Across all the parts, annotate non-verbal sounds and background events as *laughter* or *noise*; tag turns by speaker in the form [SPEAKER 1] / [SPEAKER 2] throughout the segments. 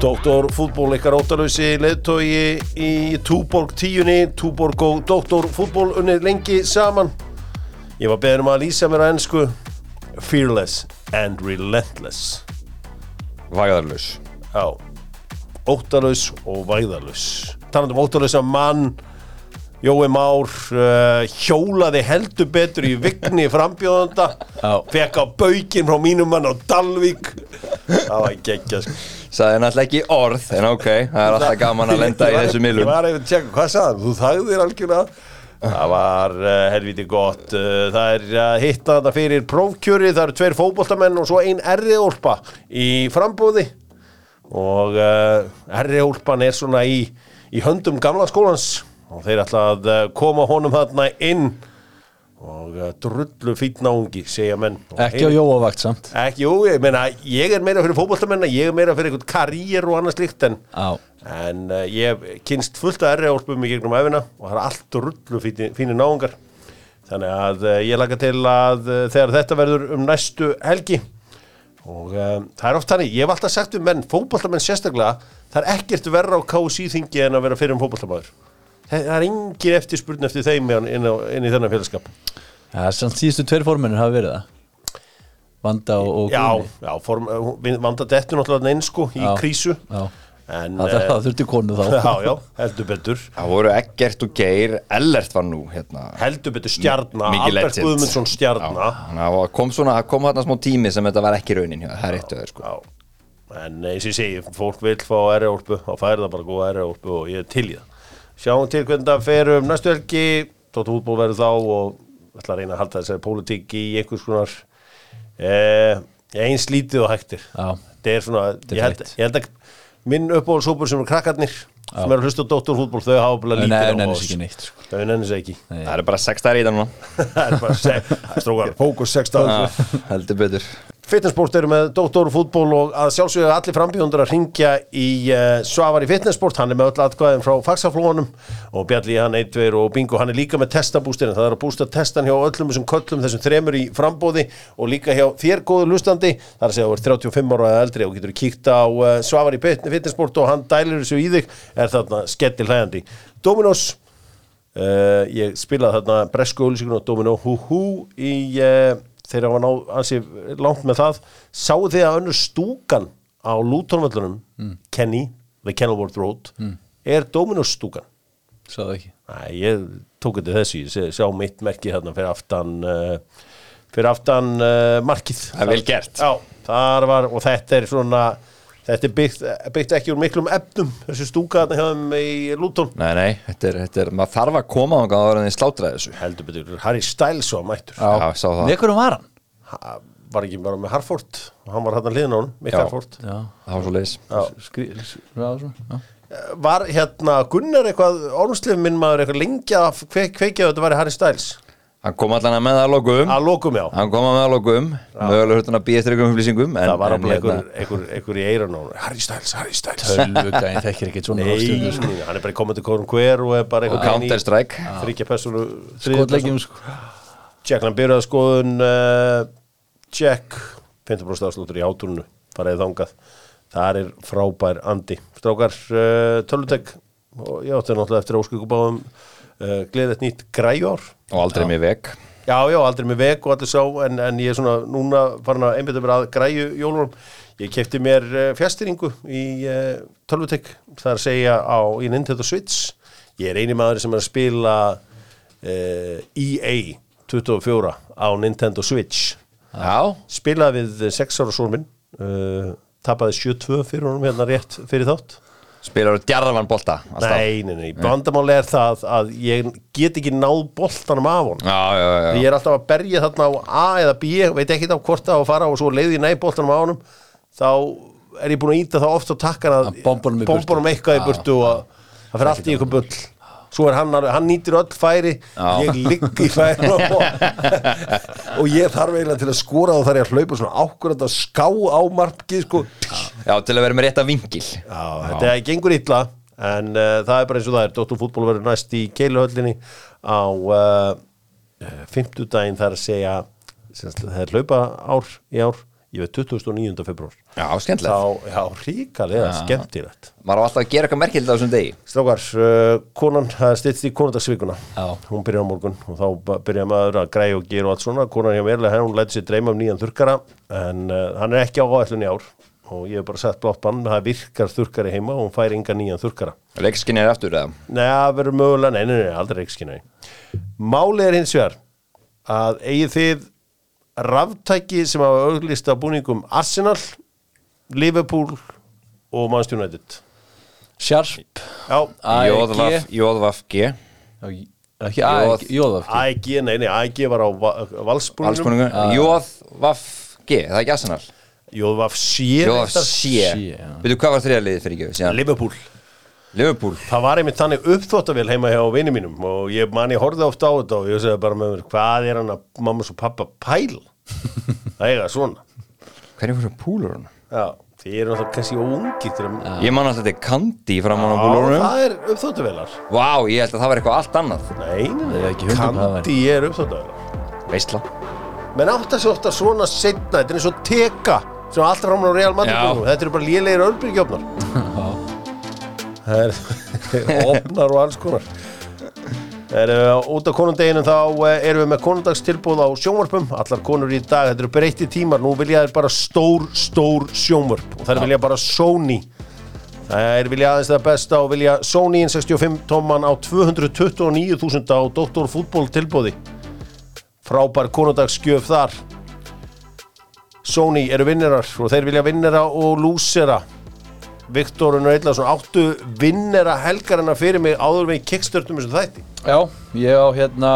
[SPEAKER 1] Doktor fútból ykkar óttalösi leðtogi í Túborg tíunni Túborg og Doktor fútból unnið lengi saman Ég var beðin um að lýsa mér á ennsku Fearless and Relentless
[SPEAKER 2] Væðarlaus
[SPEAKER 1] Já, óttalös og væðalös Talandi um óttalösa mann Jói Már uh, hjólaði heldur betur í vigni frambjóðanda
[SPEAKER 2] Já.
[SPEAKER 1] Fekk á baukinn frá mínum mann á Dalvík Það var geggja sko
[SPEAKER 2] Saði náttúrulega ekki orð, en ok, það er alltaf gaman að lenda í
[SPEAKER 1] Ég var-
[SPEAKER 2] þessu miðlum
[SPEAKER 1] Ég var eftir að tjekka, hvað sagði þú? Þagðir algjörlega Það var uh, helviti gott uh, Það er að hitta þetta fyrir prófkjöri Það eru tveir fótboltamenn og svo ein erriðólpa í frambúði og uh, erriðólpan er svona í, í höndum gamla skólans og þeir ætla að uh, koma honum þarna inn og uh, drullu fýtt náungi segja menn Og
[SPEAKER 3] Ekki á
[SPEAKER 1] heyri-
[SPEAKER 3] jóavakt samt
[SPEAKER 1] Ekki, jú, ég meina, ég er meira fyrir fótboltamenn ég er meira fyrir einhvern karýr og annað slíkt en
[SPEAKER 3] Já,
[SPEAKER 1] En uh, ég hef kynst fullt að erri álpum í gegnum efina og það er allt rullu fínir náungar. Þannig að uh, ég laka til að uh, þegar þetta verður um næstu helgi og um, það er oft þannig, ég hef alltaf sagt um menn, fótballtamenn sérstaklega, það er ekkert verra á KSÍ þingi en að vera fyrir um fótballtamaður. Það er engin eftirspurn eftir þeim inn, á, inn í þennan félagskap.
[SPEAKER 3] það er samt síðustu tveir formennir hafa verið það Vanda og, og
[SPEAKER 1] Já,
[SPEAKER 3] Guðni.
[SPEAKER 1] já, form, eh, við vanda dettu náttúrulega einsku í
[SPEAKER 3] Já.
[SPEAKER 1] krísu.
[SPEAKER 3] Já,
[SPEAKER 1] En,
[SPEAKER 3] það, það,
[SPEAKER 1] eh,
[SPEAKER 3] það þurfti konu þá
[SPEAKER 1] *laughs* já,
[SPEAKER 3] *laughs*
[SPEAKER 1] já, heldur betur.
[SPEAKER 2] Það voru Eggert og Geir, Ellert var nú hérna
[SPEAKER 1] heldur betur stjarnar,
[SPEAKER 2] Mikið
[SPEAKER 1] Albert
[SPEAKER 2] legend.
[SPEAKER 1] Guðmundsson
[SPEAKER 2] Já,
[SPEAKER 1] stjarnar
[SPEAKER 2] þannig að það kom svona, það kom þarna smá tími sem þetta var ekki raunin hjá, þér, það er eittu öður sko
[SPEAKER 1] en eins og ég segi, fólk vil fá R-úlpu og færi það bara góða R-úlpu og ég er til í það sjáum til hvernig það fer um næstu helgi tótt útból verður þá og ætla að reyna að halda þessari pólitík í einhvers konar eh, eins lítið og hægtir
[SPEAKER 3] Já.
[SPEAKER 1] þetta er svona,
[SPEAKER 3] er
[SPEAKER 1] ég held,
[SPEAKER 3] fínt.
[SPEAKER 1] ég held að minn uppáhaldshópur sem eru krakkarnir sem eru að hlusta á doktorfútból, þau hafa bara
[SPEAKER 3] Nei,
[SPEAKER 1] lítið
[SPEAKER 3] nei,
[SPEAKER 1] áhuga á
[SPEAKER 3] nennis
[SPEAKER 1] þessu.
[SPEAKER 3] ekki neitt sko.
[SPEAKER 1] þau nennis ekki *laughs*
[SPEAKER 3] Nei.
[SPEAKER 2] Það eru bara sex dagar í þetta núna
[SPEAKER 1] það er bara að segja, strókar, fókus 16
[SPEAKER 2] Já, Heldur betur
[SPEAKER 1] Fitnessport eru með Dóttor fútból og að sjálfsögðu allir frambjóndur að ringja í uh, Svavar í Fitnessport, hann er með öll atkvæðin frá fagsaflónum og Bjalli hann eitver og Bingo, hann er líka með testabústirinn, það er að bústa testan hjá öllum þessum köllum, þessum þremur í frambóði og líka hjá þér góðu lustandi, það er að segja að þú er 35 ára eða eldri og getur kíkt á uh, Svavar í Fit- Fitnessport og hann dælir þessu í þig, er þarna skettil hlæðandi. Dominos, Uh, ég spilaði þarna Bresku Ulsíkun og Domino Hú Hú í uh, þeirra var ná ansi langt með það sáu þið að önnur stúkan á Lútonvöllunum, Kenny The Kenilworth Road, er Dominos stúkan
[SPEAKER 3] Sáðu ekki
[SPEAKER 1] Æ, ég tók þetta þessu, ég sé- sjá mitt merki þarna fyrir aftan uh, fyrir aftan uh, markið
[SPEAKER 2] Það er vel gert.
[SPEAKER 1] Já, þar var, og þetta er svona þetta er byggt, byggt ekki úr miklum efnum þessu stúka þarna hjá þeim í Lúton
[SPEAKER 2] Nei, nei, þetta er, þetta er, maður þarf að koma þangað áður en þið slátraði þessu
[SPEAKER 1] heldur betur, Harry Styles var mættur
[SPEAKER 2] Já, ég sá það.
[SPEAKER 3] Við hverjum var hann?
[SPEAKER 1] ha, var ekki bara með Harford og hann var hérna hliðin á hann, Mick
[SPEAKER 2] Já.
[SPEAKER 1] Harford
[SPEAKER 3] Já,
[SPEAKER 2] Það var svo leis
[SPEAKER 3] skri, skri, já, svona, já.
[SPEAKER 1] var hérna Gunnar eitthvað ormslif minn maður eitthvað lengi að kve, kveikja að þetta væri Harry Styles
[SPEAKER 2] Hann kom allan að með það að lokum
[SPEAKER 1] að lokum já,
[SPEAKER 2] Hann kom að með það að lokum Mögulega hurtan að býja eftir ykkur upplýsingum en-
[SPEAKER 1] það var
[SPEAKER 2] en
[SPEAKER 1] alveg
[SPEAKER 2] hérna-
[SPEAKER 1] einhver, einhver, einhver í eiran á hann Harry Styles, Harry Styles
[SPEAKER 3] Tölvugæðin þekkir ekki svona sko.
[SPEAKER 1] Nei,
[SPEAKER 3] ástundum
[SPEAKER 1] hann er bara í komandi konum hver og er bara
[SPEAKER 2] Og
[SPEAKER 1] einhver
[SPEAKER 2] Counter Strike
[SPEAKER 1] þryggja personu
[SPEAKER 3] Skotlegjum sko
[SPEAKER 1] Jackland byrjaði skoðun uh, Jack 50% afsláttur í átúrunu faraði þangað þar er frábær andi strákar uh, tölutek og ég átti náttúrulega eftir óskugubáðum uh, gleðið nýtt græjár
[SPEAKER 2] Og aldrei mér veg
[SPEAKER 1] já já aldrei með veg og allir sá en, en ég er svona núna farin að einbytta mér að græju jólunum ég kefti mér uh, fjastýringu í uh, tölutek það er að segja á í Nintendo Switch ég er eini maður sem er að spila uh, EA 24 á Nintendo Switch
[SPEAKER 2] Já,
[SPEAKER 1] spilaði við 6 ára sór minn uh, tapaði 7-2 fyrir honum hérna rétt fyrir þátt
[SPEAKER 2] spilar þú djarðan bolta alltaf.
[SPEAKER 1] nei, nei, nei, vandamáli er það að ég get ekki náð boltanum af honum
[SPEAKER 2] Já, já, já, já.
[SPEAKER 1] ég er alltaf að berja þarna á A eða B veit ekki þá hvort það á að fara og svo leiði ég næ boltanum á honum þá er ég búin að íta það oft og takka hann
[SPEAKER 3] Að bombanum í burtu.
[SPEAKER 1] bombanum eitthvað í burtu og það fer allt í ykkur bull svo er hann, alveg- hann nýtir öll færi ég ligg í færi og, *laughs* og ég þarf eiginlega til að skora og þarf ég að hlaupa svona ákvörðan að ská á marki sko.
[SPEAKER 2] já, til að vera með rétta vingil
[SPEAKER 1] Já, þetta gengur illa en uh, það er bara eins og það er Dóttur fútból verður næst í keiluhöllinni á eh, uh, fimmtudaginn þar að segja sem sagt, það er hlaupa ár í ár ég veit 29. februar
[SPEAKER 2] Já, skemmtilegt
[SPEAKER 1] þá, já, ríkalega skemmtilegt
[SPEAKER 2] Maður á alltaf að gera eitthvað merkilegt á þessum degi
[SPEAKER 1] Strákar, uh, konan, það er styrst í konundagsvíkuna
[SPEAKER 3] Já.
[SPEAKER 1] hún byrja á morgun og þá ba- byrja maður að græja og gera og allt svona konan hjá mér, hún læti sér dreyma um nýjan þurkara en uh, hann er ekki á áætlun í ár og ég hef bara sett blátt bann það virkar þurkari heima og hún fær enga nýjan þurkara
[SPEAKER 2] Leikskinni er aftur eða
[SPEAKER 1] Nei, það verður mögulega, nei, nei, nei, aldrei ekki skynna Máli er hins vegar að eigið þið ráftæki sem hafa auglist á búningum Arsenal, Liverpool og Manchester United
[SPEAKER 3] Sharp
[SPEAKER 1] Já,
[SPEAKER 3] AEG.
[SPEAKER 2] Jóðvaf, Jóðvaf G
[SPEAKER 3] Já, ekki AEG, Jóðaf
[SPEAKER 1] AEG, nei, nei, AEG var á Va- valsbúningnum
[SPEAKER 2] Allspunningur Jóðvaf G, það er ekki Arsenal
[SPEAKER 1] Jóðvaf sé
[SPEAKER 2] Jóðvaf C
[SPEAKER 3] C, já.
[SPEAKER 2] Veitu hvað var þriða liðið fyrir ekki síðan?
[SPEAKER 1] Liverpool
[SPEAKER 2] Liverpool
[SPEAKER 1] Það var einmitt þannig uppþóttavél heima hjá vini mínum og ég man ég horfði oft á þetta og ég segði bara með mér, hvað er hann að mamma og pappa pæl? Það eiga svona
[SPEAKER 2] Hvernig voru púlur hann?
[SPEAKER 1] Já, þið eru náttúrulega kannski óungi til að
[SPEAKER 2] Ég man alltaf þetta Kandi framan á
[SPEAKER 1] Já,
[SPEAKER 2] púlurunum
[SPEAKER 1] það er uppþóttavélar
[SPEAKER 2] Vá, ég held að það var eitthvað allt annað
[SPEAKER 1] Nei, nei,
[SPEAKER 3] Ég er
[SPEAKER 1] nei,
[SPEAKER 3] ekki hundum hvað það væri.
[SPEAKER 1] kandi er uppþóttavélar
[SPEAKER 2] Veistla
[SPEAKER 1] Menn átta sig ofta svona setna, þetta er eins og teka sem er alltaf framan á Real Madrid
[SPEAKER 2] Já.
[SPEAKER 1] búningum. Þetta eru bara lélegir örbyrgjöfnar *laughs* Það eru opnar og alls konar Það eru uh, út af konundeginum þá uh, erum við með konundagstilbúð á sjónvarpum Allar konur í dag, þetta eru breytti tímar Nú vilja þær bara stór, stór sjónvarp Og þær vilja bara Sony Þær vilja aðeins það besta og vilja Sony 65 tomman á 229.000 á Dr. Fútból tilbúði Frábær konundagsgjöf þar Sony eru vinnirar og þeir vilja vinnera og lúsera Viktor Unnar Eitlason áttu vinnera helgarina fyrir mig áður með kickstartum þessum þætti
[SPEAKER 3] Já, ég á hérna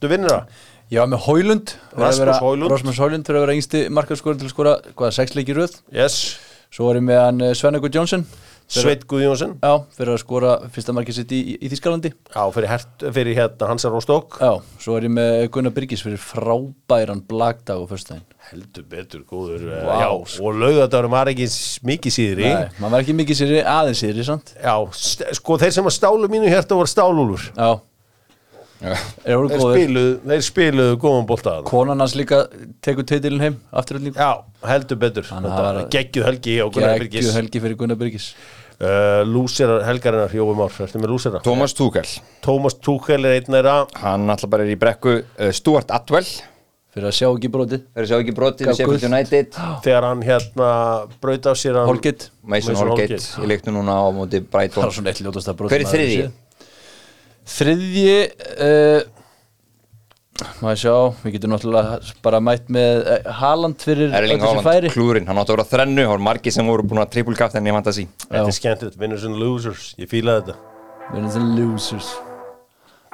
[SPEAKER 1] Þú vinnera?
[SPEAKER 3] Ég var með Hólund
[SPEAKER 1] Rasmus Højlund.
[SPEAKER 3] Rasmus Hólund fyrir að vera yngsti markaskórin til að skora Hvaða, sex leikir röð
[SPEAKER 1] Yes
[SPEAKER 3] Svo var ég með hann Svennegur Jónsson
[SPEAKER 1] Sveit Guðjónsson
[SPEAKER 3] Já, fyrir að skora fyrsta markið sitt í, í, í Þískalandi
[SPEAKER 1] Já, fyrir, hert, fyrir hérna Hansar Róstók
[SPEAKER 3] Já, svo er ég með Gunnar Byrgis fyrir frábæran blagdag og fyrstæðin
[SPEAKER 1] Heldur betur, góður eh,
[SPEAKER 3] Vá.
[SPEAKER 1] Já, og laugardagurum var ekki s- mikið síðri
[SPEAKER 3] Nei, maður var ekki mikið sér aðeins sér, sant?
[SPEAKER 1] Já, st- sko þeir sem að stálu mínu hérta voru stálúlur
[SPEAKER 3] Já, er voru
[SPEAKER 1] Þeir
[SPEAKER 3] góður
[SPEAKER 1] spiluðu, þeir spiluðu góðan bóltaðan
[SPEAKER 3] Konan hans líka tekur teitilin heim Afturöldingu
[SPEAKER 1] Já, heldur betur
[SPEAKER 3] Hann
[SPEAKER 1] Þetta
[SPEAKER 3] var-
[SPEAKER 1] Geggjuð helgi á Gunnar
[SPEAKER 3] Gekkju
[SPEAKER 1] Byrgis
[SPEAKER 3] helgi fyrir Gunnar Byrgis
[SPEAKER 1] uh, Lúserar helgarinnar, Jói Már Ertu með lúsera?
[SPEAKER 2] Thomas Tuchel
[SPEAKER 1] Tómas Túkel er einn þeirra
[SPEAKER 2] Hann alltaf bara er í brekku uh, Stuart Atwell
[SPEAKER 3] Fyrir að sjá ekki brotið
[SPEAKER 2] Þeir sjá ekki brotið
[SPEAKER 3] Gaf
[SPEAKER 2] við Sheffield
[SPEAKER 3] gult.
[SPEAKER 2] United
[SPEAKER 1] þegar hann hérna braut af sér hann
[SPEAKER 3] Holgit
[SPEAKER 2] Mason Holgate í leiknum núna á móti
[SPEAKER 3] Það
[SPEAKER 2] Brighton
[SPEAKER 3] er svona eitt ljótast að brotið
[SPEAKER 2] Hver er þriðji?
[SPEAKER 3] Þriðji uh, Maður sjá, við getum náttúrulega bara mætt með uh, Haaland fyrir
[SPEAKER 2] Erling
[SPEAKER 3] öllu sem
[SPEAKER 2] Haaland,
[SPEAKER 3] færi
[SPEAKER 2] klúrin, hann átti að vera á þrennu og margir sem voru búin að trippulkafta henni í fantasi
[SPEAKER 1] þetta er skemmtilegt, winners and losers, ég fíla þetta
[SPEAKER 3] Vinnins and losers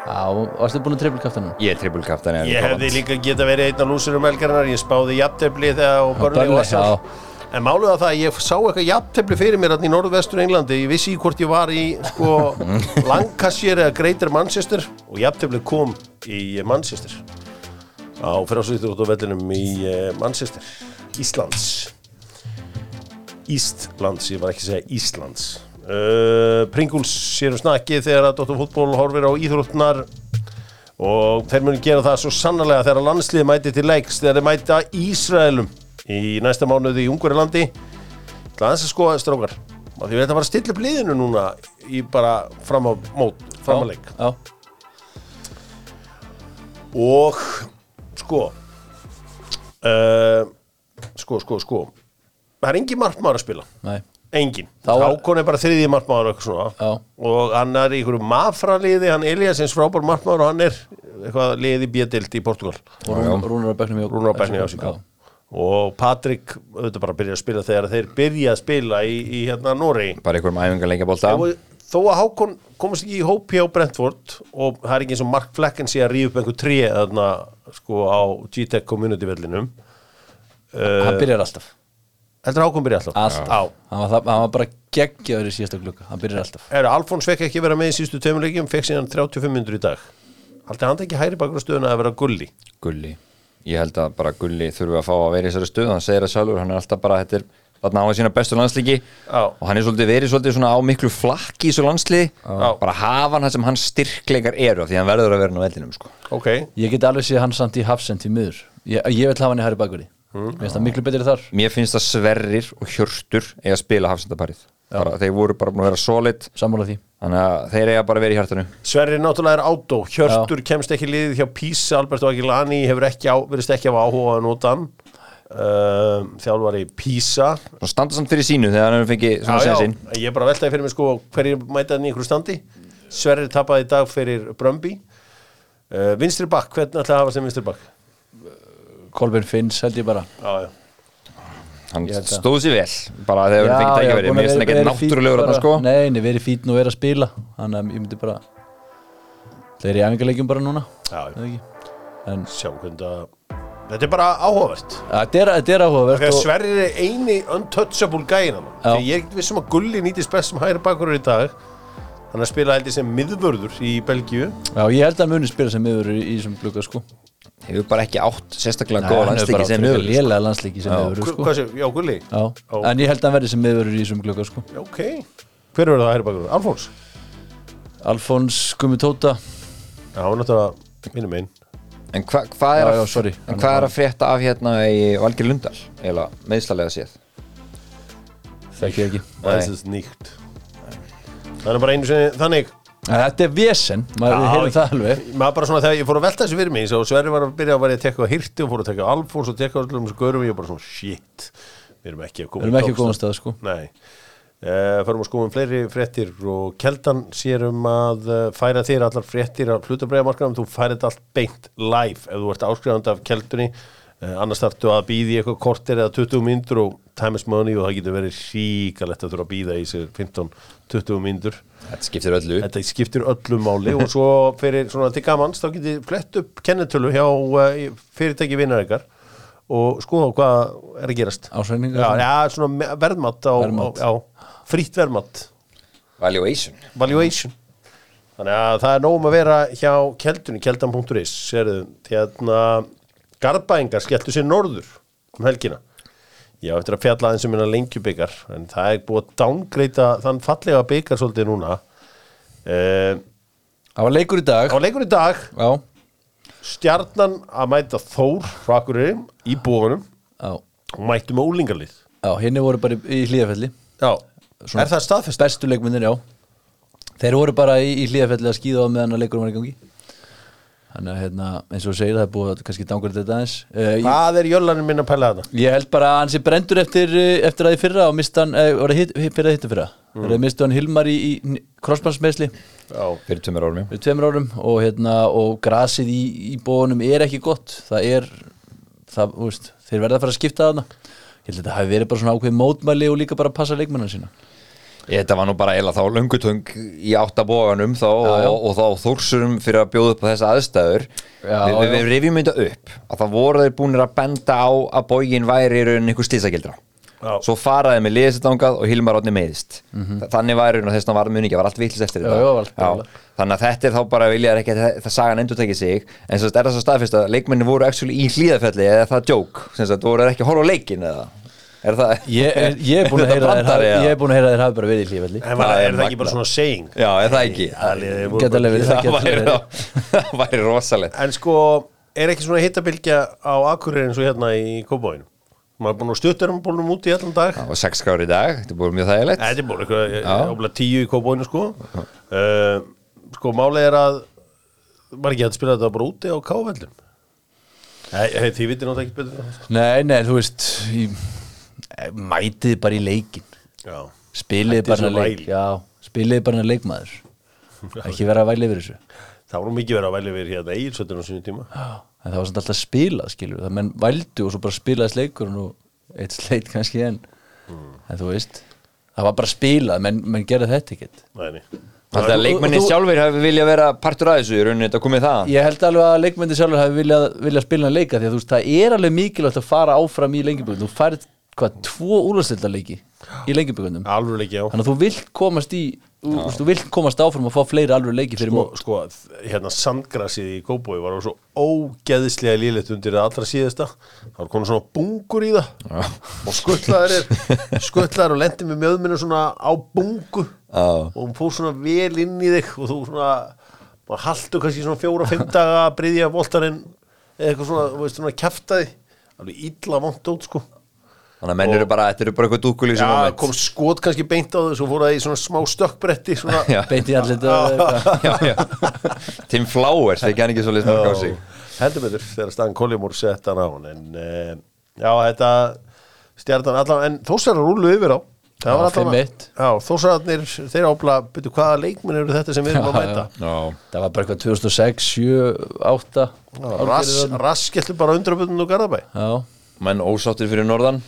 [SPEAKER 3] Já, varstu búin að trippulkafta hann?
[SPEAKER 2] Ég er trippulkafta henni
[SPEAKER 1] ég hefði líka geta verið einn af lúsurum elgarinnar ég spáði jafntefli þegar og börnli
[SPEAKER 3] Burnley,
[SPEAKER 1] og þessar en máluða það að ég sá eitthvað jafntefli fyrir mér hann í norðvestur Englandi, ég vissi í hvort ég var í sko Lancashire eða Greater Manchester og jafntefli kom í Manchester á frásvítur út á vellinum í eh, Manchester, Íslands Ístlands, ég var ekki að segja Íslands uh, Pringles sér um snakki þegar að Dóttur fútból horfir á íþróttnar og þeir munu gera það svo sannarlega þegar landslið mæti til leiks þegar þeir mæta Ísraelum í næsta mánuði í Ungurilandi Það er að skoða strókar og því við ætlum bara að stilla upp liðinu núna í bara fram á mót, fram á leik
[SPEAKER 3] Já,
[SPEAKER 1] og sko uh, sko, sko, sko það er engin markmaður að spila
[SPEAKER 3] nei
[SPEAKER 1] engin,
[SPEAKER 3] Þá var-
[SPEAKER 1] Hákon er bara þriði markmaður og eitthvað svona,
[SPEAKER 3] Já.
[SPEAKER 1] og hann er í einhverju mafraliði, hann Eliasins frábár markmaður og hann er eitthvað liði bjödild í Portugal,
[SPEAKER 3] Og Rún- Rúnar á bekknum í-
[SPEAKER 1] Rúnar Bækni á sig
[SPEAKER 3] Já.
[SPEAKER 1] og Patrik auðvitað bara byrja að spila þegar þeir byrja að spila í, í hérna Noregi
[SPEAKER 2] Bara einhverjum æfingarleikabólta
[SPEAKER 1] Og þó að Hákon komast ekki í hópi á Brentford og það er ekki eins og Mark Flecken sé að ríða upp einhver trí þarna sko á G-Tech community vellinum
[SPEAKER 3] Hann byrjar alltaf
[SPEAKER 1] heldur Hákon byrja alltaf?
[SPEAKER 3] Alltaf
[SPEAKER 1] Já.
[SPEAKER 3] hann var, það, hann var bara geggjaður í síðasta glugga Hann byrjar alltaf
[SPEAKER 1] Er, Alfons fekk ekki vera með í sístu tveimleikjum fekk síðan 35 minnur í dag Haldi hann ekki hæri bakur á stöðuna að vera gulli
[SPEAKER 2] Gulli Ég held að bara Gulli þurfi að fá að vera í þessari stöð Hann segir það sjálfur, hann er alltaf bara þetta er, Þarna á að sína bestu landslíki
[SPEAKER 1] Já.
[SPEAKER 2] Og hann er svolítið verið svolítið svona á miklu flakki í þessu landslíki
[SPEAKER 1] Já.
[SPEAKER 2] Bara hafa hann það sem hans styrkleikar eru af Því hann verður að vera hann á vellinum sko.
[SPEAKER 1] Ok,
[SPEAKER 3] Ég get alveg séð hann samt í hafsend í miður Ég, ég vil hafa hann í Harry Bakuri
[SPEAKER 2] Hmm.
[SPEAKER 3] Mér finnst það miklu betri þar
[SPEAKER 2] mér finnst það sverrir og hjörtur eiga að spila hafsendaparið bara, þeir voru bara búin að vera solid
[SPEAKER 3] Sammála því
[SPEAKER 2] þannig að þeir eiga bara að vera í hjartanu
[SPEAKER 1] Sverri náttúrulega er átó, Hjörtur kemst ekki í liðið hjá Písa, Alberto Aguilani hefur ekki á, verðist ekki hafa áhuga að nota hann uh, þjálfari Písa
[SPEAKER 2] og standa samt fyrir sínu þegar hann hefur fengið
[SPEAKER 1] já,
[SPEAKER 2] svona sér
[SPEAKER 1] já,
[SPEAKER 2] sín
[SPEAKER 1] ég er bara að veltaði fyrir mig sko hverjir mæta hann í einhverju standi Sverri tapaði í dag fyrir Brömbi uh, Vinstri Bakk, hvernig ætlaði að hafa sem Vinstri Bakk?
[SPEAKER 3] Kolbjörn Finns held ég bara
[SPEAKER 1] Já, já
[SPEAKER 2] hann
[SPEAKER 3] Ég held að-
[SPEAKER 2] stóð sér vel bara þegar hann fengið tækjaverið mér finnst hann ekki náttúrulegur þarna, sko.
[SPEAKER 3] Nei, nei, verið fítn og verið að spila Þannig að ég myndi bara Þeir eru í æfingarleikjum bara núna
[SPEAKER 1] Já, já.
[SPEAKER 3] eða ekki? En
[SPEAKER 1] Sjáum hvernig það Þetta er bara áhugavert
[SPEAKER 3] þetta er, þetta er áhugavert
[SPEAKER 1] Þegar
[SPEAKER 3] og-
[SPEAKER 1] Sverrir er eini untouchable gæin hann
[SPEAKER 3] Já.
[SPEAKER 1] Þegar ég er ekkert viss um að Gulli nýtist best sem hægri bakurur í dag Hann er að spila heldur sem miðvörður í Belgíu
[SPEAKER 3] Já, ég held að hann muni spila sem miður í í þessum glugga sko
[SPEAKER 2] hefur bara ekki átt sérstaklega
[SPEAKER 3] Nei,
[SPEAKER 2] góða
[SPEAKER 3] hann er bara
[SPEAKER 2] landsleiki sem
[SPEAKER 3] frekar
[SPEAKER 2] miður sko.
[SPEAKER 3] lélega landsleiki sem miður
[SPEAKER 1] Hva-
[SPEAKER 3] sko
[SPEAKER 1] Hvað séu, já Gulli?
[SPEAKER 3] Já, en ég held að hann verði sem miður í þessum glugga sko
[SPEAKER 1] Ok Hver verður það hægri bakurur? Alfons?
[SPEAKER 3] Alfons Gummitóta
[SPEAKER 1] Já, hann er náttúrulega mínum einn
[SPEAKER 2] en hva- hvað
[SPEAKER 3] Já,
[SPEAKER 2] er,
[SPEAKER 3] já,
[SPEAKER 2] að-
[SPEAKER 3] sorry.
[SPEAKER 2] en hvað er að frétta af hérna í Valgir Lundal eða meðslalega séð
[SPEAKER 3] Þekki ég ekki
[SPEAKER 1] Það er þess nýtt Það er bara einu sinni þannig
[SPEAKER 3] Æ, Þetta er vesen, maður
[SPEAKER 1] Já,
[SPEAKER 3] hefur það alveg
[SPEAKER 1] maður bara svona þegar ég fór að velta þessu fyrir mig og Sverri var að byrja að vera að tekka á hirti og fór að tekka á Alfons og tekka á allum þessu görum og ég var bara svona shit, við erum ekki að koma
[SPEAKER 3] Við erum
[SPEAKER 1] í
[SPEAKER 3] ekki
[SPEAKER 1] toppstað.
[SPEAKER 3] góðan stað sko
[SPEAKER 1] Nei Uh, förum að skoðum fleiri fréttir og Keldan sér um að eh, færa þér allar fréttir af hlutabræðamarkaðum þú færir þetta allt beint live ef þú ert áskrifandi af Keldunni uh, annars þarftu að býða í eitthvað kortir eða 20 myndur og time is money og það getur verið síkalegt að þurfa að býða í sér 15-20 myndur
[SPEAKER 2] þetta skiptir öllu
[SPEAKER 1] Þetta skiptir öllu máli og svo fyrir svona til gamans þá getið flett upp kennetölu hjá uh, fyrirtæki vinnar ykkar og skoða hvað er að gerast.
[SPEAKER 3] Ásæningar?
[SPEAKER 1] Já, já svona me- verðmat á,
[SPEAKER 3] Verðmat.
[SPEAKER 1] á já, frýtt verðmat,
[SPEAKER 2] valuation
[SPEAKER 1] valuation. Þannig að það er nógum að vera hjá keldunni, keldan.is, sérðu, hérna garbaðingar skelltu sér norður um helgina. Já, eftir að fjalla aðeins um minna lengjubikar, en það er búið að dángreita þann fallega bikar svolítið núna. Uh,
[SPEAKER 3] Það var leikur í dag
[SPEAKER 1] á leikur í dag
[SPEAKER 3] Já,
[SPEAKER 1] stjarnan að mæta Þór Frakurri í búanum
[SPEAKER 3] já,
[SPEAKER 1] og mættu með úlingarlið
[SPEAKER 3] já, henni voru bara í, í hlíðafelli
[SPEAKER 1] Já, er það staðfest?
[SPEAKER 3] Bestu leikmyndir, já Þeir voru bara í, í hlíðafelli að skýða á meðan að leikur var í gangi Þannig að hérna, eins og þú segir það er búið að kannski dangur þetta aðeins uh, ég,
[SPEAKER 1] Hvað er jöllanum minn að pæla þarna?
[SPEAKER 3] ég held bara að hann sé brendur eftir, eh, eftir að þið fyrra og mista hann, eh, voru hitt, hitt, fyrir að hittu fyrra mm. Þeir mistu hann Hilmar í, í krossmannsmeisli
[SPEAKER 1] Já,
[SPEAKER 2] fyrir tömur ormi
[SPEAKER 3] fyrir tveimur árum og, hérna, og grasið í, í bóðunum er ekki gott það er það, þú veist, þeir verða að fara að skipta þarna ég held að þetta hafi verið bara svona ákveð mótmæli og líka bara að passa leikmennan sína
[SPEAKER 2] Þetta var nú bara eila þá lungutung í áttabóganum þá
[SPEAKER 3] Já, já.
[SPEAKER 2] Og, og þá þórsurum fyrir að bjóða upp á þessa aðstæður
[SPEAKER 3] Já,
[SPEAKER 2] Við, við,
[SPEAKER 3] já.
[SPEAKER 2] við rifjum þetta upp að það voru þeir búinir að benda á að bógin væri í raunin ykkur slísagildra
[SPEAKER 1] Já.
[SPEAKER 2] Svo faraði með liðsetangað og Hilmar Átni meiðist Þa- Þannig var í raunin og þess að var muni ekki, var allt vitlis eftir
[SPEAKER 3] Mhm.
[SPEAKER 2] þetta
[SPEAKER 3] Já, já, allt
[SPEAKER 2] já,
[SPEAKER 3] galið.
[SPEAKER 2] Þannig að þetta er þá bara vilja ekki að það, það sagan endur tekið sig En sem sagt er það svo staðfist að leikmenni voru actually í hlíðafelli eða er það djók Sem sagt voru þeir ekki að horfa á leikin eða Er það
[SPEAKER 3] ég *laughs* er, ég er búin að
[SPEAKER 2] Þetta
[SPEAKER 3] heyra að þeir
[SPEAKER 2] brandari,
[SPEAKER 3] hafi-
[SPEAKER 2] eða?
[SPEAKER 3] ég er búin að heyra að þeir hafi bara verið í hlífelli
[SPEAKER 1] en var,
[SPEAKER 2] Það er
[SPEAKER 1] er það ekki
[SPEAKER 2] magnað.
[SPEAKER 1] bara svona saying?
[SPEAKER 2] Já, er það ekki?
[SPEAKER 1] Það liðið voru
[SPEAKER 3] Geta
[SPEAKER 1] bara-
[SPEAKER 3] alveg verið
[SPEAKER 2] það
[SPEAKER 3] ekki að
[SPEAKER 2] væri,
[SPEAKER 3] þeir-
[SPEAKER 2] þá- *laughs* það væri rosalegt
[SPEAKER 1] En sko, er ekki svona hittabilgja á Akureyri eins og hérna í Kóbóinu? Maður er búin að stuttur um bólum út í allan dag
[SPEAKER 2] og sex skrári í dag, þetta er búið mjög þægilegt
[SPEAKER 1] Þetta er búin eitthvað, eh, óbúinlega tíu í Kóbóinu sko uh, Sko, málið er að var ekki hægt að spila þetta bara úti á Kávellum Nei, hey, þið vitið náttúrulega ekki betur en það, sko.
[SPEAKER 3] nei, nei, þú veist ég, eh, mætið bara í leikin
[SPEAKER 1] Já
[SPEAKER 3] spilið
[SPEAKER 1] Hættið
[SPEAKER 3] bara
[SPEAKER 1] svo
[SPEAKER 3] að leik
[SPEAKER 1] væli.
[SPEAKER 3] já, spilið bara að leikmaður ekki vera að væli yfir þessu
[SPEAKER 1] Það var nú mikið verið að velja verið hérna eigilsöldin á sínum tíma.
[SPEAKER 3] en það var samt alltaf spilað skilur það menn vældu og svo bara spilaðist leikur og eitt sleit kannski en en þú veist, það var bara spilað menn, menn gera þetta ekkert
[SPEAKER 1] Nei, nei.
[SPEAKER 2] Alltaf að leikmennin
[SPEAKER 3] og þú- sjálfir
[SPEAKER 2] sjálfir hafi vilja vera partur að þessu í rauninni, þetta komið það
[SPEAKER 3] ég held alveg að leikmyndi sjálfur hafi viljað, viljað spila leika því að þú veist, það er alveg mikilvægt að fara áfram í lengjubökundum þú færð hvað, tvo úrlastildarleiki í lengjubökundum
[SPEAKER 1] Alveg ekki á.
[SPEAKER 3] þannig að þú vilt komast í þú, veist, þú vilt komast áfram og fá fleiri alveg leiki fyrir
[SPEAKER 1] Sko,
[SPEAKER 3] mót
[SPEAKER 1] sko, þ- hérna sandgrasið í Kóbói var svo ógeðislega lílegt undir það allra síðasta. Það var komin svona bungur í það og skuttlaður er, skuttlaður og lendi með mjöðminu svona á bungu
[SPEAKER 2] Já.
[SPEAKER 1] og hún fór svona vel inn í þig og þú svona, maður haldu kannski svona fjóra, fimm daga að bryðja voltarinn eða eitthvað svona, þú veist, svona kjaftaði alveg illa vont út sko
[SPEAKER 2] Þannig að menn eru bara, þetta eru bara eitthvað dúkulíf sem
[SPEAKER 1] Já,
[SPEAKER 2] moment.
[SPEAKER 1] kom skot kannski beint á þau svo fór það í svona smá stökkbretti svona,
[SPEAKER 2] Já.
[SPEAKER 3] beint í allir *laughs* þetta
[SPEAKER 2] *laughs* já, já. Tim Flowers, fekk hann ekki svo leist mörg á sig
[SPEAKER 1] heldur betur þegar Stan Collymore sett hann á hann en eh, já, þetta stjartan allan, en þósar rúlu yfir á
[SPEAKER 3] Já,
[SPEAKER 1] það var
[SPEAKER 3] 5-1.
[SPEAKER 1] allan þósararnir, þeir ábla, byrju hvaða leikmenn eru þetta sem við erum að
[SPEAKER 3] Já,
[SPEAKER 1] mæta
[SPEAKER 2] Já,
[SPEAKER 3] það var bara eitthvað 2006, 7, 8
[SPEAKER 1] Já, Rass, rass getur bara undrabundin og garðabæ
[SPEAKER 3] já
[SPEAKER 2] menn ósáttir fyrir norðan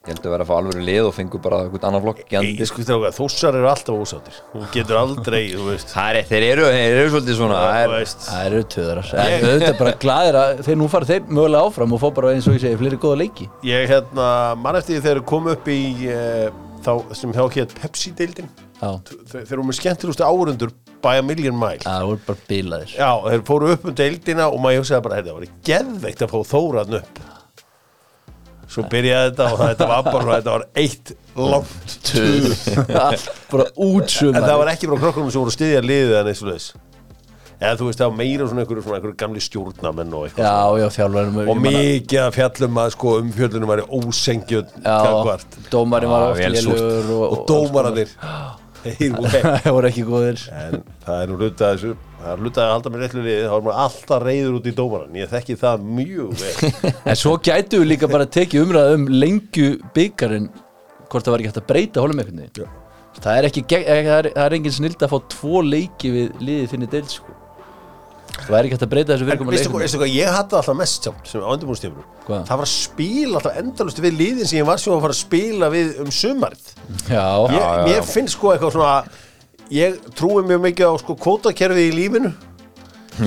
[SPEAKER 2] Ég held að vera að fá alvöru lið og fengu bara eitthvað annan flokk
[SPEAKER 1] Ég
[SPEAKER 2] gjandi
[SPEAKER 1] sko þrjóka, þósar eru alltaf ósáttir Þú getur aldrei, þú veist
[SPEAKER 2] Það er, þeir eru, þeir eru svolítið svona það
[SPEAKER 1] Þú
[SPEAKER 2] er,
[SPEAKER 1] veist
[SPEAKER 3] Það eru töðrar En auðvitað bara glæðir að þeir nú fara þeir mögulega áfram og fá bara eins og ég segi fleiri góða leiki
[SPEAKER 1] Ég hérna, mann eftir því þegar þeir komu upp í eh, þá sem hjá hétt Pepsi-deildin
[SPEAKER 3] Já,
[SPEAKER 1] Þe- þeir voru með skemmtilegustu árundur by a million mile
[SPEAKER 3] það voru bara bilaðir
[SPEAKER 1] Já, þeir fóru upp um deildina og maður hugsaði bara, þetta var geðveikt að fá Þóran upp Svo byrjaði þetta og þetta var bara, þetta var eitt langt tuð
[SPEAKER 3] Allt bara
[SPEAKER 1] En það
[SPEAKER 3] útsumar
[SPEAKER 1] var ekki frá krokkunum sem voru að styðja liðið en eins og þess Eða þú veist, það var meira svona einhverju, svona einhverju gamli stjórnamenn og eitthvað
[SPEAKER 3] Já, já, fjálvarum
[SPEAKER 1] Og mikið að fjallum að sko umfjöllunum væri ósengjun
[SPEAKER 3] Já,
[SPEAKER 1] kakvart
[SPEAKER 3] dómarinn
[SPEAKER 2] Já,
[SPEAKER 3] var oft
[SPEAKER 2] vel súrt.
[SPEAKER 3] lélugur
[SPEAKER 1] Og dómaranir Þeir
[SPEAKER 3] *laughs*
[SPEAKER 1] voru
[SPEAKER 3] Það voru ekki góðir
[SPEAKER 1] en það er nú hlutað þessu það er hlutað að halda með réttu liði þá er maður alltaf reyður út í dómaran ég þekki það mjög vel
[SPEAKER 3] En svo gætu við líka bara tekið umræða um lengju byggarinn hvort það var ekki hægt að breyta hólum einhvern
[SPEAKER 1] Já.
[SPEAKER 3] veginn Það er ekki, gegn- eh, það er, það er engin snild að fá tvo leiki við liðið þinni deild sko. Það er ekki hægt að breyta þessu
[SPEAKER 1] en
[SPEAKER 3] virkum
[SPEAKER 1] veistu hvað, veistu hvað ég hattaði alltaf mest samt sem á undirbúinstefnum
[SPEAKER 3] Hvað?
[SPEAKER 1] það var að spila alltaf endalust við liðin sem ég var sem að fara að spila við um sumarið
[SPEAKER 3] Já,
[SPEAKER 1] ég,
[SPEAKER 2] já, já.
[SPEAKER 1] mér finnst sko eitthvað svona ég trúi mjög mikið á sko kvótakerfið í lífinu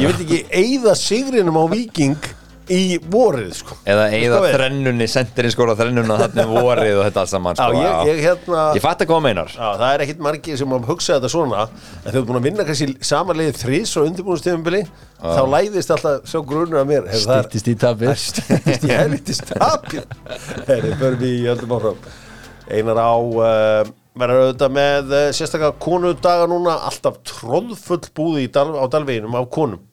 [SPEAKER 1] ég veit ekki eigða sigrinum á viking í vorið sko
[SPEAKER 2] Eða eða
[SPEAKER 1] Veistu hvað er?
[SPEAKER 2] þrennunni, sendirinn skora þrennunna þarna um vorið og þetta alls saman
[SPEAKER 1] Já,
[SPEAKER 2] sko,
[SPEAKER 1] ég, ég, hérna,
[SPEAKER 2] Ég fatt að koma einar
[SPEAKER 1] Já, það er ekkit margir sem að hugsa þetta svona en þau eru búin að vinna kannski samanlegið þrís og undirbúinustíðumbili þá læðist alltaf svo grunur að mér Hef, það er-
[SPEAKER 3] stýttist í tapir
[SPEAKER 1] stýttist í helvitist tapir Þeirri, börum við í öllum áfram Einar á uh, verður auðvitað með uh, sérstaklega konudaga núna alltaf tróðfull búði í dal, á dalveginum af konum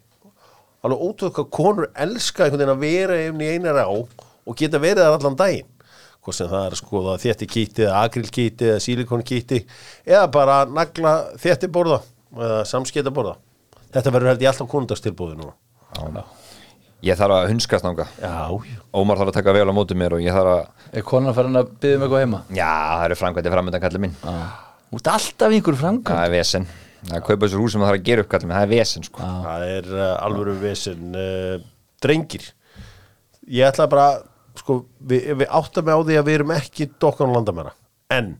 [SPEAKER 1] alveg ótrúð hvað konur elska einhvern veginn að vera einhvern í einar á og geta verið þar allan daginn hvort sem það er sko það þétti kýtti eða akrilkýtti eða sílikónkýtti eða bara nagla þétti borða eða samskita borða þetta verður held ég alltaf konundagstilbúði núna
[SPEAKER 2] Ég þarf að hunskast nánga
[SPEAKER 1] já, já
[SPEAKER 2] Ómar þarf að taka vel á móti mér og ég þarf að
[SPEAKER 3] *laughs* Er konan farin að byggja um eitthvað heima?
[SPEAKER 2] Já, það eru framkvæmdi framöndan kallið minn
[SPEAKER 3] Út alltaf einhver framkvæm
[SPEAKER 2] Það er vesen Það er kaupa þessu hús sem það þarf að gera upp kallið minn Það er vesen sko
[SPEAKER 1] Það er uh, alvöru vesen uh, drengir ég ætla bara sko, við, við áttum með á því að við erum ekki dokkan landamæra, en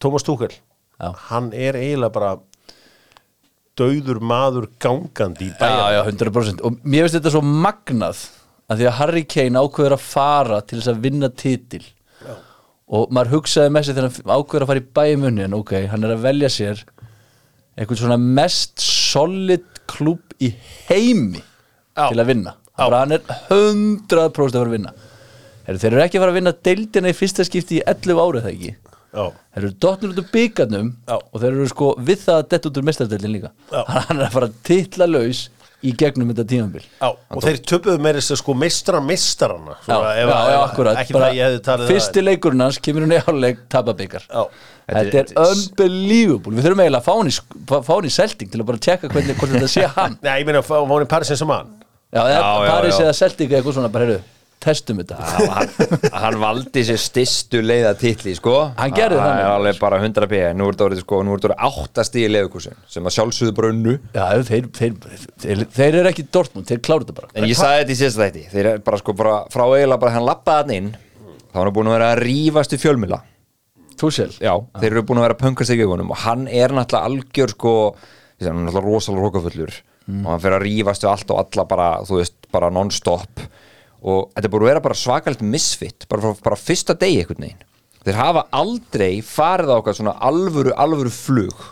[SPEAKER 1] Tómas Túkel,
[SPEAKER 3] Já.
[SPEAKER 1] hann er eiginlega bara dauður maður gangandi í bæja
[SPEAKER 3] Já, já, 100% Og mér finnst þetta svo magnað að því að Harry Kane ákveður að fara til þess að vinna titil já. og maður hugsaði með sér þegar hann ákveður að fara í bæmunni en ok, hann er að velja sér einhvern svona mest solid klúb í heimi
[SPEAKER 1] Já.
[SPEAKER 3] til að vinna bara hann er 100% að fara að vinna Heru, þeir eru ekki að fara að vinna deildina í fyrsta skipti í 11 árið það ekki
[SPEAKER 1] Já.
[SPEAKER 3] Þeir eru dottnir út úr byggarnum
[SPEAKER 1] Já.
[SPEAKER 3] og þeir eru sko við það að dett út úr mestardeldin líka
[SPEAKER 1] Já.
[SPEAKER 3] *laughs* hann er að fara titla laus í gegnum þetta tímanbíl
[SPEAKER 1] Já, og þeir töpuðu meira þess að sko meistran meistarana svona, Sko, ef- ef- ekki það ég hefði talið
[SPEAKER 3] fyrsti leikurinn hans kemur hún í áleik tapa byggar
[SPEAKER 1] Já.
[SPEAKER 3] þetta er unbelievable við þurfum eiginlega að fá hann í, sk- fá- fá hann í selting til að bara tjekka hvernig hvort þetta sé
[SPEAKER 1] *laughs*
[SPEAKER 3] hann
[SPEAKER 1] Nei, ég meina, hún er Paris eins og mann
[SPEAKER 3] já,
[SPEAKER 2] Já,
[SPEAKER 3] já,
[SPEAKER 2] já,
[SPEAKER 3] Paris
[SPEAKER 2] já.
[SPEAKER 3] eða selting eða eitthvað svona bara heyrðu, testum þetta
[SPEAKER 2] Já, hann, *laughs* hann valdi sér styrstu leiða titli sko
[SPEAKER 3] Hann gerði það
[SPEAKER 2] er
[SPEAKER 3] nefnilega,
[SPEAKER 2] alveg bara 100 p nú er þetta orðið sko, nú er þetta orðið áttast í leiðukursin sem að sjálfsögðu bara unnu
[SPEAKER 3] já, þeir, þeir, þeir, þeir eru ekki Dortmund, þeir kláru þetta bara
[SPEAKER 2] en ég sagði þetta í sérst þætti þeir eru bara sko bara frá eiginlega bara hann lappaði hann inn þá hann er búin að vera að rífast í fjölmila
[SPEAKER 3] þú sér,
[SPEAKER 2] já, þeir eru búin að vera að pöngast í gegunum og hann er náttúrulega algjör sko ég segi, hann er náttúrulega rosalega rókafullur og hann fer að rífast við allt og alla bara, þú veist, bara non-stop og þetta er búin að vera bara svakalt misfit, bara, frá- bara fyrsta degi einhvern veginn þeir hafa aldrei farið á okkar svona alvöru, alvöru flug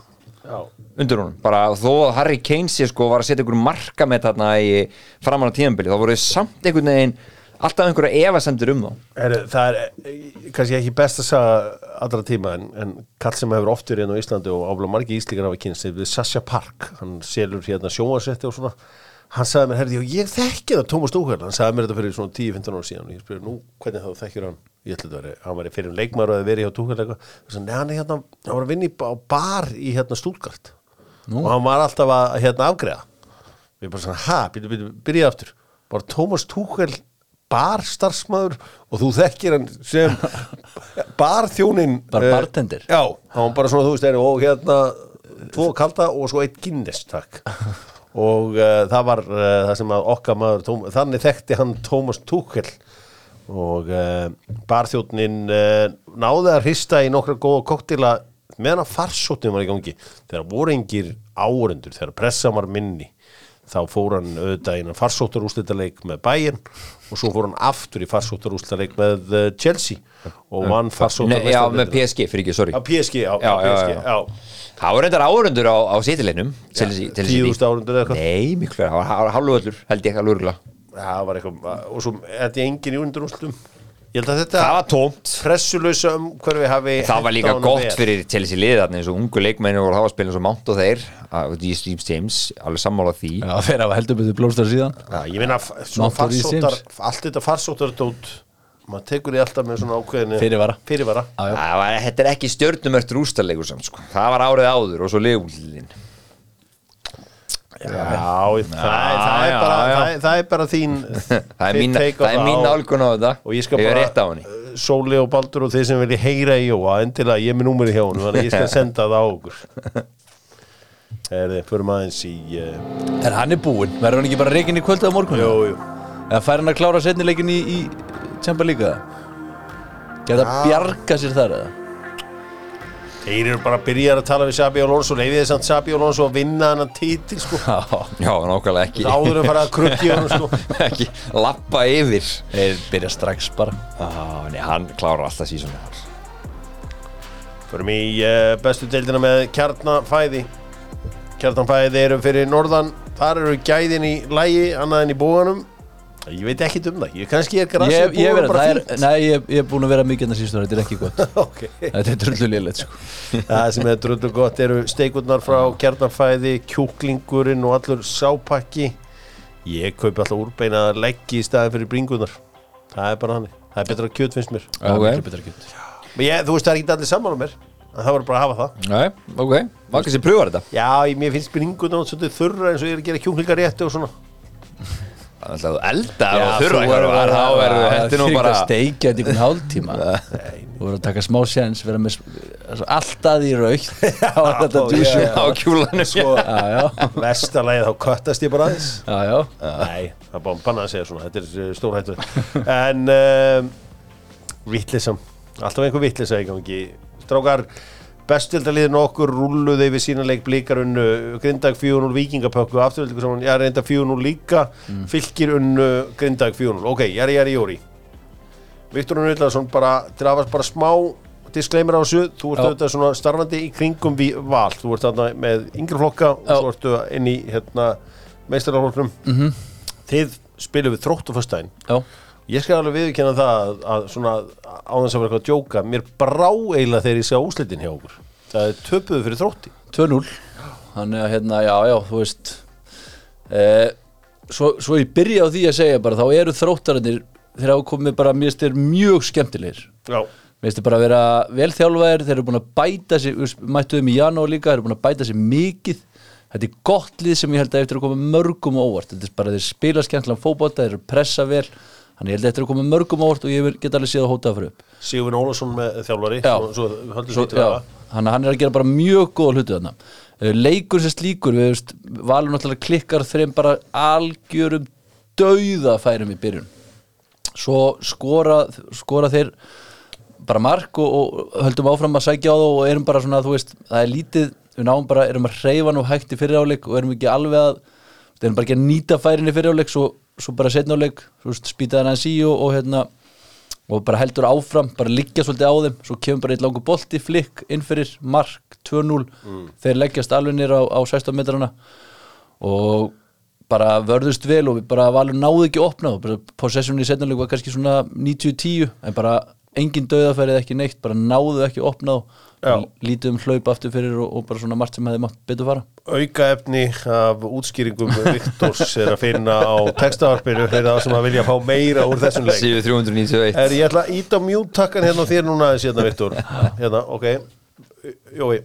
[SPEAKER 2] undir honum, bara þó að Harry Kane sér sko var að setja einhver marka með þarna í framan á tíðanbili, þá voru þeir samt einhvern veginn alltaf einhverja efasendur um þá
[SPEAKER 1] Heru, það er eh, kannski ekki best að sagða allra tíma en, en kall sem hefur oft verið inn á Íslandi hérna og áfla margi íslíkar hafa kynst við Sasha Park, hann selur hérna sjóasetti og svona hann sagði mér, herrði, og ég þekki það Tómas Dókvæl, hann sagði mér þetta fyrir svona 10-15 ára síðan og ég spyrir, nú, hvernig þá þekkir hann ég ætla þetta verið, hann var í fyrir leikmaður og það verið hjá Dókvæl eitthvað, þess að neðan er hérna hann var að vinna í, á bar í hérna Stúlgart og hann var alltaf að hérna afgreða við bara svona, ha, byrju, byrju, byrja aftur bara Tómas Túkel barstarfsmaður og þú þekkir hann
[SPEAKER 3] *laughs*
[SPEAKER 1] sem barþjónin
[SPEAKER 3] Bara
[SPEAKER 1] eh,
[SPEAKER 3] bartender.
[SPEAKER 1] já, hann var bara svona, þú veist, er, og hérna tvo kalda og svo eitt Guinness,
[SPEAKER 2] *laughs*
[SPEAKER 1] takk og uh, það var uh, það sem að okkar maður tóm, þannig þekkti hann Tómas Túkel og uh, barþjónin uh, náði að hrista í nokkra góða koktila meðan að farsóttin var í gangi þegar voru engir árendur þegar pressa var minni þá fór hann auðvitað innan farsóttarúslitaleik með Bayern og svo fór hann aftur í farsóttarúslitaleik með eh, Chelsea og vann
[SPEAKER 2] Nei, já, með
[SPEAKER 1] farsóttarúslitaleik
[SPEAKER 2] PSG, fyrir ekki, sorry
[SPEAKER 1] Já, PSG, já, já,
[SPEAKER 2] Já, já,
[SPEAKER 1] PSG,
[SPEAKER 2] já.
[SPEAKER 1] já.
[SPEAKER 2] Það voru reyndar áhörundur á, á sýtilegnum til þessi- til þessi-
[SPEAKER 1] 10.000 áhorfendur eða eitthvað?
[SPEAKER 2] Nei, miklu, það var- það var hálfvöldur, held ég, alveg
[SPEAKER 1] *laughs*
[SPEAKER 2] örugglega.
[SPEAKER 1] Það var eitthvað, og svo þetta er engin í undirúslum Ég held að þetta
[SPEAKER 2] Það var tómt
[SPEAKER 1] pressulösa um hverfi hafi
[SPEAKER 2] Það var líka
[SPEAKER 1] hentað honum
[SPEAKER 2] gott
[SPEAKER 1] vel.
[SPEAKER 2] fyrir til þessi liðarni eins og ungu leikmenni voru þá að spila eins og Mount og þeir Ah, að því Steve James, alveg sammála því
[SPEAKER 3] Já, þeir hafa heldur betur blómstar síðan
[SPEAKER 1] Já, ég minna, svona
[SPEAKER 3] Máttur í
[SPEAKER 1] farsóttar,
[SPEAKER 3] Sims.
[SPEAKER 1] allt þetta farsóttardót, maður tekur því alltaf með svona ákveðinu
[SPEAKER 3] Fyrirvara.
[SPEAKER 1] Fyrirvara.
[SPEAKER 3] Já, já.
[SPEAKER 2] Það var, þetta er ekki stjörnumört rústarleikur samt sko. það var árið áður og svo liðúlin
[SPEAKER 1] Já, það, er- það, er
[SPEAKER 2] Já,
[SPEAKER 1] bara,
[SPEAKER 2] já.
[SPEAKER 1] Það, er, það er bara þín
[SPEAKER 2] *laughs* það er
[SPEAKER 1] þitt
[SPEAKER 2] mín,
[SPEAKER 1] take
[SPEAKER 2] það
[SPEAKER 1] á
[SPEAKER 2] er mín nálgun á þetta
[SPEAKER 1] Og ég skal
[SPEAKER 2] er
[SPEAKER 1] bara,
[SPEAKER 2] rétt á henni
[SPEAKER 1] uh, Sóli og Baldur og þeir sem vilja heyra í Jóa, endilega ég er með númerið hjá honum, þannig að ég
[SPEAKER 3] *laughs*
[SPEAKER 1] skal senda það á okkur Herði, förum aðeins í uh,
[SPEAKER 3] En hann er búinn, verður hann ekki bara reikinn í kvöldu á morgun?
[SPEAKER 1] Jú, jú
[SPEAKER 3] Eða fær hann að klára setnileikin í, í Tjempa líka? Geta
[SPEAKER 1] Já.
[SPEAKER 3] bjarga sér þar eða?
[SPEAKER 1] Þeir eru bara að byrja að tala við Sabi Alonso, leiði þess að Sabi Alonso að vinna hennan titil, sko
[SPEAKER 3] Já,
[SPEAKER 2] Já, nákvæmlega ekki
[SPEAKER 1] Áður að fara að krukki honum, sko
[SPEAKER 2] *laughs*
[SPEAKER 3] *laughs*
[SPEAKER 2] ekki lappa yfir
[SPEAKER 3] þeir byrja strax bara
[SPEAKER 2] ah, nei, hann klárar alltaf síðan þar
[SPEAKER 1] Förum í uh, bestu deildina með kjarnafæði Kjarnafæði eru fyrir norðan Þar eru gæðin í lægi, annað en í búanum Ég veit ekki um það, ég kannski er grasið
[SPEAKER 3] Ég,
[SPEAKER 1] í
[SPEAKER 3] ég,
[SPEAKER 1] búanum
[SPEAKER 3] vera,
[SPEAKER 1] bara
[SPEAKER 3] er,
[SPEAKER 1] fínt
[SPEAKER 3] nei, ég, ég er búinn að vera mikið en það síðustu ára, þetta er ekki gott
[SPEAKER 1] *laughs* Ok.
[SPEAKER 3] Þetta er drullu liðlegt sko
[SPEAKER 1] Það sem er drullu gott eru steikurnar frá kjarnafæði, kjúklingurinn og allur sápakki Ég kaupi alltaf úrbeina leggi í staði fyrir bringunar Það er bara hannig, það er betra kjöt finnst mér
[SPEAKER 3] Það er
[SPEAKER 2] Ok.
[SPEAKER 3] miklu betra kjöt.
[SPEAKER 1] Men ég, Þú veist það er ekki allir sammála mér en það voru bara að hafa það
[SPEAKER 2] Nei, ok, maður kannski pröfa þetta
[SPEAKER 1] Já, ég- mér finnst bringunar svolítið þurra eins og ég er að gera kjúklingar og svona
[SPEAKER 2] Það er elda
[SPEAKER 3] Já,
[SPEAKER 2] og þurra
[SPEAKER 3] þú verður
[SPEAKER 2] eitthvað
[SPEAKER 3] bara-
[SPEAKER 2] þá verður hættu nú
[SPEAKER 3] fyrir
[SPEAKER 2] bara
[SPEAKER 3] að
[SPEAKER 2] *laughs*
[SPEAKER 3] steikja þetta í einhvern hálftíma Þú verður að taka smá séns vera með s- alltaf í raukt þá er þetta
[SPEAKER 1] já,
[SPEAKER 3] djúsum
[SPEAKER 1] já.
[SPEAKER 2] á kjúlanu sko
[SPEAKER 3] Já, *laughs* já,
[SPEAKER 1] Vestalagið þá köttast ég bara aðeins
[SPEAKER 3] já, já
[SPEAKER 1] Nei, það er bara bannað að segja svona Þetta er stórhættu En um, Vittlisam Alltaf einhver vittlisa í gangi Strákar, bestildaliðin okkur rúluðu yfir sína leik blikarunnu Grindag 4-0 vikingapökku Afturveldu saman, ég er reynda 4-0 líka
[SPEAKER 3] Mm.
[SPEAKER 1] Fylkir unnu Grindag 4-0 Ok, jæri, jæri, jóri Viktor Nöðlason bara til að hafa bara smá disclaimer á þessu, þú ert
[SPEAKER 3] Já.
[SPEAKER 1] auðvitað svona starfandi í kringum við val, þú ert þarna með yngri flokka og
[SPEAKER 3] Já. Mhm.
[SPEAKER 1] svo ertu inn í hérna, meistararhóknum -hmm. þið spilum við þrótt og fyrstæðin
[SPEAKER 3] Já,
[SPEAKER 1] ég skal alveg viðurkenna það að, að svona á þess að vera eitthvað að djóka mér brá eiginlega þegar ég sé úslitin hjá okkur það er töpuðu fyrir þrótti
[SPEAKER 3] 2-0 Þannig að hérna, já, já, þú veist eh, svo, svo ég byrja á því að segja bara þá eru þróttararnir þeir hafa komið bara, mér styrir mjög skemmtilegir
[SPEAKER 1] já,
[SPEAKER 3] Mér finnst þið bara að vera vel þjálfaðir, þeir eru búin að bæta sig, mættuðum í janúar líka, þeir eru búin að bæta sig mikið. Þetta er gott lið sem ég held að eftir að koma mörgum á óvart. Þetta er bara að þeir spila skemmtilega fótbolta, þeir eru pressa vel, þannig ég held að eftir að koma mörgum á óvart og ég get alveg séð að hóta það fyrir upp.
[SPEAKER 1] Sigurvin Ólafsson með þjálfari
[SPEAKER 3] Já.
[SPEAKER 1] svo, svo höldum
[SPEAKER 3] Svo,
[SPEAKER 1] við til
[SPEAKER 3] já,
[SPEAKER 1] það
[SPEAKER 3] hann, hann er að gera bara mjög góða hluti þarna. Eh, Leikur sem slíkur, við veist, valur náttúrulega klikkar þreim bara algjörum dauðafærum í byrjun. Svo skora, skora þeir bara mark og, og höldum áfram að sækja á það og erum bara svona, þú veist, það er lítið við náum bara, erum að reyfa nú hægt í fyriráleik og erum ekki alveg að við erum bara ekki að nýta færin í fyriráleik svo, svo bara setnáleik, svo spýtaðan hans í og, og hérna og bara heldur áfram, bara liggja svolítið á þeim svo kemur bara eitt langur bolti, flikk, innfyrir mark, 2-0, þeir leggjast alveg nýr á, á 16 metrana og bara vörðust vel og við bara valur náðu ekki að opna og bara possession í setnuleik var kannski svona 90-10 en bara engin döðafærið ekki neitt bara náðu ekki opnað
[SPEAKER 1] Já.
[SPEAKER 3] lítið um hlaup aftur fyrir og, og bara svona margt sem hefði mátt betur fara
[SPEAKER 1] aukaefni af útskýringum Viktors er að finna á textavarpinu fyrir það sem að vilja fá meira úr þessum leik
[SPEAKER 2] Síðu 391
[SPEAKER 1] er ég ætla að íta mjúttakkan hérna á þér núna aðeins hérna Viktor hérna, ok, Jói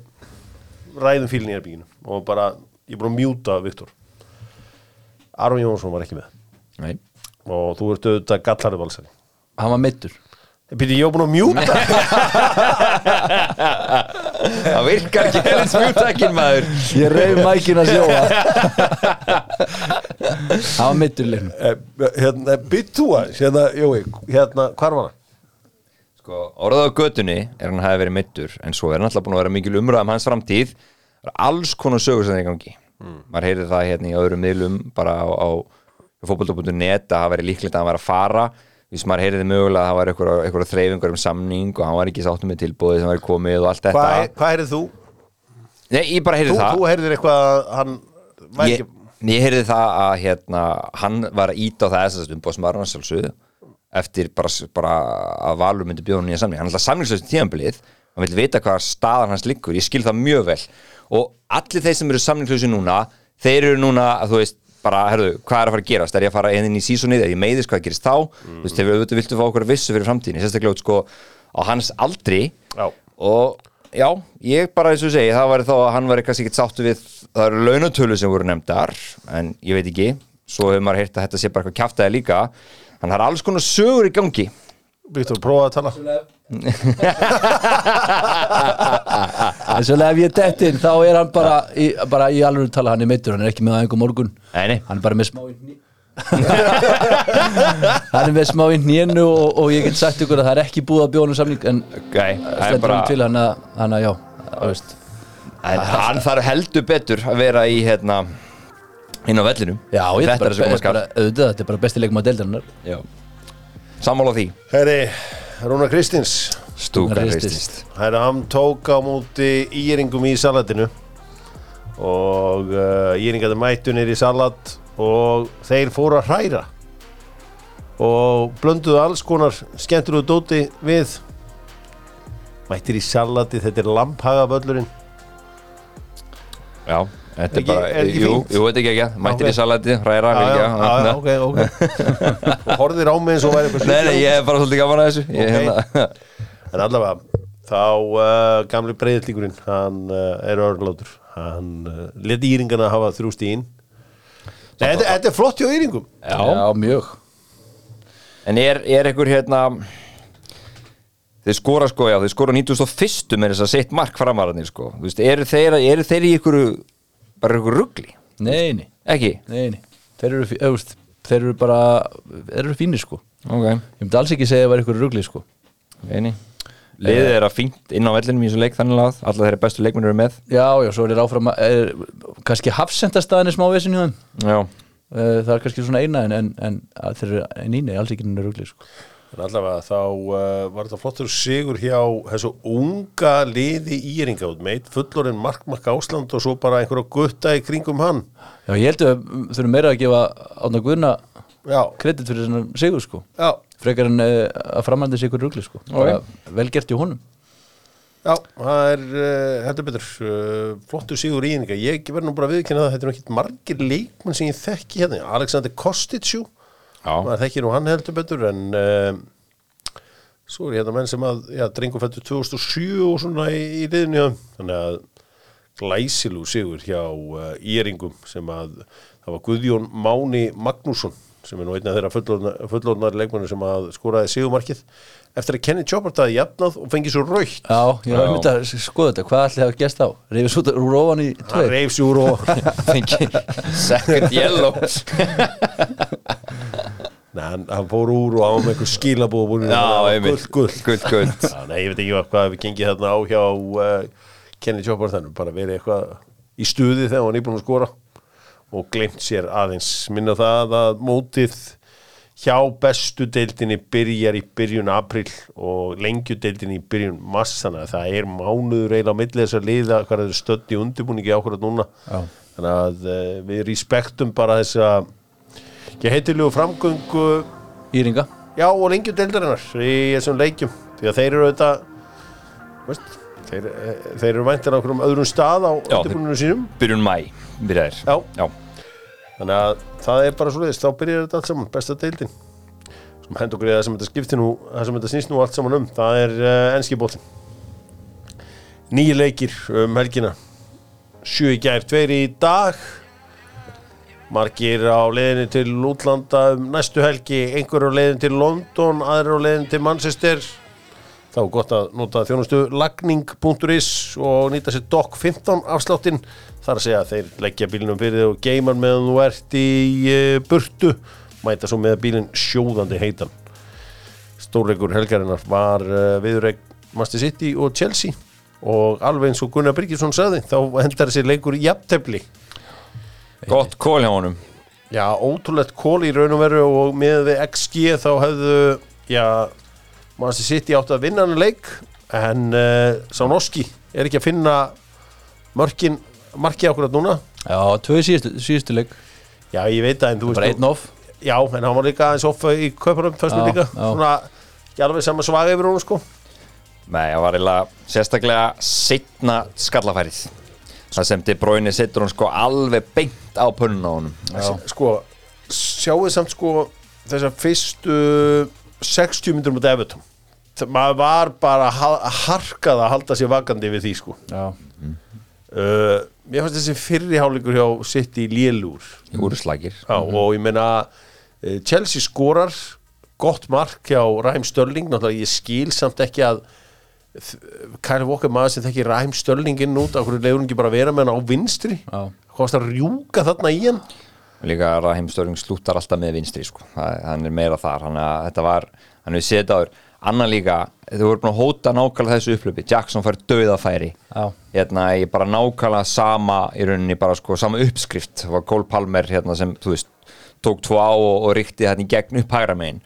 [SPEAKER 1] ræðum fílinn í erbyginu og bara, ég er búin að mjúta Viktor Aron Jónsson var ekki með
[SPEAKER 2] Nei.
[SPEAKER 1] og þú ert auðvitað um gallari valsari
[SPEAKER 3] hann var meittur
[SPEAKER 1] Býtti, ég er búin að mjúta
[SPEAKER 2] Það virkar ekki helins mjúttakinn maður
[SPEAKER 3] ég reyf mækin að sjóa *laughs* hann var meittur í leiknum
[SPEAKER 1] *laughs* Eh, hérna, Býtti þú að, hérna, Jói hérna, hvar var hann?
[SPEAKER 2] Sko, orðað á götunni er hann hafi verið mittur en svo er hann alltaf búin að vera mikil umræðum hans framtíð Það er alls konar sögur sem það er í gangi maður heyrði það hérna í öðrum miðlum bara á, á fótbolta.net að það væri líklegt að hann væri að fara viss maður heyrði mögulega að það væri einhverjar einhverjar þreifingar um samning og hann var ekki sáttum með tilbúið sem væri komið og allt þetta
[SPEAKER 1] Hvað hva heyrið þú?
[SPEAKER 2] Nei, ég bara heyrði
[SPEAKER 1] Þú,
[SPEAKER 2] það
[SPEAKER 1] þú heyrðir eitthvað að hann væri
[SPEAKER 2] ég,
[SPEAKER 1] ekki
[SPEAKER 2] ég heyrði það að hérna, hann var að íta á það þessast umbóðsmaður hans alveg eftir bara, bara að Valur myndi bjóða hann nýja samning hann er alltaf samningslöfst tíðanbilið hann vil vita hvað staðan hans liggur, ég skil það mjög vel og allir þeir sem eru samningslöfst núna, þeir eru núna að þú veist bara, herðu, hvað er að fara að gerast, er ég að fara inn í sísonið, er ég meiðis, hvað gerist þá þú veist, þeir auðvitað viltu fá okkur að vissu fyrir framtíðin sérstaklega út, sko, á hans aldri
[SPEAKER 1] Já.
[SPEAKER 2] og já, ég bara eins og segi það var þá að hann var kannski ekki sáttu við það eru launatölu sem voru nefndar en ég veit ekki, svo hefur maður heyrt að þetta sé bara eitthvað kjaftaði líka þannig að það er alls konar sögur í *laughs* gangi
[SPEAKER 1] Viktor, prófaði að tala
[SPEAKER 3] en svo ef ég dett inn þá er hann bara í, bara í alveg tala hann er meittur hann er ekki með það einhver morgun
[SPEAKER 2] Nei, nei.
[SPEAKER 3] hann er bara með smá í hné *laughs* hann er með smá í hnénu og, og ég get sagt ykkur að það er ekki búið að bjóðanum samning en
[SPEAKER 2] okay, það er
[SPEAKER 3] stendur
[SPEAKER 2] bara,
[SPEAKER 3] hann til hann að, hann að já, þú veist
[SPEAKER 2] en hann þarf heldur betur að vera í hérna inn á vellinum
[SPEAKER 3] Já, ég
[SPEAKER 2] þetta er
[SPEAKER 3] bara,
[SPEAKER 2] þessi koma
[SPEAKER 3] bara,
[SPEAKER 2] skall
[SPEAKER 3] bara, auðvitað, þetta er bara besti leikum að deildarinnar
[SPEAKER 2] Já. sammála því
[SPEAKER 1] Herri, Rúnar Kristins
[SPEAKER 2] stúka
[SPEAKER 3] Hristist.
[SPEAKER 2] hristist
[SPEAKER 1] Herri, hann tók á móti íringum í salatinu og uh, íringaði mættunir í salat og þeir fóru að hræra og blönduðu alls konar skemmtilegu dóti við mættir í salati, þetta er lamphaga
[SPEAKER 2] já, þetta er
[SPEAKER 1] Ekki-
[SPEAKER 2] bara,
[SPEAKER 1] er ekki
[SPEAKER 2] jú,
[SPEAKER 1] fínt?
[SPEAKER 2] jú, þetta er ekki ekki mættir
[SPEAKER 1] Ok.
[SPEAKER 2] í salati, hræra,
[SPEAKER 1] Já,
[SPEAKER 2] vilja
[SPEAKER 1] já, já, já, ok, ok
[SPEAKER 2] *laughs*
[SPEAKER 1] og horfðir á mig eins og væri eitthvað
[SPEAKER 2] nei, nei, ég er bara svolítið gaman að þessu ég,
[SPEAKER 1] Ok.
[SPEAKER 2] hérna, *laughs*
[SPEAKER 1] En allavega, þá uh, gamli breyðlíkurinn, hann uh, er örglátur. Hann uh, leti íringana hafa þrjú stíðin. Þetta þetta er flott hjá íringum.
[SPEAKER 3] já, mjög
[SPEAKER 2] En er, er einhver hérna þeir skora sko, já, þeir skora 91. með þess að sitt mark framararnir sko, þú veist, eru þeir, eru þeir í einhverju, bara einhverju ruggli
[SPEAKER 3] Nei, nei,
[SPEAKER 2] ekki?
[SPEAKER 3] nei, nei. Þeir, eru, fí- eða, þú veist, þeir eru bara þeir eru fínir sko
[SPEAKER 2] Ok,
[SPEAKER 3] Ég myndi alls ekki segja að vera ykkur rugli sko
[SPEAKER 2] eini Liðið er að fínt inn á vellinum í þessu leik þannig að alla þeirra bestu leikmennir eru með
[SPEAKER 3] Já, já, svo er þeir áfram að- er, kannski hafsendastaðan er smá vesin hjá þeim
[SPEAKER 2] Já,
[SPEAKER 3] Eh, það er kannski svona eina en, en, en að þeir eru en íni, alls ekki nýna rugli sko
[SPEAKER 1] En allavega, þá uh, var þetta flottur sigur hjá þessu unga liði íringa út meitt, fullorinn markmark Ásland og svo bara einhverja gutta í kringum hann.
[SPEAKER 3] Já, ég held að við þurfum meira að gefa Átna Guðna
[SPEAKER 1] Já,
[SPEAKER 3] kredit fyrir þennan sigur sko
[SPEAKER 1] já,
[SPEAKER 3] frekar en eh, að framhandi sig ykkur rugli sko okay. vel gert í honum
[SPEAKER 1] já, það er uh, heldur betur, uh, flottur sigur íringa. Ég verð nú bara að viðkynna það, þetta er ekki margir leikmenn sem ég þekki hérna. Alexander Kostitsjú.
[SPEAKER 2] já,
[SPEAKER 1] maður þekkir nú hann heldur betur en uh, svo er hérna menn sem að já, drengur fættur 2007 og svona í, í liðinu hjá þeim. þannig að glæsilú sigur hjá uh, Íringum sem að það var Guðjón Máni Magnússon sem er nú einn af þeirra fullorðna- fullorðnari leikmannu sem að skoraði sigumarkið eftir að Kenny Choppert að jafnað og fengi svo raukt
[SPEAKER 3] Já, ég
[SPEAKER 2] Já.
[SPEAKER 3] var myndið að skoða þetta, hvað ætli hafa gerst á? Reyfis út úr ofan í
[SPEAKER 1] hann
[SPEAKER 3] tveir
[SPEAKER 1] reyf sig úr og
[SPEAKER 2] *laughs*
[SPEAKER 1] *laughs*
[SPEAKER 2] fengi second *laughs* yellow
[SPEAKER 1] Nei, hann, hann fór úr og á með einhver skilabúð búin
[SPEAKER 2] Já,
[SPEAKER 1] gull, gull
[SPEAKER 2] Gull, gull
[SPEAKER 1] Já, nei, ég veit ekki hvað við gengið þarna á hjá uh, Kenny Chopper þannig bara verið eitthvað í stuði þegar hann var nýbúin að skora og glemt sér aðeins minna það að mótið hjá bestu deildinni byrjar í byrjun april og lengju deildinni í byrjun mars þannig að það er mánuður eiginlega á milli þess að liða hvað er stödd í undirbúningi ákvörð núna
[SPEAKER 3] Já.
[SPEAKER 1] þannig að uh, við respektum bara þessa ég heitilegu framgöngu
[SPEAKER 3] Íringa
[SPEAKER 1] Já, og lengju deildarinnar í þessum leikjum. Því því að þeir eru auðvitað veist, þeir, eh, þeir eru væntir á einhverjum öðrum stað á
[SPEAKER 2] Já,
[SPEAKER 1] undirbúinu sínum
[SPEAKER 2] byrjun mæ byrjaðir
[SPEAKER 1] Já.
[SPEAKER 2] Já.
[SPEAKER 1] þannig að það er bara svo leiðist, þá byrjar þetta allt saman, besta deildin sem hend okkur í það sem þetta skipti nú það sem þetta snýst nú allt saman um, það er uh, enski bóttin nýju leikir um helgina sjö í gær, tveir í dag margir á leiðinni til útlanda um næstu helgi, einhver á leiðinni til London aðrir á leiðinni til Manchester þá er gott að nota þjónustu lagning.is og nýta sér DOC 15 afsláttinn þar að segja að þeir leggja bílinum fyrir þig og geiman meðan þú ert í eh, burtu mæta svo með bílinn sjóðandi heitan stórleikur helgarinnar var eh, viðureik Master City og Chelsea og alveg eins og Gunnar Birgisson sagði þá hendar þessi leikur í jafntefli
[SPEAKER 2] gott kól hjá honum
[SPEAKER 1] já, ótrúlegt kól í raun og veru og með við XG þá hefðu já, Master City átt að vinna hann leik en uh, sá Norski er ekki að finna mörkin, marki okkur að núna
[SPEAKER 3] Já, tvö í síðustu, síðustu leik
[SPEAKER 1] já, ég veit að en þú
[SPEAKER 3] Bara
[SPEAKER 1] veist
[SPEAKER 3] einn off
[SPEAKER 1] Já, en hann var líka aðeins offa í köpunum
[SPEAKER 3] Já,
[SPEAKER 1] fyrstum líka,
[SPEAKER 3] já.
[SPEAKER 1] svona ekki alveg sama svaga yfir hún sko
[SPEAKER 2] Nei, það var eiginlega sérstaklega setna skallafærið það sem De Bruyne setur hún sko alveg beint á pönnun á honum
[SPEAKER 1] Sko, sjáuð samt sko þessar fyrstu 60 myndur mútið Evertón Það- maður var bara ha- harkað að halda sér vakandi við því sko
[SPEAKER 3] Já,
[SPEAKER 1] uh, Mér fannst þessi fyrriháleikur hjá sitt í Lélúr
[SPEAKER 2] Úrslagir
[SPEAKER 1] Já, og ég meina eh, Chelsea skorar gott mark hjá Ræm Störling náttúrulega ég skil samt ekki að þ- Kyle Walker maður sem þekki Ræm Störling inn út, af hverju leiður hún ekki bara að vera með hann á vinstri,
[SPEAKER 3] Já.
[SPEAKER 1] komast að rjúka þarna í hann
[SPEAKER 2] Líka Raheim Störling slúttar alltaf með vinstri sko. Það- hann er meira þar hann, þetta var, hann hefur setið áður annan líka, þú voru búin að hóta nákvæmlega þessu upplöpi, Jackson fær döðafæri
[SPEAKER 3] Já.
[SPEAKER 2] hérna, ég bara nákvæmlega sama í rauninni, bara sko, sama uppskrift það var Cole Palmer hérna sem, þú veist tók tvo á og, og ríkti hérna í gegn upp hægra megin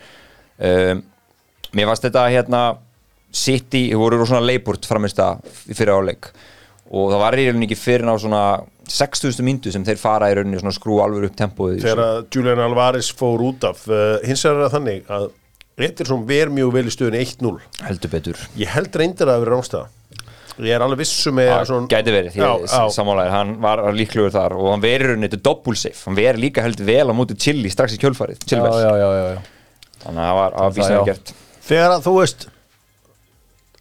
[SPEAKER 2] um, mér fannst þetta hérna City, þau voru svona leipurt framist að fyrir áleik og það var í rauninni ekki fyrir ná svona 6000 myndu sem þeir fara í rauninni svona skrú alveg upp tempóið í þessu.
[SPEAKER 1] þegar að Julian Alvarez fór út af uh, hins vegar er það þannig að Ederson ver mjög vel í stöðunni 1-0
[SPEAKER 2] heldur betur
[SPEAKER 1] ég held reyndir að það vera rángstæða ég er alveg um vissu með
[SPEAKER 2] Já, gæti verið,
[SPEAKER 1] já,
[SPEAKER 2] ég
[SPEAKER 1] já,
[SPEAKER 2] sammálaðir hann var líklegur þar og hann verið rauninni þetta doppulseif, hann verið líka heldur vel á móti Chili strax í kjölfarið,
[SPEAKER 3] já,
[SPEAKER 2] Chilwell
[SPEAKER 3] já, já, *laughs* já, já.
[SPEAKER 2] þannig að það var að
[SPEAKER 3] Það,
[SPEAKER 2] vísna
[SPEAKER 3] já.
[SPEAKER 2] gert
[SPEAKER 1] Þegar að þú veist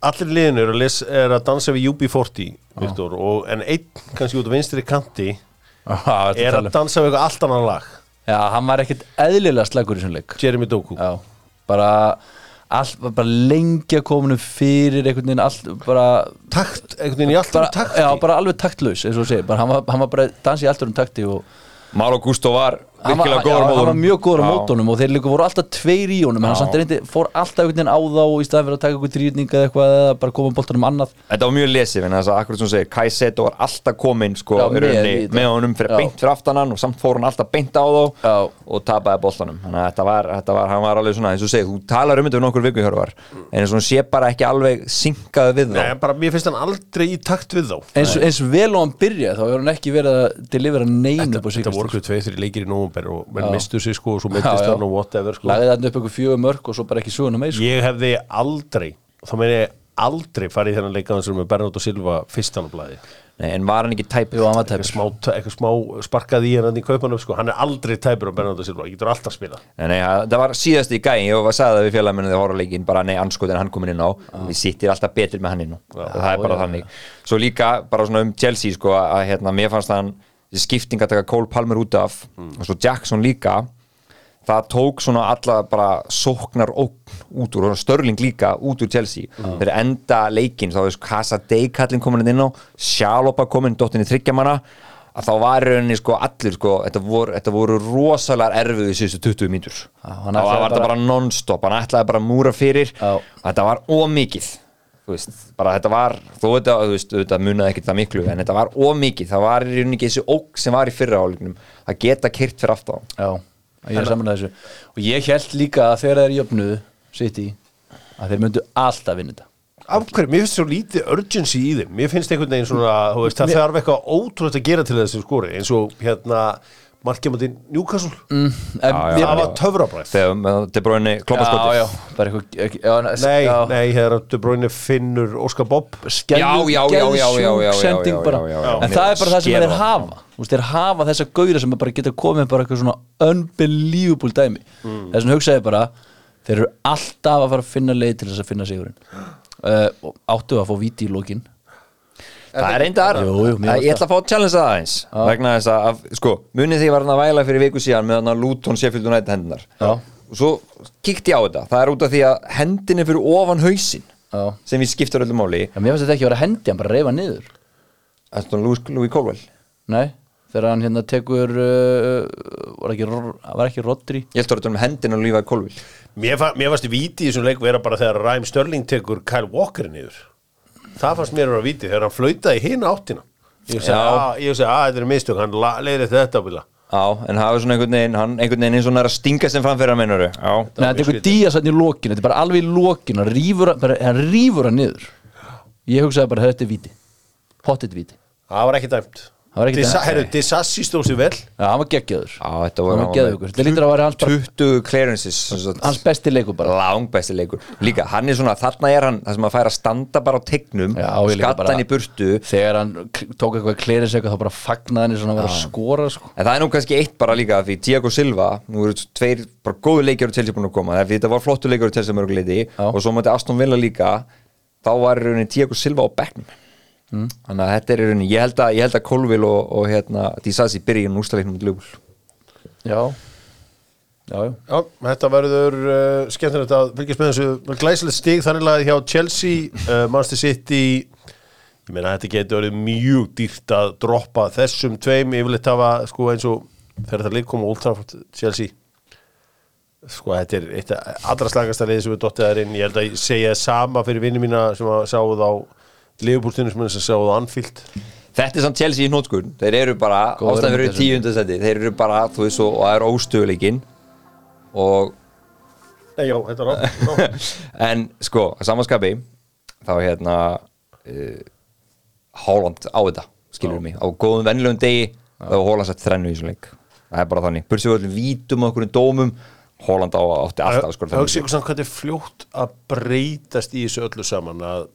[SPEAKER 1] Allir liðin eru að, les, er að dansa við UB40 Viktor, og, En einn kannski út á vinstri kanti
[SPEAKER 3] Ah,
[SPEAKER 1] Er að dansa við eitthvað allt annan lag
[SPEAKER 3] Já, hann var ekkert eðlilega slagur í þessum leik
[SPEAKER 1] Jeremy Doku
[SPEAKER 3] Já, bara allt var bara lengi að kominum fyrir einhvern veginn allt, bara,
[SPEAKER 1] Takt, einhvern veginn í allt
[SPEAKER 3] bara
[SPEAKER 1] annan takti
[SPEAKER 3] já, bara alveg taktlaus eins og þú segir, bara, hann, var, hann var bara dansið í alltaf um takti og
[SPEAKER 2] Málo Gusto var
[SPEAKER 3] hann var,
[SPEAKER 2] virkilega góður
[SPEAKER 3] já,
[SPEAKER 2] mótunum
[SPEAKER 3] hann var mjög góður á
[SPEAKER 2] Já.
[SPEAKER 3] mótunum og þeir líka voru alltaf tveir í honum en hann
[SPEAKER 2] Já.
[SPEAKER 3] samt reyndi, fór alltaf einhvern veginn á þá og í staðan fyrir að taka einhvern þrýrninga eða eitthvað eða bara koma boltanum annað
[SPEAKER 2] Þetta var mjög lesið, en þess að akkurat sem þú segir Kai Seto var alltaf kominn sko,
[SPEAKER 3] Já,
[SPEAKER 2] í rauninni,
[SPEAKER 3] með í þetta.
[SPEAKER 2] með honum fyrir
[SPEAKER 3] Já.
[SPEAKER 2] beint fyrir aftan hann og samt fór hann alltaf beint á þá
[SPEAKER 3] Já.
[SPEAKER 2] og tapaði boltanum þannig að þetta var, þetta var, hann var alveg svona eins og þú segir, þú talar um þetta við nokkur vikuhjörvar en eins og hann sé bara ekki alveg synkaði við þá
[SPEAKER 1] Nei, bara mér finnst hann aldrei í takt við þá
[SPEAKER 3] eins, eins vel og hann byrjaði þá hefur hann ekki verið að delivera neinu upp á
[SPEAKER 1] Þetta voru
[SPEAKER 3] síkast
[SPEAKER 1] hverju tveið þrjir leikir í nómumber og menn
[SPEAKER 3] Já.
[SPEAKER 1] mistu sig sko og svo
[SPEAKER 3] Já,
[SPEAKER 1] mittist
[SPEAKER 3] já.
[SPEAKER 1] hann og whatever sko
[SPEAKER 3] lagði þarna upp einhver fjögur mörg og svo bara ekki söguna meir sko.
[SPEAKER 1] Ég hefði aldrei, þá meina ég aldrei farið í þennan leikaðan sem er Bernardo Silva fyrstann á blæði
[SPEAKER 2] Nei, en var hann ekki tæp
[SPEAKER 3] Jú, hann var tæpur
[SPEAKER 1] Eitthvað smá, eitthvað smá sparkað í hann þarna í kaupanum sko, hann er aldrei tæpur á Bernardo Silva, ég getur alltaf spilað
[SPEAKER 2] Nei, nei, það það var síðast í gæin, ég var að sagði það við félagmennu þegar horfleikin, bara nei, anskotin hann komin inn hérna á við sittir alltaf betur með hann inn á það er bara þannig, svo líka bara svona um Chelsea, sko, að hérna, mér fannst hann þessi skipting að taka Cole Palmer út af og svo Jackson líka það tók svona alla bara sóknar ókn út úr, og Störling líka út úr Chelsea, þeir enda leikin, þá veist Kasa Deikallin komin hérna inn á Sjálópa komin, dottinni þryggjamanna að þá var í rauninni sko allir sko, þetta voru, þetta voru rosalega erfiðu í síðustu 20 mínútur þá
[SPEAKER 3] Já, hann
[SPEAKER 2] var
[SPEAKER 3] ætlaði
[SPEAKER 2] þetta
[SPEAKER 3] bara-
[SPEAKER 2] bara non-stop, hann ætlaði bara að múra fyrir
[SPEAKER 3] Já.
[SPEAKER 2] þetta var ómikið þú veist, bara þetta var, þó þetta, þú veist, þetta munaði ekkert það miklu, en þetta var ómikið það var í rauninni ekki þessi ók sem var í fyrra áleiknum að geta kyrt fyrir aftan
[SPEAKER 3] já, ég er saman að þessu og ég held líka að þegar þeir jöfnuðu sitt í, að þeir myndu alltaf vinna þetta
[SPEAKER 1] af hverju, mér finnst svo lítið urgency í þeim mér finnst einhvern veginn svona, þú veist, það þarf eitthvað ótrútt að gera til þessu skori eins og hérna markið mútið Newcastle
[SPEAKER 3] en,
[SPEAKER 2] Já, já.
[SPEAKER 3] ég,
[SPEAKER 1] það var töfrabræð
[SPEAKER 2] þegar með De Bruyne
[SPEAKER 3] já,
[SPEAKER 2] kloppaskotið
[SPEAKER 3] já, bara eitthvað ekki- já, en-
[SPEAKER 1] nei,
[SPEAKER 3] já,
[SPEAKER 1] nei, þegar De Bruyne finnur Óskar Bob
[SPEAKER 2] Já,
[SPEAKER 3] skelfing-
[SPEAKER 2] já, já, já, já, já, já,
[SPEAKER 3] geðsjúk sending
[SPEAKER 2] já,
[SPEAKER 3] bara.
[SPEAKER 2] já, já, já.
[SPEAKER 3] en það er bara það sem
[SPEAKER 1] Skefa.
[SPEAKER 3] þeir hafa Þú veist, þeir hafa þessa gauðra sem bara geta komið með bara eitthvað svona unbelievable dæmi þess vegna hugsaði ég bara þeir eru alltaf að fara að finna leið til þess að finna sigurinn uh, og áttu að fá víti í lokin
[SPEAKER 2] það er reyndar
[SPEAKER 3] Jú, jú,
[SPEAKER 2] ég
[SPEAKER 3] mér varst
[SPEAKER 2] ætla að fá að challenge það aðeins vegna þess að, að sko, munið því ég var hann að væla fyrir viku síðan með hann að Luton Sheffield United hendunar
[SPEAKER 3] Já.
[SPEAKER 2] og svo kíkti ég á þetta það er út af því að hendin er fyrir ofan hausinn
[SPEAKER 3] Já.
[SPEAKER 2] sem við skiptar öllum máli í.
[SPEAKER 3] já, mér finnst þetta ekki að vera að hendi hann bara að reyfa hann niður
[SPEAKER 2] Aston Louis, Louis Colwell
[SPEAKER 3] nei, þegar hann hérna tekur uh, var, ekki, Ro- var ekki Rodri
[SPEAKER 2] ég ætla að þetta um hendin og lífa Colwell
[SPEAKER 1] mér, fa mér fannst víti í þessum leik vera bara þegar Ræm Störling tekur Kyle Walker niður það fannst mér vera víti þegar hann flautaði hinn áttina ég segi,
[SPEAKER 2] Já.
[SPEAKER 1] að þetta er mistök, hann leiðir þetta bila
[SPEAKER 2] Já, en hafa svona einhvern veginn, hann einhvern veginn eins og hann er að stinga sem framfyrir að meinuru Já,
[SPEAKER 3] Nei, þetta er eitthvað días hann í lokinu, þetta er bara alveg í lokinu hann rýfur, hann- bara, hann rýfur hann niður ég hugsaði bara, þetta er víti pottet víti,
[SPEAKER 1] það var ekki dæmt
[SPEAKER 3] Það var ekki
[SPEAKER 1] Disa-
[SPEAKER 3] dæmt.
[SPEAKER 1] heyrðu, Disassi stóð sér vel
[SPEAKER 3] já, hann var geggjöður
[SPEAKER 2] Já, þetta
[SPEAKER 3] hann
[SPEAKER 2] voru
[SPEAKER 3] var geggjöður, þetta lítur að vera hans, bara,
[SPEAKER 2] 20 clearances sem sagt,
[SPEAKER 3] hans besti leikur bara
[SPEAKER 2] langbæsti leikur Líka, hann er svona, þarna er hann, það sem að færa að standa bara á tegnum
[SPEAKER 3] Já, ég líka
[SPEAKER 2] Skatta
[SPEAKER 3] bara-
[SPEAKER 2] hann í burtu
[SPEAKER 3] þegar hann k- tók eitthvað klerið segja þá bara fagnaði hann eins og hann var að skora sko.
[SPEAKER 2] En það er nú kannski eitt bara líka því Diego Silva, nú eru tveir bara góðu leikjur til sem búin að koma, því þetta var flottu leikjur til sem örguleiti
[SPEAKER 3] Já.
[SPEAKER 2] og svo mætti Aston Villa líka þá var í rauninni Diego Silva á bekknum
[SPEAKER 3] Mm.
[SPEAKER 2] Þannig að þetta er í rauninni, ég held að, ég held að Kolvil og, og hérna, Dísasi byrja í nústaleiknum út ljúl
[SPEAKER 3] já, já, já
[SPEAKER 1] Já, þetta verður uh, skemmtilegt að fylgjast með þessu glæsilegt stig þannig að hjá Chelsea, uh, Manchester City ég meina þetta getur verið mjög dýrt að droppa þessum tveim yfirleitt hafa sko eins og þegar það leik koma Old Trafford Chelsea sko þetta er eitt af allra slagasta liðið sem við dottið þar inn ég held að ég segja sama fyrir vinnu mína sem að sáuð á Liverpoolstinu sem að sáuð á Anfield
[SPEAKER 2] Þetta er samt Chelsea í nótskun Þeir eru bara,
[SPEAKER 3] Góður
[SPEAKER 2] ástæðan fyrir
[SPEAKER 3] undir þessu.
[SPEAKER 2] tíundasetti Þeir eru bara, þú veist, og og það er óstöðuleikin Og,
[SPEAKER 1] Nei, já, þetta er rátt
[SPEAKER 2] *laughs* en sko, að samanskapi Þá hérna uh, Haaland á þetta, skilur mig Á góðum vennilegum degi, þá var Haaland sett þrennu í svona leik Það er bara þannig, bursi við öllum vítum og okkur dómum Haaland á átti alltaf að
[SPEAKER 1] hugsa
[SPEAKER 2] skora þrennu
[SPEAKER 1] ykkur samt hvað þetta er fljótt að breytast í þessu öllu saman að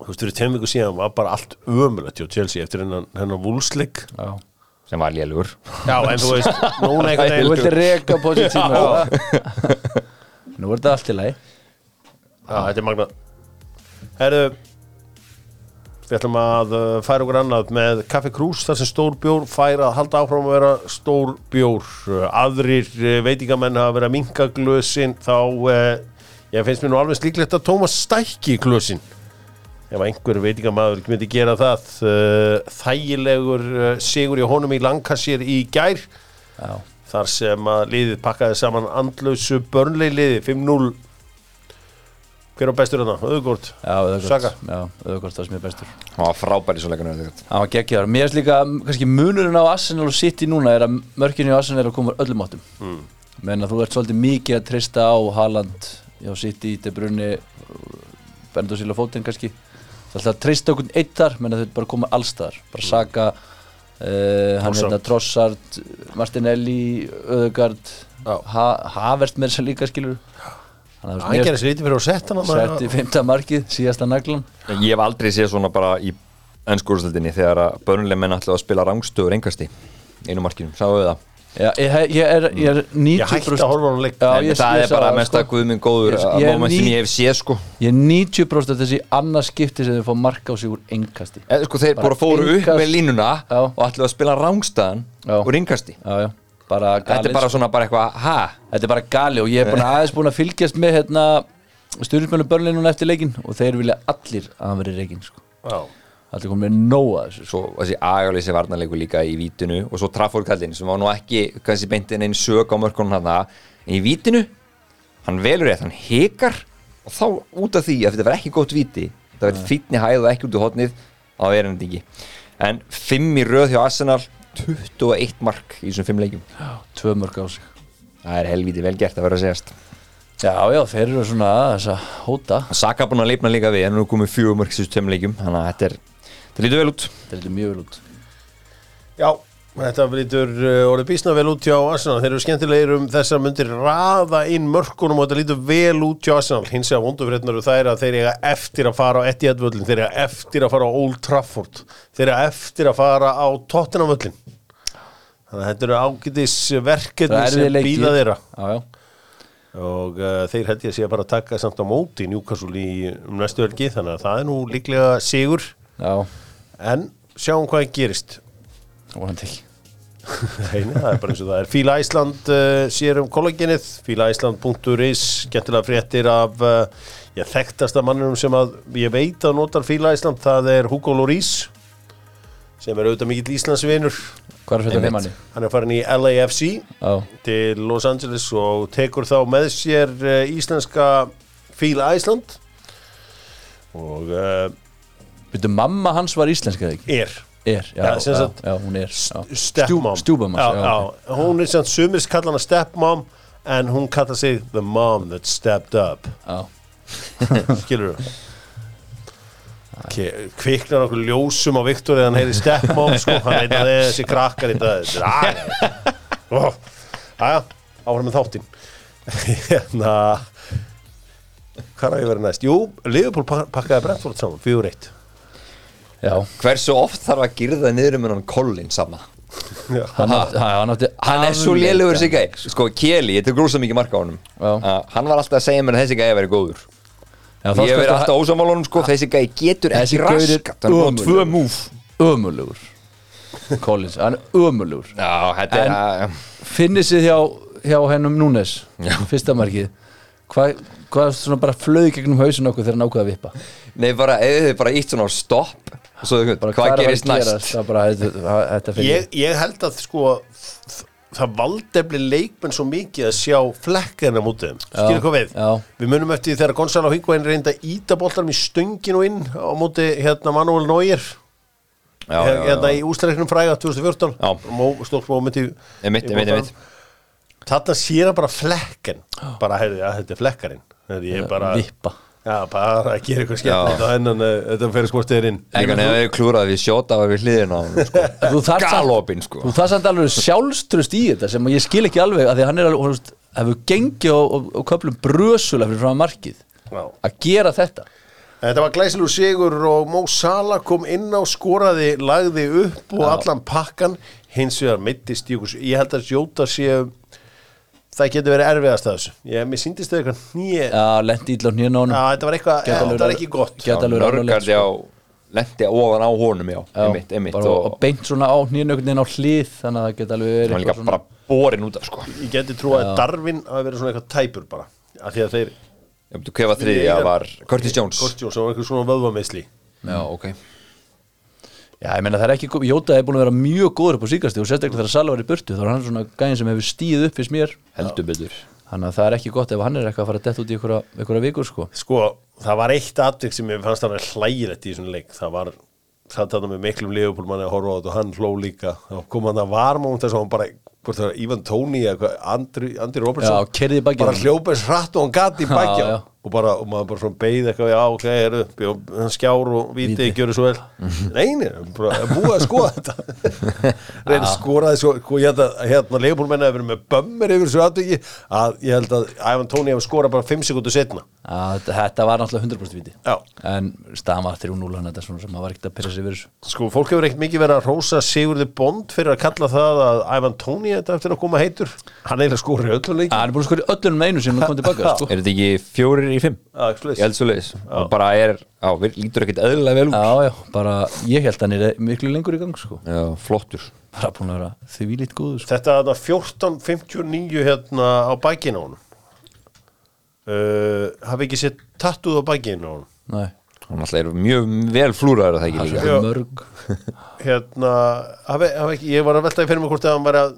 [SPEAKER 1] þú veist, fyrir tveim viku síðan var bara allt ömulegt hjá Chelsea eftir hennan, hennan vúlsleik
[SPEAKER 3] já
[SPEAKER 2] Sem var lélugur *laughs*
[SPEAKER 1] Já, en þú veist, núna einhvern
[SPEAKER 3] Þú
[SPEAKER 1] veginn
[SPEAKER 3] ert að reka positinu *laughs* Nú er þetta allt í lagi
[SPEAKER 1] Já, þetta er magnað Herðu Við ætlum að uh, færa okkur annað með Kaffi Krús, þar sem stór bjór fær að halda áfram að vera stór bjór Uh, aðrir uh, veitingamenn hafa verið að minka glösin þá eh, ég finnst mér nú alveg slíklegt að Tómas stækki glösin ef einhver veitingamæður myndi gera það eh, þægilegur eh, sigur í honum í Lancashire í gær
[SPEAKER 3] Já,
[SPEAKER 1] þar sem að liðið pakkaði saman andlausu börnlegi liði 5-0 hver var bestur hérna? þarna? Öðugort
[SPEAKER 3] já,
[SPEAKER 1] Saka.
[SPEAKER 3] auðvitað Já, auðvitað það sem er bestur
[SPEAKER 2] Hann var frábæri svo leikinu þetta
[SPEAKER 3] Það var geggjaður. Mér finnst líka, m, kannski munurinn á Arsenal og City núna er að mörkinu í Arsenal er að koma úr öllum áttum. Mm. Menn að þú ert svolítið mikið að treysta á Haaland, já City, De Bruyne, Bernardo Silva Fótinn kannski. Það er alltaf að treysta okkur eitt þar, menn að þau bara koma alls þar. Bara Saka, uh, hann
[SPEAKER 1] Trossard.
[SPEAKER 3] hérna Trossard, Martinelli, Öðugard,
[SPEAKER 1] Já.
[SPEAKER 3] ha Havert með þess að líka skilur. Þannig að
[SPEAKER 1] Ægjar
[SPEAKER 3] mér
[SPEAKER 1] þessi lítið fyrir að setja hann
[SPEAKER 3] setti fymta markið, síðasta naglan.
[SPEAKER 2] Ég hef aldrei séð svona bara í ennskúrstöldinni þegar að börnuleg menn ætlaði að spila rangstöður engasti einu markinum, sáu við það
[SPEAKER 3] Já, ég, ég er, ég er 90%.
[SPEAKER 1] Ég hætti að horfa á hann leik
[SPEAKER 3] Já,
[SPEAKER 2] En
[SPEAKER 3] ég-
[SPEAKER 2] það
[SPEAKER 3] ég
[SPEAKER 2] er
[SPEAKER 3] sá
[SPEAKER 2] bara
[SPEAKER 3] það,
[SPEAKER 2] mesta
[SPEAKER 3] sko.
[SPEAKER 2] guðminn góður
[SPEAKER 3] Ég-
[SPEAKER 2] að
[SPEAKER 3] ég er
[SPEAKER 2] moment sem
[SPEAKER 3] ný-
[SPEAKER 2] ég hef séð sko
[SPEAKER 3] Ég er 90% þessi annað skipti sem þau fá marka á sig úr engkasti
[SPEAKER 2] Eða sko þeir
[SPEAKER 3] Bara
[SPEAKER 2] bara fóru upp
[SPEAKER 3] engast-
[SPEAKER 2] með línuna
[SPEAKER 3] Já.
[SPEAKER 2] og ætlaði að spila rangstöðan
[SPEAKER 3] Já.
[SPEAKER 2] úr engasti
[SPEAKER 3] Já, já, bara sko.
[SPEAKER 2] Þetta
[SPEAKER 3] gali
[SPEAKER 2] er bara svona bara eitthvað, ha?
[SPEAKER 3] Þetta er bara gali og ég er búin að aðeins búin að fylgjast með hérna, stjórnismennu börnlega núna eftir leikin og þeir vilja allir að hann veri reikin sko. Allir komið með nóa þessu sko.
[SPEAKER 2] Svo þessi agalýsi varnarleiku líka í vítinu og svo traffórkallin sem var nú ekki kannski beintin einn sög á mörkunum hann en í vítinu, hann velur rétt, hann hekar og þá út af því að þetta var ekki gott víti það verið fýtni hæð og ekki út úr hotnið á verðandi ekki en fimm í röð hjá Arsenal 21 mark í þessum fimm leikjum
[SPEAKER 3] sko. Tvö mörg á sig
[SPEAKER 2] það er helviti vel gert að vera að segjast
[SPEAKER 3] Já, já, þeir eru svona þess að hóta
[SPEAKER 2] Saka búin að leipna líka við en nú komið fjögur mörg í þessum tveim leikjum þannig að þetta er, þetta lítur vel út
[SPEAKER 3] Þetta er lítið mjög vel út
[SPEAKER 1] Já, Þetta lítur uh, orðið býsna vel út hjá Arsenal. Þeir eru skemmtilegir um þessar myndir raða inn mörkunum og þetta lítur vel út hjá Arsenal. Hins vegar vondufrétnar eru þær að þeir eiga eftir að fara á Etihad völlin, þeir eiga eftir að fara á Old Trafford, þeir eiga eftir að fara á Tottenham völlin. Þannig að þetta eru ágætis verkefni
[SPEAKER 3] Það er
[SPEAKER 1] sem býða þeirra
[SPEAKER 3] Já, já
[SPEAKER 1] og uh, þeir held ég að sé að bara taka samt á móti Newcastle í um næstu helgi þannig að það er nú líklega sigur
[SPEAKER 3] Já,
[SPEAKER 1] en sjáum hvað gerist
[SPEAKER 3] vonandi ekki
[SPEAKER 1] Nei, nei, það er bara eins og það er Fíla Ísland uh, sér um kolleginnið fílaísland.is, skemmtilega fréttir af uh, ég þekktasta manninum sem að ég veit að notar Fíla Ísland það er Hugo Lloris sem er auðvitað mikill Íslandsvinur
[SPEAKER 3] Hvað er fyrir
[SPEAKER 2] Einmitt.
[SPEAKER 3] þeim manni?
[SPEAKER 1] hann er farin í LAFC
[SPEAKER 3] Já,
[SPEAKER 1] til Los Angeles og tekur þá með sér uh, íslenska Fíla Ísland og uh,
[SPEAKER 3] veitu, mamma hans var íslensk eða ekki?
[SPEAKER 1] er
[SPEAKER 3] Er, já,
[SPEAKER 1] Já, sem
[SPEAKER 3] já,
[SPEAKER 1] sagt-
[SPEAKER 3] já, hún er já.
[SPEAKER 1] stepmom
[SPEAKER 3] Stjú- stjúpmamma,
[SPEAKER 1] já,
[SPEAKER 3] já,
[SPEAKER 1] já, hún er sem sumir kallar hana stepmom en hún kallar sig the mom that stepped up
[SPEAKER 3] Já,
[SPEAKER 1] skilur þú kviknar okkur ljósum á Viktor eða hann heyri stepmom sko, hann veit að þessi krakkar í dag þetta er aðja, áfram með þáttinn *laughs* hérna hvað er að ég verið næst? Jú, Liverpool pak- pakkaði Brentford saman, 4-1
[SPEAKER 3] já
[SPEAKER 2] Hversu oft þarf að girða niður um hennan kollin sama?
[SPEAKER 1] Já.
[SPEAKER 3] Hann, átti, ha, hann, átti
[SPEAKER 2] Hann er svo
[SPEAKER 3] afleikan-
[SPEAKER 2] lélugur sig gæði Sko, Keli, ég tek rosa mikið marka á honum
[SPEAKER 3] Já.
[SPEAKER 2] uh, Hann var alltaf að segja mér að þessi gæði verið góður
[SPEAKER 3] Já, þá
[SPEAKER 2] Ég hef
[SPEAKER 3] skal
[SPEAKER 2] verið
[SPEAKER 3] það-
[SPEAKER 2] alltaf ósamála honum, sko Þessi gæði getur
[SPEAKER 3] Þessi
[SPEAKER 2] ekki
[SPEAKER 3] gaur er
[SPEAKER 2] raskat Hann er bara
[SPEAKER 3] ömurlegur.
[SPEAKER 2] tvö múf
[SPEAKER 3] Ömulugur Collins, hann er ömulugur
[SPEAKER 2] Já, þetta er að
[SPEAKER 3] En- Finnir sig hjá, hjá hennum Núnes
[SPEAKER 2] Já.
[SPEAKER 3] Fyrsta markið Hvað hva svona bara flöði gegnum hausin okkur þegar hann ákveða að vippa
[SPEAKER 2] Nei, bara, eða þið bara ítt svona á stopp og Svo þau,
[SPEAKER 3] bara,
[SPEAKER 2] hvað
[SPEAKER 3] er að
[SPEAKER 2] gerist
[SPEAKER 3] fara að
[SPEAKER 2] næst?
[SPEAKER 3] gerast? Það bara, þetta- það- Þetta finn
[SPEAKER 1] ég, ég held að sko þ- það valdefli leikmenn svo mikið að sjá flekkina mútið skilur hvað við,
[SPEAKER 3] já.
[SPEAKER 1] við munum eftir því þegar Gonzalo Higuain reynda að íta boltarum í stönginu inn á múti hérna Manuel Neuer
[SPEAKER 2] Já, já, já,
[SPEAKER 1] hérna í úsleiknum fræga 2014
[SPEAKER 2] Já.
[SPEAKER 1] Mó- stórt moment í
[SPEAKER 2] Einmitt,
[SPEAKER 1] í
[SPEAKER 2] einmitt,
[SPEAKER 1] boltanum.
[SPEAKER 2] einmitt.
[SPEAKER 1] þarna sér hann bara flekkin bara, heyrðu, já, þetta er flekkarinn Heyrðu, ég er bara,
[SPEAKER 3] Vippa
[SPEAKER 1] já, bara að gera eitthvað skemmtilegt á hennan eh, þetta fyrir skortiðir inn
[SPEAKER 2] Líka nefnir við klúraði við sjóta og við hliðina á honum, sko.
[SPEAKER 3] Þú þarft samt-
[SPEAKER 2] Galopin, sko.
[SPEAKER 3] Þú þarf samt alveg sjálfströst í þetta sem ég skil ekki alveg að því að hann er alveg, þú veist, hefur gengið og, og, og köplum brösulega fyrir frá markið
[SPEAKER 1] Já.
[SPEAKER 3] að gera þetta
[SPEAKER 1] Þetta var glæsilur sigur og Mó Sala kom inn á skoraði, lagði upp og allan pakkan hins vegar mittist í okkur. Ég held að Jóta sé það getur verið erfiðast að þessu. Ég, mér síndist það eitthvað nýja. Já,
[SPEAKER 3] að lendi ítla á nýjan á hann
[SPEAKER 1] þetta var eitthvað,
[SPEAKER 3] Gæti alveg
[SPEAKER 1] þetta var
[SPEAKER 3] verið-
[SPEAKER 1] ekki gott.
[SPEAKER 3] gæti- Þetta er alveg rannulegt,
[SPEAKER 2] Nörgardi á Lendi ofan á honum, já, einmitt, einmitt
[SPEAKER 3] bara, og,
[SPEAKER 2] Og
[SPEAKER 3] beint svona á nýjan einhvern veginn á hlið þannig að það geta alveg verið
[SPEAKER 2] hann líka
[SPEAKER 3] eitthvað
[SPEAKER 2] bara borin út af, sko
[SPEAKER 1] Ég geti trú að Darvin hafi verið svona eitthvað tæpur bara. Af því að þeir...
[SPEAKER 2] Ég veit, hvað var þriðja var Curtis Jones
[SPEAKER 1] Curtis Jones, það var eitthvað svona vöðvamisli.
[SPEAKER 2] Já, ok
[SPEAKER 3] Já, ég meina það er ekki, góð- Jóta er búin að vera mjög góður upp á síkasti og sérstaklega þegar Sala var í burtu þá er hann svona gæðin sem hefur stíð upp fyrst mér
[SPEAKER 2] Heldur betur
[SPEAKER 3] þannig að það er ekki gott ef hann er eitthvað að fara að detta út í einhverja, einhverja vikur sko
[SPEAKER 1] Sko, það var eitt atvík sem ég fannst að vera hlægilegt í þessum leik. Það var, það þarna með miklum liðupólmanni að horfa á þetta og hann hló líka. Þá kom hann að varmónt þess að hann bara, hvort það var Ivan Tóni eða hvað, Andri, Andri
[SPEAKER 3] Já,
[SPEAKER 1] Robertson,
[SPEAKER 3] kerði í
[SPEAKER 1] bara
[SPEAKER 3] bakið
[SPEAKER 1] hljópa eins hratt og hann gati í bakjá.
[SPEAKER 3] Já, já.
[SPEAKER 1] Og bara, og maður bara svona beigð eitthvað, já, ok, heru, bjó, hann skjár og viti,
[SPEAKER 3] Víti.
[SPEAKER 1] gjör þið svo
[SPEAKER 3] *laughs*
[SPEAKER 1] vel. Neini, bara búið að skoða þetta.
[SPEAKER 3] *laughs*
[SPEAKER 1] Reyna að skora þessu, sko, ég held að hérna liðupólmanni hefur verið með bömmir yfir þessu atvíki, að ég held að Ivan Tóni hefur skorað bara 5 sekundu setna.
[SPEAKER 3] að þetta var náttúrulega 100% viti
[SPEAKER 1] Já.
[SPEAKER 3] en staðan var 3-0 hann þetta er svona sem maður var ekkert að pyrra sig verið
[SPEAKER 1] Sko, fólk hefur ekkert mikið verið að rósa Sigurði Bond fyrir að kalla það að Ivan Tóni þetta eftir að koma heitur. Hann eiginlega skóri öllu leik.
[SPEAKER 3] hann er búin að skora í öllum með einu sem hann kom tilbaka
[SPEAKER 2] *laughs*
[SPEAKER 3] sko.
[SPEAKER 2] Er þetta ekki fjórir í fimm?
[SPEAKER 1] Já, ekki svoleiðis.
[SPEAKER 2] Ég held svo leiðis Og bara er, á, við lítur ekkit eðlilega vel út
[SPEAKER 3] já já, bara ég held hann er miklu lengur í gang sko.
[SPEAKER 2] Já, flottur
[SPEAKER 3] bara búin að vera því lít góður sko.
[SPEAKER 1] Þetta er 14.59 hérna á bækinu á honum. Uh, hafi ekki sett tattuð á bækinu á honum.
[SPEAKER 3] Nei,
[SPEAKER 2] Hann alltaf er mjög vel flúraður að það ekki
[SPEAKER 3] það
[SPEAKER 2] líka
[SPEAKER 3] er
[SPEAKER 1] Já.
[SPEAKER 3] svo mörg
[SPEAKER 1] Hérna, hafi, hafi ekki, ég var að velta í fyrir mig hvort að hann var að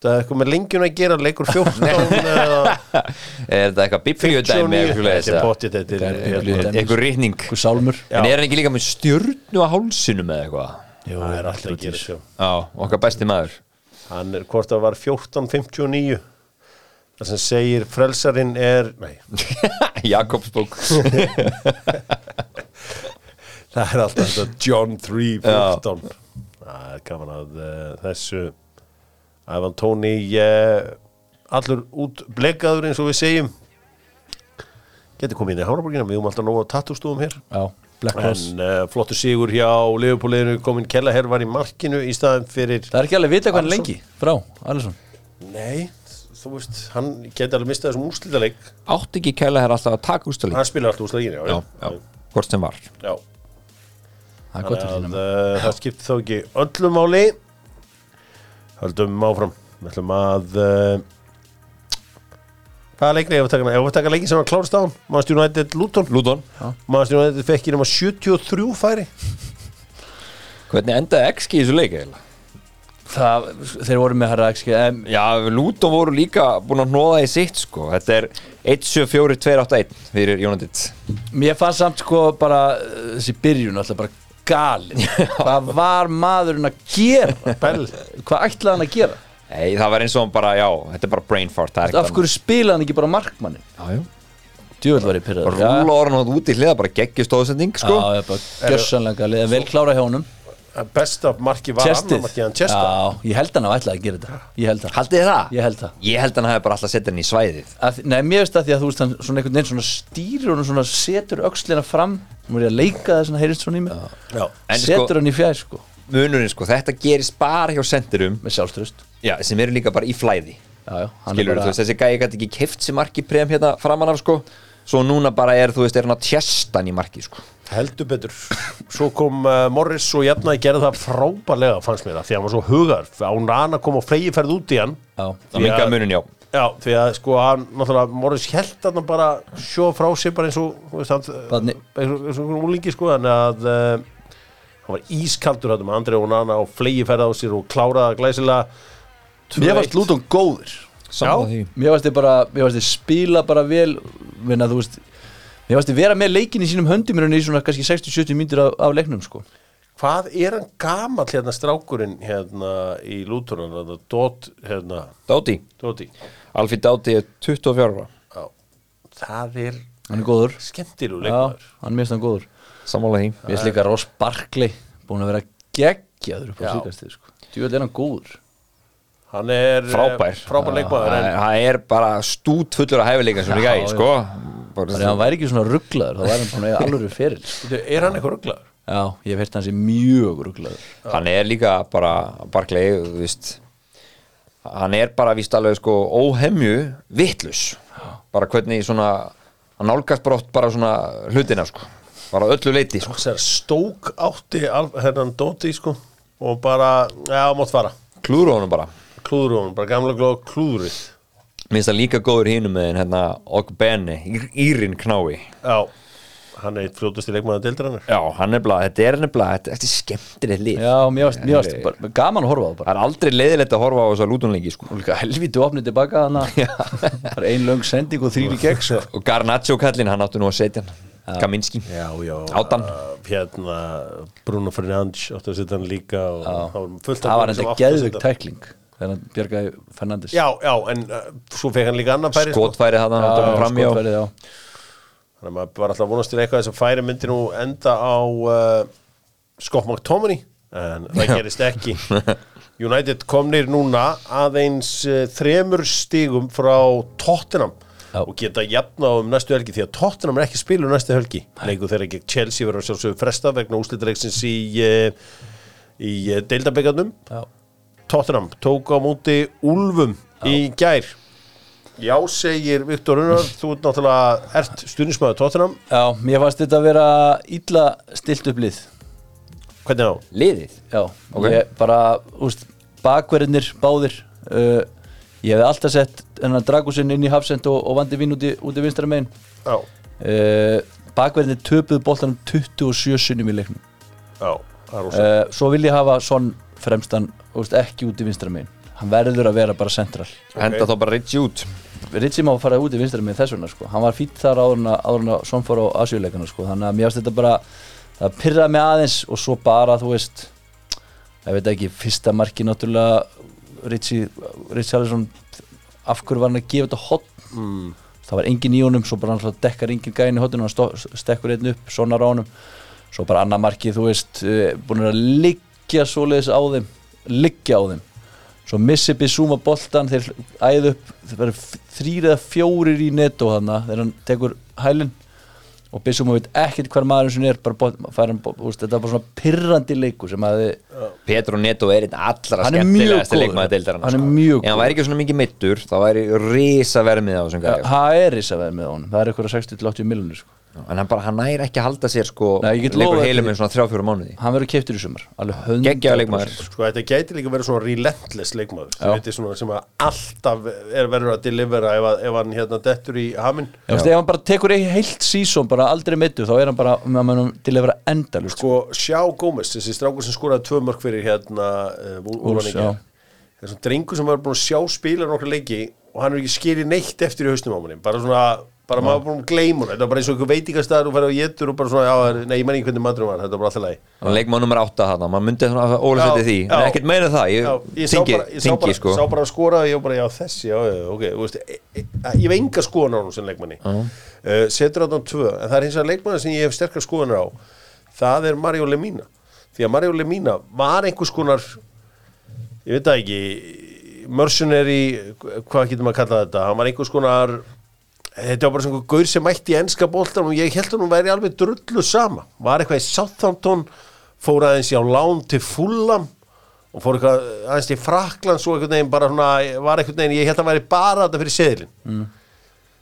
[SPEAKER 1] Það er eitthvað með lengjun að gera, leikur *laughs* 14 eða
[SPEAKER 2] Er þetta eitthvað biblíudæmi
[SPEAKER 1] 59
[SPEAKER 2] eða eitthvað leiðis
[SPEAKER 1] Þetta er potið, þetta er hérna,
[SPEAKER 3] biblíudæmi.
[SPEAKER 2] Eitthvað rýtning
[SPEAKER 3] einhver sálmur
[SPEAKER 2] En er hann ekki líka með stjörnu á hálsinum eða eitthvað?
[SPEAKER 3] Jú,
[SPEAKER 1] Það er alltaf að gera sjá
[SPEAKER 2] Já, okkar besti maður *laughs*
[SPEAKER 1] Hann er hvort að var 14.59 Það sem segir frelsarinn er Nei,
[SPEAKER 2] Jakobsbók
[SPEAKER 1] það er alltaf þetta John 3.14 Það er gaman að uh, þessu Ivan Tóni uh, allur út blekaður eins og við segjum getur komið inn í Hánaborgina, við höfum alltaf nóg að tattústúum hér
[SPEAKER 3] Já, Black Cross
[SPEAKER 1] en uh, flottur sigur hjá Leifupúliðinu komin Kellaher var í markinu í staðin fyrir
[SPEAKER 3] Það er ekki alveg vita hvað hann
[SPEAKER 1] Alisson.
[SPEAKER 3] lengi frá, Alisson
[SPEAKER 1] nei, þú veist, hann geti alveg mistað þessum úrslítaleik
[SPEAKER 2] átti ekki kæla þær alltaf að taka úrstæli
[SPEAKER 1] hann spila alltaf úrslíkinu
[SPEAKER 2] já, já, hvort sem var
[SPEAKER 1] já.
[SPEAKER 3] Það er gott að
[SPEAKER 1] Þannig
[SPEAKER 3] finna
[SPEAKER 1] að uh, það skipt þó ekki öllu máli höldum áfram við ætlum að uh, hvaða leikni ég var að taka ég var að taka leiki sem var klárst á Manchester United Luton
[SPEAKER 2] Lúton,
[SPEAKER 1] Manchester United fekk í nema 73 færi
[SPEAKER 2] hvernig endaði XG í þessu leik eiginlega?
[SPEAKER 3] Það, þeir voru með herra XG em,
[SPEAKER 2] Já, Lúton voru líka búin að hnoða í sitt sko, þetta er 1-7-4-2-8-1 fyrir Jónandit
[SPEAKER 3] Mér fannst samt sko bara uh, þessi byrjun alltaf bara galin Hvað var maðurinn að gera?
[SPEAKER 1] Bell.
[SPEAKER 3] Hvað ætlaði hann að gera?
[SPEAKER 2] Nei, það var eins og hann bara, já, þetta er bara brain fart það er
[SPEAKER 3] Af hverju spilaði hann ekki bara markmanni?
[SPEAKER 2] Já, já
[SPEAKER 3] Djúvel var ég pyrraður
[SPEAKER 2] Rúla orðan átt út í hliða, bara geggjustóðsending sko.
[SPEAKER 3] Já, ég bara gjörsanlega galið Vel klára hjá honum
[SPEAKER 1] besta Eh, marki var annar
[SPEAKER 3] Tjestið
[SPEAKER 1] marki en
[SPEAKER 3] Já,
[SPEAKER 1] Chester
[SPEAKER 3] ég held hann að ætlaði að gera þetta Ég held það
[SPEAKER 2] Haldið þið það?
[SPEAKER 3] Ég held það
[SPEAKER 2] Ég held hann hafi bara alltaf sett hann í svæðið
[SPEAKER 3] að, Nei, mér veist að því að þú veist hann svona einhvern veginn svona stýrir og svona setur öxlina fram Nú er ég að leika það svona, heyrist svona í mér
[SPEAKER 1] Já.
[SPEAKER 2] En
[SPEAKER 3] Setur
[SPEAKER 2] sko-
[SPEAKER 3] hann í fjær sko,
[SPEAKER 2] Munurinn sko, þetta gerist bara hjá sendurum
[SPEAKER 3] með sjálfströst
[SPEAKER 2] Já, sem eru líka bara í flæði
[SPEAKER 3] Já, já, hann
[SPEAKER 2] Skilur
[SPEAKER 3] er
[SPEAKER 2] þú
[SPEAKER 3] bara
[SPEAKER 2] veist, þessi gæi gæti ekki keift sér marki prem hérna framan af sko Svo núna bara er, þú veist, er hann að tjesta hann í marki sko
[SPEAKER 1] heldur betur svo kom uh, Morris og Jafnæði gerði það frábælega fannst mér það því að hann var svo hugar án rana kom og flegi ferð út í hann
[SPEAKER 3] Já,
[SPEAKER 2] Það
[SPEAKER 1] Já.
[SPEAKER 2] mingar munurinn, já
[SPEAKER 1] Já, því að sko hann, náttúrulega, Morris held hann bara sjó frá sig bara eins og, þú veist, hann,
[SPEAKER 3] Barni.
[SPEAKER 1] eins og, eins og úlingi sko, þannig að uh, hann var ískaldur hann með Andri og Nana og flegi ferða á sér og kláraða glæsilega.
[SPEAKER 3] mér varst Lúton góður
[SPEAKER 2] Sammála því.
[SPEAKER 3] Mér varst þið bara, mér varst þið spila bara vel Vinna, þú veist Mér varst þið vera með leikin í sínum höndum í rauninni í svona kannski 60-70 mínútur af, af leiknum sko
[SPEAKER 1] Hvað er hann gamall hérna strákurinn hérna í lútunan, hérna Dótt, hérna,
[SPEAKER 2] Dáti,
[SPEAKER 1] Dóti.
[SPEAKER 2] Alfie Dáti er 24 ára
[SPEAKER 1] Já, það er
[SPEAKER 3] Hann er góður
[SPEAKER 1] skemmtilegu
[SPEAKER 3] Já,
[SPEAKER 1] leikmaður.
[SPEAKER 3] hann mér finnst hann góður
[SPEAKER 2] Sammála því
[SPEAKER 3] Mér finnst líka Ross Barkley Búin að vera geggjaður upp á
[SPEAKER 1] Já.
[SPEAKER 3] síkastir sko Djúvel er hann góður
[SPEAKER 1] Hann er eh,
[SPEAKER 2] Frábær
[SPEAKER 1] frábær leikmaður,
[SPEAKER 2] Það
[SPEAKER 1] en
[SPEAKER 2] er- það er bara stút fullur að hæfileika sem líka
[SPEAKER 3] Já,
[SPEAKER 2] í
[SPEAKER 3] já.
[SPEAKER 2] sko
[SPEAKER 3] Þannig að hann væri ekki svona rugglaður þá væri hann búin að eiga alveg fyrir
[SPEAKER 1] er hann eitthvað rugglaður?
[SPEAKER 3] Já, ég hef hirt hann sé mjög rugglaður
[SPEAKER 2] hann er líka bara Barkley, þú veist hann er bara víst alveg sko óhemju vittlus, bara hvernig svona, hann nálgast brótt bara svona hlutina sko, bara að öllu leiti sko.
[SPEAKER 1] Sér stók átti alf- hennan Dóti sko og bara, já, mátt fara
[SPEAKER 2] klúru honum bara,
[SPEAKER 1] klúður hún, bara gamla glóð klúðrið
[SPEAKER 2] minnst það líka góður hínum með henn, hérna Ogbeni, Írin knái
[SPEAKER 1] já, hann er eitt fljótusti leikmaður deildarinnar
[SPEAKER 2] já, hann er blað, þetta er nefnilega þetta, þetta er skemmtilegt lið
[SPEAKER 3] Já, mér varst, mér varst bara, gaman að horfa á það bara
[SPEAKER 2] það er aldrei leiðilegt að horfa á þess að lútunleiki sko.
[SPEAKER 3] og líka helviti opnið tilbaka *laughs* þannig bara ein löng sending og þrýri gegn sko.
[SPEAKER 2] og Garnaccio kallinn, hann átti nú að setja hann Kaminski,
[SPEAKER 1] já, já,
[SPEAKER 2] Átan.
[SPEAKER 1] uh, hérna Bruno Fernandes átti að setja hann líka og það var fullt af
[SPEAKER 3] það var
[SPEAKER 1] mönnum sem
[SPEAKER 3] enda
[SPEAKER 1] áttu að
[SPEAKER 3] geðvig
[SPEAKER 1] setja hann.
[SPEAKER 3] tækling þegar hann bjargaði Fernandes
[SPEAKER 1] já, já, en uh, svo fekk hann líka annan færi sko.
[SPEAKER 2] skotfærið hann, hann átti fram í á
[SPEAKER 3] skotfærið, já.
[SPEAKER 1] þannig að maður var alltaf að vonast til eitthvað þess að færi myndi nú enda á uh, Scott McTominay en það gerist ekki United komnir núna aðeins uh, þremur stígum frá Tottenham
[SPEAKER 3] Já.
[SPEAKER 1] og geta jafna um næstu helgi því að Tottenham er ekki spilur næstu helgi leikur þeirra gegn Chelsea verður að sjálfsögðu fresta vegna úslitreiksins í uh, í uh, deildabyggarnum
[SPEAKER 3] Já.
[SPEAKER 1] Tottenham tók á móti Úlfum í gær Já, segir Viktor Unnar, þú ert náttúrulega ert stundismæður Tottenham,
[SPEAKER 3] já, mér fannst þetta að vera illa stilt upp lið
[SPEAKER 1] hvernig á?
[SPEAKER 2] liðið
[SPEAKER 3] já,
[SPEAKER 2] Ok.
[SPEAKER 3] ég bara úst, bakverðinir báðir uh, ég hefði alltaf sett hennar Dragusinn inn í hafsend og, og vandi vinn út í, út í vinstra megin
[SPEAKER 1] Já,
[SPEAKER 3] uh, bakverðinir töpuðu boltanum 27 sinnum í leiknum
[SPEAKER 1] já, það er rosa
[SPEAKER 3] uh, svo vil ég hafa Son fremstan úst, ekki út í vinstra megin hann verður að vera bara central
[SPEAKER 2] henda þá bara Ritchie út
[SPEAKER 3] Ritchie má fara út í vinstra megin þess vegna sko. hann var fýtt þar áður en að- áður en að Son fór á asjuleikana sko. þannig að mér finnst þetta bara það pyrraði mig aðeins og svo bara þú veist ég veit ekki, fyrsta marki náttúrulega Ritchie, Ritchie Allison af hverju var hann að gefa þetta hotn
[SPEAKER 1] mm.
[SPEAKER 3] það var engin í honum, svo bara hann dekkar engin gæðin í hotnum, hann stó- stekkur einn upp eh, sonar á honum, svo bara annar markið þú veist, búin að liggja svoleiðis á þeim liggja á þeim svo missi Bissúma boltan þeir æðu upp, þeir verður þrýr eða fjórir í netto þarna þegar hann tekur hælinn og Bissúma veit ekkert hver maður sem er bara bolt, fær hann, bo- úst, þetta er bara svona pirrandi leiku sem að þið,
[SPEAKER 2] Petro Neto er einn allra
[SPEAKER 3] Hann er mjög
[SPEAKER 2] skemmtilegasti
[SPEAKER 3] góður.
[SPEAKER 2] leikmaði deildarinn
[SPEAKER 3] Hann er mjög
[SPEAKER 2] En hann
[SPEAKER 3] góður.
[SPEAKER 2] væri ekki svona mikið mittur þá væri risa vermið á þessum gæja sko.
[SPEAKER 3] það er ísa veð með honum það er eitthvað 60-80 miljonir sko.
[SPEAKER 2] En hann bara, hann næri ekki að halda sér sko
[SPEAKER 3] Nei, ég get
[SPEAKER 2] Leikur
[SPEAKER 3] lofað
[SPEAKER 2] heilum
[SPEAKER 3] því.
[SPEAKER 2] en svona 3-4 mánuði
[SPEAKER 3] hann verður keiptur í sumar alveg 100%
[SPEAKER 2] Geggjaður leikmaður
[SPEAKER 1] Sko þetta gæti líka verið svona relentless leikmaður sem, veitir svona, sem að alltaf er verður að delivera ef, að- ef hann hérna dettur í haminn
[SPEAKER 3] Já, veist, ef hann bara tekur eitt heilt sísón bara aldrei meittu þá er hann bara með mönnum til að vera endalust sko.
[SPEAKER 1] Sko Sjá Gómez, þessi strákur sem skoraði tvö mörg fyrir hérna uh,
[SPEAKER 3] Wolves,
[SPEAKER 1] Úlvaningi Þessi drengur sem var búin að sjá spila nokkra leiki og hann er ekki skilið neitt eftir í haustum á manni bara svona, bara maður búin að gleyma hún þetta var bara eins og einhver veitingastæður og færði á getur og bara svona, já, það er- nei, ég menn ekki hvernig maturinn var þetta var bara alltaf lægi
[SPEAKER 2] Leikmaður nummer 8 þarna, maður myndi svona að ólega
[SPEAKER 1] Já,
[SPEAKER 2] setja því En
[SPEAKER 1] já.
[SPEAKER 2] ekkert meina það,
[SPEAKER 1] Já,
[SPEAKER 2] ég
[SPEAKER 1] ég sá
[SPEAKER 2] tingi,
[SPEAKER 1] bara, ég sá bara,
[SPEAKER 2] tingi sko
[SPEAKER 1] sá bara að skora ég var bara, já þessi, já, já, ok þú veist, e, e, ég hef enga skoðan á hún sem leikmanni uh. setur á þann tvö en það er hins vegar leikmanni sem ég hef sterkar skoðanir á það er Mario Lemina því að Mario Lemina var einhvers konar ég veit það ekki mercenary, hvað getur maður að kalla þetta hann var einhvers konar þetta var bara svona einhver gaur sem mætti í enska boltanum og ég held að hún væri alveg drullu sama var eitthvað í Southampton fór aðeins í á lán til Fulham og fór eitthvað aðeins til Frakland svo einhvern veginn bara svona var einhvern veginn, ég held að hann væri bara þetta fyrir seðilinn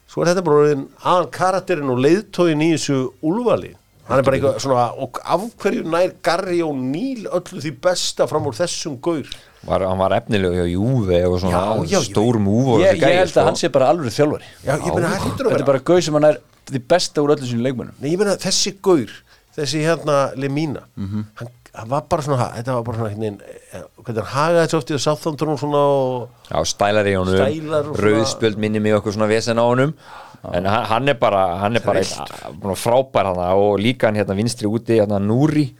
[SPEAKER 1] svo er þetta bara orðin aðan karakterinn og leiðtóin í þessu úlvali hann er bara eitthvað svona og af hverju nær Garri og Níl öllu því besta fram úr þessum gaur
[SPEAKER 2] var, Hann var efnileg hjá Júve og svona
[SPEAKER 1] Já, já, ég
[SPEAKER 2] stór múvor
[SPEAKER 3] ég, ég
[SPEAKER 2] sko.
[SPEAKER 3] held að hann sé bara alveg þjálfari
[SPEAKER 1] já, ég meina hættur að
[SPEAKER 3] þetta
[SPEAKER 1] vera
[SPEAKER 3] er bara gauð sem hann er því besta úr öllum sínum leikmönnum
[SPEAKER 1] Nei, ég meina þessi gaur, þessi hérna Lemina,
[SPEAKER 3] Mhm.
[SPEAKER 1] hann, hann var bara svona, þetta var bara svona hérna, hvernig hann hagaði þessu oft í Southampton og svona og
[SPEAKER 2] Já, stælar í honum,
[SPEAKER 1] Stælar og svona-
[SPEAKER 2] rauðspjöld minni mig okkur svona vesen á honum En hann, hann er bara, hann er bara einn, búinn að frábær hann og líka hann hérna vinstri úti, hérna Núri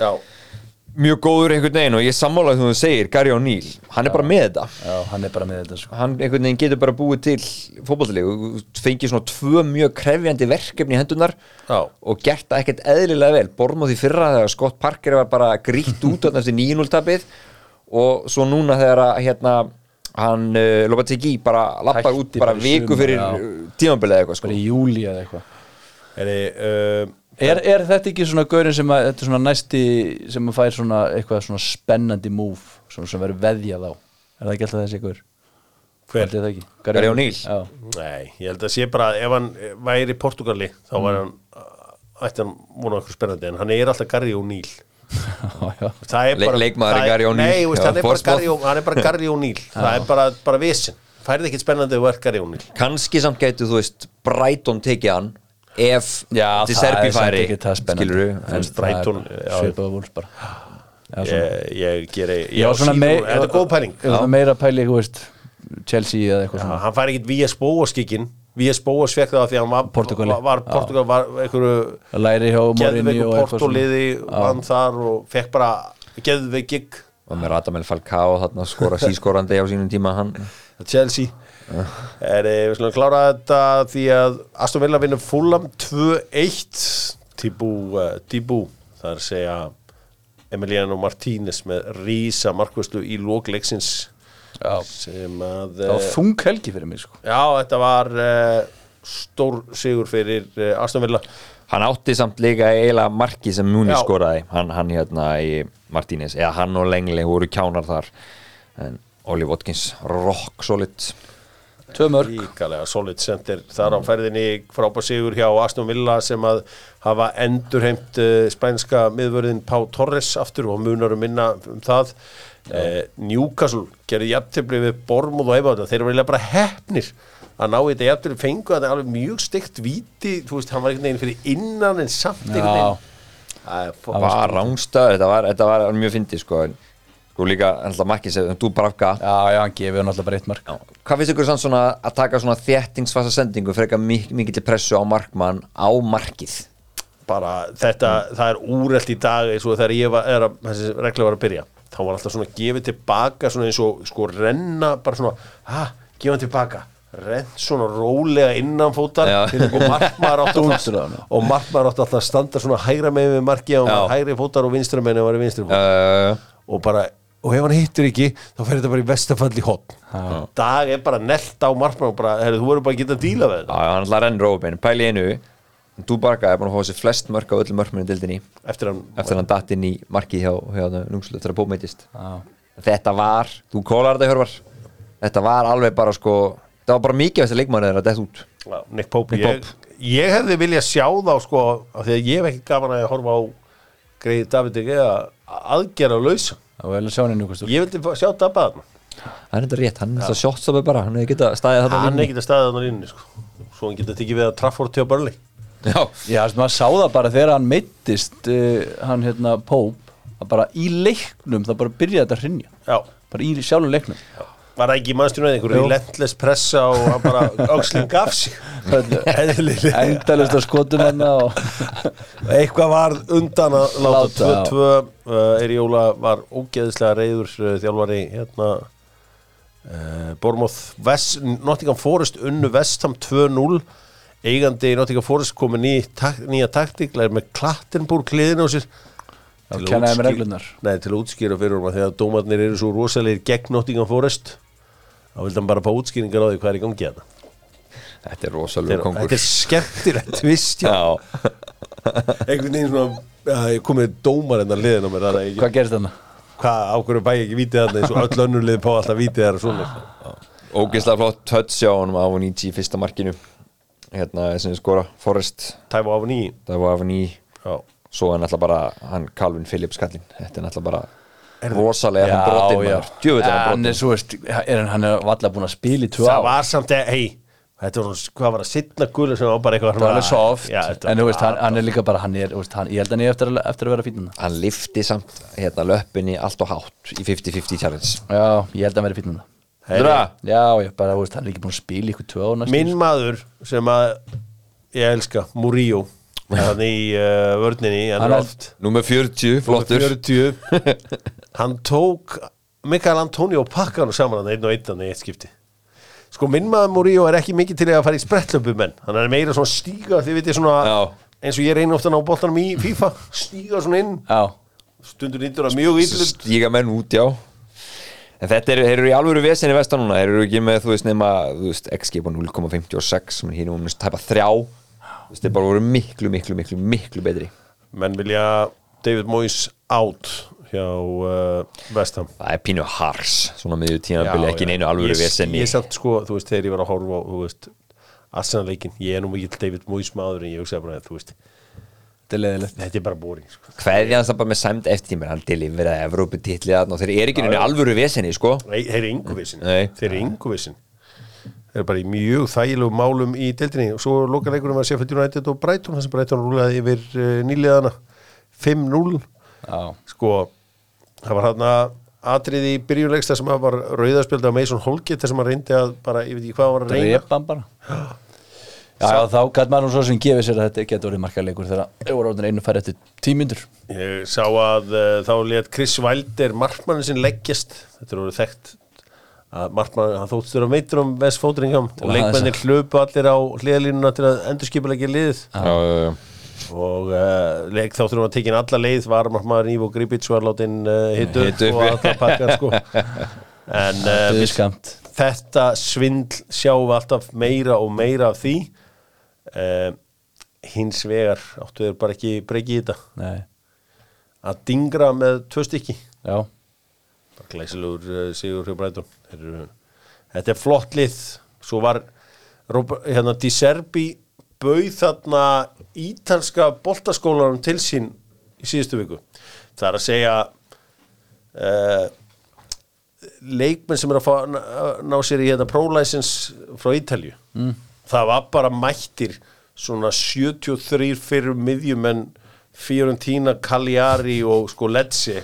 [SPEAKER 1] já.
[SPEAKER 2] Mjög góður einhvern veginn og ég sammála því þú segir, Gary O'Neill, hann er bara með þetta
[SPEAKER 3] já, hann er bara með þetta sko.
[SPEAKER 2] Hann einhvern veginn getur bara búið til fótbollilegu, fengið svona tvö mjög krefjandi verkefni í hendunar
[SPEAKER 1] Já.
[SPEAKER 2] og gert það ekkert eðlilega vel Bormóð í fyrra þegar Scott Parker var bara grítt út á þessi 9-0 tapið og svo núna þegar að hérna hann uh, Lopategui bara lappar
[SPEAKER 3] Hætti
[SPEAKER 2] út bara
[SPEAKER 3] bara í
[SPEAKER 2] viku
[SPEAKER 3] sumar,
[SPEAKER 2] fyrir
[SPEAKER 3] já.
[SPEAKER 2] tímabilið eitthvað sko
[SPEAKER 3] bara í júli eða eitthvað
[SPEAKER 1] Heri, uh,
[SPEAKER 3] er, er þetta ekki svona gaurin sem að þetta er svona næsti sem að fær svona eitthvað svona spennandi move svona sem verður veðjað á er það ekki alltaf þessi gaur? Held ég það ekki? Gary
[SPEAKER 2] Gary
[SPEAKER 3] O'Neill.
[SPEAKER 2] O'Neill.
[SPEAKER 3] Já.
[SPEAKER 1] Nei, ég held að sé bara að ef hann eh, væri í Portugali þá var hann, eh, ætti hann vona okkur spennandi en hann er alltaf Garri og Níl
[SPEAKER 3] *laughs* Já, já.
[SPEAKER 1] Það er
[SPEAKER 2] Le-
[SPEAKER 1] bara
[SPEAKER 2] leikmaður er
[SPEAKER 1] það
[SPEAKER 2] Gary O'Neill.
[SPEAKER 1] Nei, þú veist,
[SPEAKER 2] Já,
[SPEAKER 1] hann er bara
[SPEAKER 2] Portsmouth.
[SPEAKER 1] Garri og- hann er
[SPEAKER 3] *laughs*
[SPEAKER 1] bara Garri og Níl Það er bara, bara vesen Færið ekkert spennandi og er Garri og Níl
[SPEAKER 2] kannski samt gætu þú veist Brighton tekið hann ef
[SPEAKER 3] Já,
[SPEAKER 2] til
[SPEAKER 3] það
[SPEAKER 2] Serbi
[SPEAKER 3] er samt
[SPEAKER 2] færi
[SPEAKER 3] ekki það spennandi
[SPEAKER 2] skilurðu
[SPEAKER 3] En
[SPEAKER 2] en,
[SPEAKER 3] það er
[SPEAKER 1] Brighton, já.
[SPEAKER 3] Svipað vúls bara Já, svona.
[SPEAKER 1] Ég, ég geri, ég,
[SPEAKER 3] Ég
[SPEAKER 1] á
[SPEAKER 3] var svona
[SPEAKER 1] síðum-
[SPEAKER 3] mei-
[SPEAKER 1] Þetta er góð pæling
[SPEAKER 3] Ég var svona meira pæli, þú veist Chelsea eða eitthvað
[SPEAKER 1] Já,
[SPEAKER 3] svona
[SPEAKER 1] hann fær ekkit Vías Bóaskikkin Vías Bóas fekk það af því að hann var
[SPEAKER 3] Portúgali.
[SPEAKER 1] var,
[SPEAKER 3] Já.
[SPEAKER 1] Portugal var einhverju
[SPEAKER 3] Læri hjá Morini
[SPEAKER 1] geðveiku
[SPEAKER 3] og eitthvað
[SPEAKER 1] portóliði vann þar og fekk bara geðveikik
[SPEAKER 2] og með Radamel Falcao þarna skora sískorandi á sínum tíma hann
[SPEAKER 1] Chelsea er, eh, við slum að klára þetta því að Aston Villa vinnur Fulham 2-1 Tibú, uh, Tibú það er að segja Emiliano Martínez með rísa markvæslu í lókleiksins
[SPEAKER 3] Já,
[SPEAKER 1] sem að
[SPEAKER 3] það
[SPEAKER 1] eh,
[SPEAKER 3] var þung helgi fyrir mig sko
[SPEAKER 1] já, þetta var uh, stór sigur fyrir uh, Aston Villa
[SPEAKER 2] Hann átti samt líka eiginlega marki sem Muni
[SPEAKER 1] Já.
[SPEAKER 2] skoraði hann, hann hérna í Martínez eða hann og Lengli voru kjánar þar en Oli Watkins rock solid
[SPEAKER 3] Tvö mörg
[SPEAKER 1] Ríkalega solid center þar á ferðinni frábær sigur hjá Aston Villa sem að hafa endurheimt uh, spænska miðvörðin Pá Torres aftur og munar um minna um það uh, Newcastle gerði jafntefni við Bormúð og Eifáta þeir eru eiginlega bara hefnir að ná í þetta jafntefni fengu að það er alveg mjög stygt víti þú veist, hann var einhvern veginn fyrir innan en samt einhvern
[SPEAKER 3] Já,
[SPEAKER 1] veginn Það er fó-
[SPEAKER 2] það var rángstað, þetta var, þetta var mjög fyndið sko, en sko líka alltaf makki sem þú brafka,
[SPEAKER 3] já, já, hann gefið hann alltaf bara eitt mörg
[SPEAKER 2] hvað finnst ykkur sann svona að taka svona þéttingsfasa sendingu frekar mik mikið til pressu á markmann á markið
[SPEAKER 1] bara þetta, það er úrelt í dag eins og þegar ég var, er að, þessi regla var að byrja þá var alltaf svona gefið tilbaka svona eins og sko renna bara svona, ha, gefa hann tilbaka renn svona rólega innanfótar
[SPEAKER 2] Já.
[SPEAKER 1] til- og markmaður átt alltaf
[SPEAKER 3] Dúndraði hann.
[SPEAKER 1] og markmaður átt alltaf að standa svona hægra megin við markið og
[SPEAKER 2] Já.
[SPEAKER 1] hægri fótar og vinstra megin og var í vinstri fótar
[SPEAKER 2] uh,
[SPEAKER 1] og bara og ef hann hittir ekki þá fer þetta bara í vestafall í hotn dag er bara nelt á markmann og bara, herri, þú voru bara að geta að díla við
[SPEAKER 2] Já,
[SPEAKER 1] þetta
[SPEAKER 2] já, hann ætlaði að renna Róbein, pæli einu Dúbarka er búin að fá sér flest mörk á öllum mörkmunni dildinni
[SPEAKER 1] eftir hann,
[SPEAKER 2] eftir að hann datt inn í markið hjá, hjá Lungslu eftir að bómeitist Þetta var, þú kólar þetta Hjörvar Þetta var alveg bara sko þetta var bara mikið eftir leikmannið þeirra dett út
[SPEAKER 1] já, Nick Pope,
[SPEAKER 2] Nick
[SPEAKER 1] ég, ég hefði viljað sjá þá sko, af því að ég hef ekki gaman að horfa á greið David eða aðgerða og lausa
[SPEAKER 3] og vel að sjá hann í njúkastur
[SPEAKER 1] ég vildi fá- sjá Dabba þarna
[SPEAKER 2] Það er þetta rétt, hann er þetta sjóttstofið bara hann hefði getað staðið þarna á
[SPEAKER 1] hann
[SPEAKER 2] línunni.
[SPEAKER 1] er ekki að staða þarna á línunni sko. svo hann getur tekið við að Trafford til að börli
[SPEAKER 2] Já,
[SPEAKER 3] Já, þess að maður sá það bara þegar hann meittist uh, hann hérna Pope að bara í leiknum það bara byrjaði þetta að hrinja
[SPEAKER 1] já,
[SPEAKER 3] bara í sjálfum leiknum
[SPEAKER 1] var það ekki mannstunum eða einhverju
[SPEAKER 3] Jú.
[SPEAKER 1] relentless pressa og hann *laughs* bara öxlinn gaf sig eðlilega
[SPEAKER 3] endalist að skotum hann og
[SPEAKER 1] eitthvað var undan að
[SPEAKER 3] Láta,
[SPEAKER 1] láta
[SPEAKER 3] já.
[SPEAKER 1] 2-2 uh, Erjóla var ógeðislega reyður uh, þjálfari hérna uh, Bormoth West, Nottingham Forest unnu Vestham 2-0 eigandi í Nottingham Forest komið ný, tak, nýja taktiklega með Klattenburg hliðin á sér Til að
[SPEAKER 3] kennaði mér
[SPEAKER 1] útskýr-
[SPEAKER 3] reglurnar
[SPEAKER 1] Nei, til að útskýra fyrir honum að því að dómarnir eru svo rosalegir gegn Nottingham Forest þá vildi hann bara fá útskýringar á því hvað er í gangi hérna
[SPEAKER 2] þetta er
[SPEAKER 1] Þetta
[SPEAKER 2] rosalega
[SPEAKER 1] er-
[SPEAKER 2] kongur
[SPEAKER 1] þetta er skemmtilegt tvist hjá
[SPEAKER 2] Já,
[SPEAKER 1] einhvern veginn svona að ég komið dómar enn að liðina mér það er ekki,
[SPEAKER 3] hvað gerist hann?
[SPEAKER 1] hvað ákveður bæ ekki vítið þarna eins og öll önnur liði pá alltaf vítið þar og svona
[SPEAKER 2] ógeðslega flott touch á honum á Nietzsche í fyrsta markinu hérna sem skora Forrest,
[SPEAKER 1] tæfa af nýji
[SPEAKER 2] það var af ný
[SPEAKER 1] já,
[SPEAKER 2] svo er náttúrulega bara hann Calvin Phillips kallinn, þetta er náttúrulega bara rosalega hann brotinn maður, djöfull er hann
[SPEAKER 3] hann er
[SPEAKER 2] brotinn
[SPEAKER 3] svo veist er hann, hann er valla búin að spila í tvö
[SPEAKER 1] það
[SPEAKER 3] ár
[SPEAKER 1] var samt að, hei þetta var svona, hvað var það, sittna gula sem var bara eitthvað
[SPEAKER 3] það var alveg soft
[SPEAKER 1] já, þetta
[SPEAKER 3] en þú
[SPEAKER 1] var-
[SPEAKER 3] veist hann, hann er líka bara hann er, þú veist, hann, ég held að hann er eftir, að- eftir að vera fínan
[SPEAKER 2] hann lifti samt hérna löppinni allt og hátt í 50-50 challenge
[SPEAKER 3] já ég held að hann veri fínan
[SPEAKER 2] Heyrðu það?
[SPEAKER 3] já ég bara þú veist hann er ekki búin að spila í ykkur tvö ár næstu
[SPEAKER 1] minn maður sem að ég elska,
[SPEAKER 3] *laughs*
[SPEAKER 1] Murillo hann í uh, vörninni, hann
[SPEAKER 3] Hann
[SPEAKER 1] er
[SPEAKER 3] er-
[SPEAKER 1] oft
[SPEAKER 2] Númer 40, flottur
[SPEAKER 1] 40 hann tók Mikael Antonio og pakkan og saman hann einn og einn hann í eitt skipti sko minn maður Murillo er ekki mikið til að fara í sprettlöpu menn hann er meira svona stíga því veit ég svona
[SPEAKER 2] Já.
[SPEAKER 1] eins og ég reyni ofta að ná boltanum í FIFA stíga svona inn
[SPEAKER 3] já
[SPEAKER 1] stundur nýttur að mjög illur
[SPEAKER 2] *laughs* stíga menn út, já en þetta eru, þeir eru í alvöru vesinni vestan núna þeir eru ekki með, þú veist, nema þú veist, XG búin 0,56 menn hínum um tæpa þrjá þú veist, þeir bara voru miklu, miklu, miklu, miklu betri
[SPEAKER 1] menn vilja David Moyes out hjá uh, Vestham
[SPEAKER 2] það er pínu hars, svona miður tímabili ekki neinu alvöru
[SPEAKER 1] ég,
[SPEAKER 2] vesinni
[SPEAKER 1] ég samt sko, þú veist, þegar ég var að horfa á, þú veist, Arsenal-leikin ég er nú mikill David Moyes maður en ég hugsaði bara, þú veist,
[SPEAKER 3] þetta er leðilegt
[SPEAKER 1] þetta er bara boring sko.
[SPEAKER 2] hverja hans það bara með sæmt eftirtímur hann deliveraði Evrópi titli þarna og þeir eru ekki neina alvöru vesenni sko
[SPEAKER 1] Nei, þeir eru ynguvissin
[SPEAKER 2] Nei.
[SPEAKER 1] þeir eru ynguvissin þeir eru bara í mjög þægilegu málum í deildinni og svo loka leikunum að sé fyrir United og Brighton þar sem Brighton rúlaði yfir uh, nýliðana 5-0
[SPEAKER 3] já
[SPEAKER 1] sko, það var hann að atriði í byrjulegsta sem að var rauðarspjölda á Mason Holgate þar sem að reyndi að bara, ég veit ekki hvað hann var að reyna
[SPEAKER 3] drepa hann bara Já, já þá gæt maður nú svo sem gefið sér að þetta getur orðið markaleikur þegar Euróðan einu fær eftir tímyndur
[SPEAKER 1] Ég sá að uh, þá let Chris Wilder markmannin sinn leggjast þetta er orðið þekkt að markmannin, hann þóttur á meitur um Vest Fótringam og
[SPEAKER 3] var
[SPEAKER 1] leikmennir hlupu allir á hliðalínuna til að endurskipulegja liðið
[SPEAKER 2] já,
[SPEAKER 1] og uh, leik þá þurfum að tekja inn alla leið var markmannin Ívo Gribic var látin uh, hittu
[SPEAKER 2] Hitu.
[SPEAKER 1] og alltaf pakkar sko en uh, við
[SPEAKER 3] Döðskamt
[SPEAKER 1] þetta svindl sjáum við alltaf meira og meira af því uh, hins vegar áttu þeir bara ekki breykið þetta
[SPEAKER 3] Nei,
[SPEAKER 1] að dingra með tvö stykki
[SPEAKER 3] já
[SPEAKER 1] glæsilegur uh, Sigur hjá Bræton þeir eru þetta er flott lið svo var Rob- hérna Di Serbi bauð þarna ítalska boltaskólanum til sín í síðustu viku það er að segja uh, leikmenn sem er að fá, ná, ná sér í hérna pro-license frá Ítalju mm. það var bara mættir svona 73 fyrir miðjumenn Fiorentina, Cagliari og sko Lecce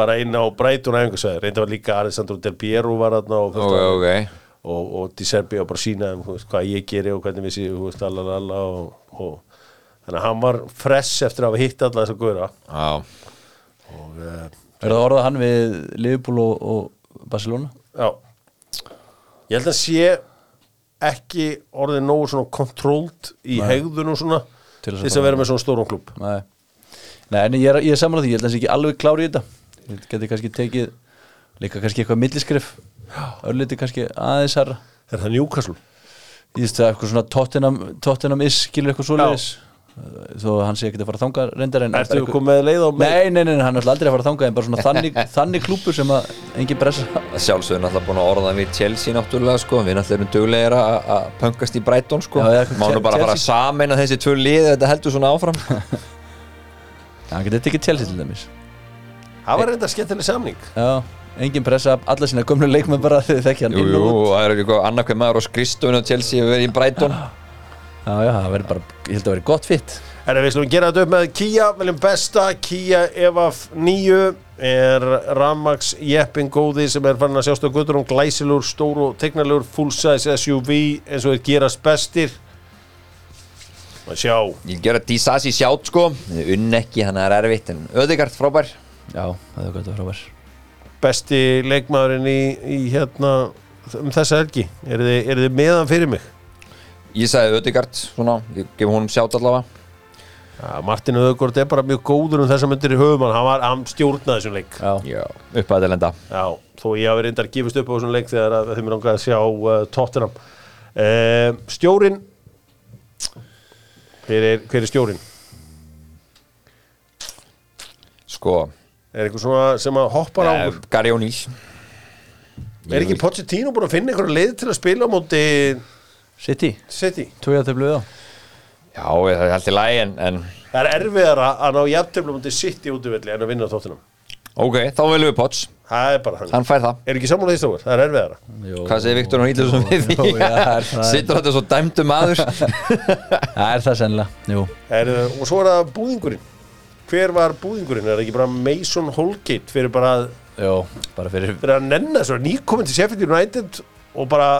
[SPEAKER 1] bara inn á Breitun æfingasæður, reynda var líka Alessandro Del Piero var þarna og,
[SPEAKER 2] ok, ok
[SPEAKER 1] og, og Di Serbi og bara sína þeim, þú veist, hvað ég geri og hvernig við séu þú veist, allalala og, og þannig að hann var fress eftir að hafa hitt alla þess að góra
[SPEAKER 2] Já,
[SPEAKER 1] og uh,
[SPEAKER 3] Er það orðað hann við Liverpool og, og Barcelona?
[SPEAKER 1] Já Ég held að sé ekki orðið nógu svona kontrólt í Nei. hegðun og svona til
[SPEAKER 3] Til þess að
[SPEAKER 1] þess að vera með svona stórum klub
[SPEAKER 3] Nei Nei, en ég er, ég er saman á því, ég held að hans ekki alveg klári í þetta Ég geti kannski tekið líka kannski eitthvað milliskrif örliti kannski aðeins herra
[SPEAKER 1] Er það Newcastle?
[SPEAKER 3] ég veist það eitthvað svona Tottenham, Tottenham is skilur eitthvað svoleiðis þó að hann sé ekkert að fara þangað reyndar en
[SPEAKER 1] Ertu
[SPEAKER 3] eitthvað-
[SPEAKER 1] komið með leið á mig?
[SPEAKER 3] Nei, nei, nei, nei, hann er alltaf aldrei að fara þangað en bara svona
[SPEAKER 2] *laughs*
[SPEAKER 3] þannig, þannig klúpur sem að engin pressa
[SPEAKER 2] sjálfsögðu náttúrulega búin að orða við Chelsea náttúrulega sko, við náttúrulega erum duglegir að að pöngast í Brighton sko,
[SPEAKER 3] Já, já,
[SPEAKER 2] má nú bara
[SPEAKER 3] Chelsea-
[SPEAKER 2] fara samin að þessi tvö lið, þetta heldur svona
[SPEAKER 3] *laughs*
[SPEAKER 2] áfram sko.
[SPEAKER 3] Hann getur tekið Chelsea til dæmis
[SPEAKER 1] Það var reynda skemmtileg samning
[SPEAKER 3] Já, engin pressa, alla sína gömlu leikmenn bara *laughs* þegar þekki hann
[SPEAKER 2] Jú,
[SPEAKER 3] inn
[SPEAKER 2] jú,
[SPEAKER 3] og út.
[SPEAKER 2] það er eitthvað annarkveð maður og skristun og Chelsea hefur verið í Brighton
[SPEAKER 3] Já, já, það verður bara, ég held að verður gott fitt
[SPEAKER 1] En við slum gera þetta upp með Kia, viljum besta Kia EVAF 9 er Ramax Jeppin góði sem er fann að sjást á guttur um glæsilur, stór og tegnalur full size SUV eins og þeir gerast bestir að sjá
[SPEAKER 2] ég gera Disasi sjátt sko unn ekki, hann er erfitt en öðigart frábær
[SPEAKER 3] Já, það er gott að frábær
[SPEAKER 1] besti leikmaðurinn í, í hérna um þessa helgi er þið, er þið meðan fyrir mig
[SPEAKER 2] ég sagði öðigart svona, ég gef honum sjátt allavega
[SPEAKER 1] ja, Martin Öðgort er bara mjög góður um þessa myndir í höfum hann, hann, var, hann stjórnaði þessum leik
[SPEAKER 3] Já,
[SPEAKER 2] Já, uppaðilenda
[SPEAKER 1] Já, þó ég hafi reyndar gefist upp á þessum leik þegar að þeim er langað að sjá uh, Tottenham uh, Stjórin hver er, hver er stjórin?
[SPEAKER 2] sko,
[SPEAKER 1] Er eitthvað svona sem að hoppar á
[SPEAKER 2] eh,
[SPEAKER 1] okkur?
[SPEAKER 2] Gary O'Neill
[SPEAKER 1] Er ekki Pochettino búin að finna einhverja leið til að spila á móti
[SPEAKER 3] City,
[SPEAKER 1] City?
[SPEAKER 3] tója þau blöðu á
[SPEAKER 2] Já, það er alltaf læg en, en
[SPEAKER 1] Það er erfiðara að ná jafntöflum móti City útivilli en að vinna á Tottenham
[SPEAKER 2] ok, þá viljum við Potts,
[SPEAKER 1] Það er bara hann
[SPEAKER 2] hann fær það
[SPEAKER 1] Er ekki sammála því stóður? Það er erfiðara
[SPEAKER 3] Jó,
[SPEAKER 2] Hvað segir Viktor og Hýtlusson við
[SPEAKER 3] Jó,
[SPEAKER 2] því?
[SPEAKER 3] já, það er-
[SPEAKER 2] Sittur þetta svo dæmdu
[SPEAKER 3] *laughs*
[SPEAKER 2] maður?
[SPEAKER 3] það er það sennilega Jú,
[SPEAKER 1] er, Og svo er það búðingurinn Hver var búðingurinn? Er það ekki bara Mason Holgate fyrir bara að
[SPEAKER 3] jú, bara fyrir
[SPEAKER 1] fyrir að nenna þessu nýkomin til Sheffield United og bara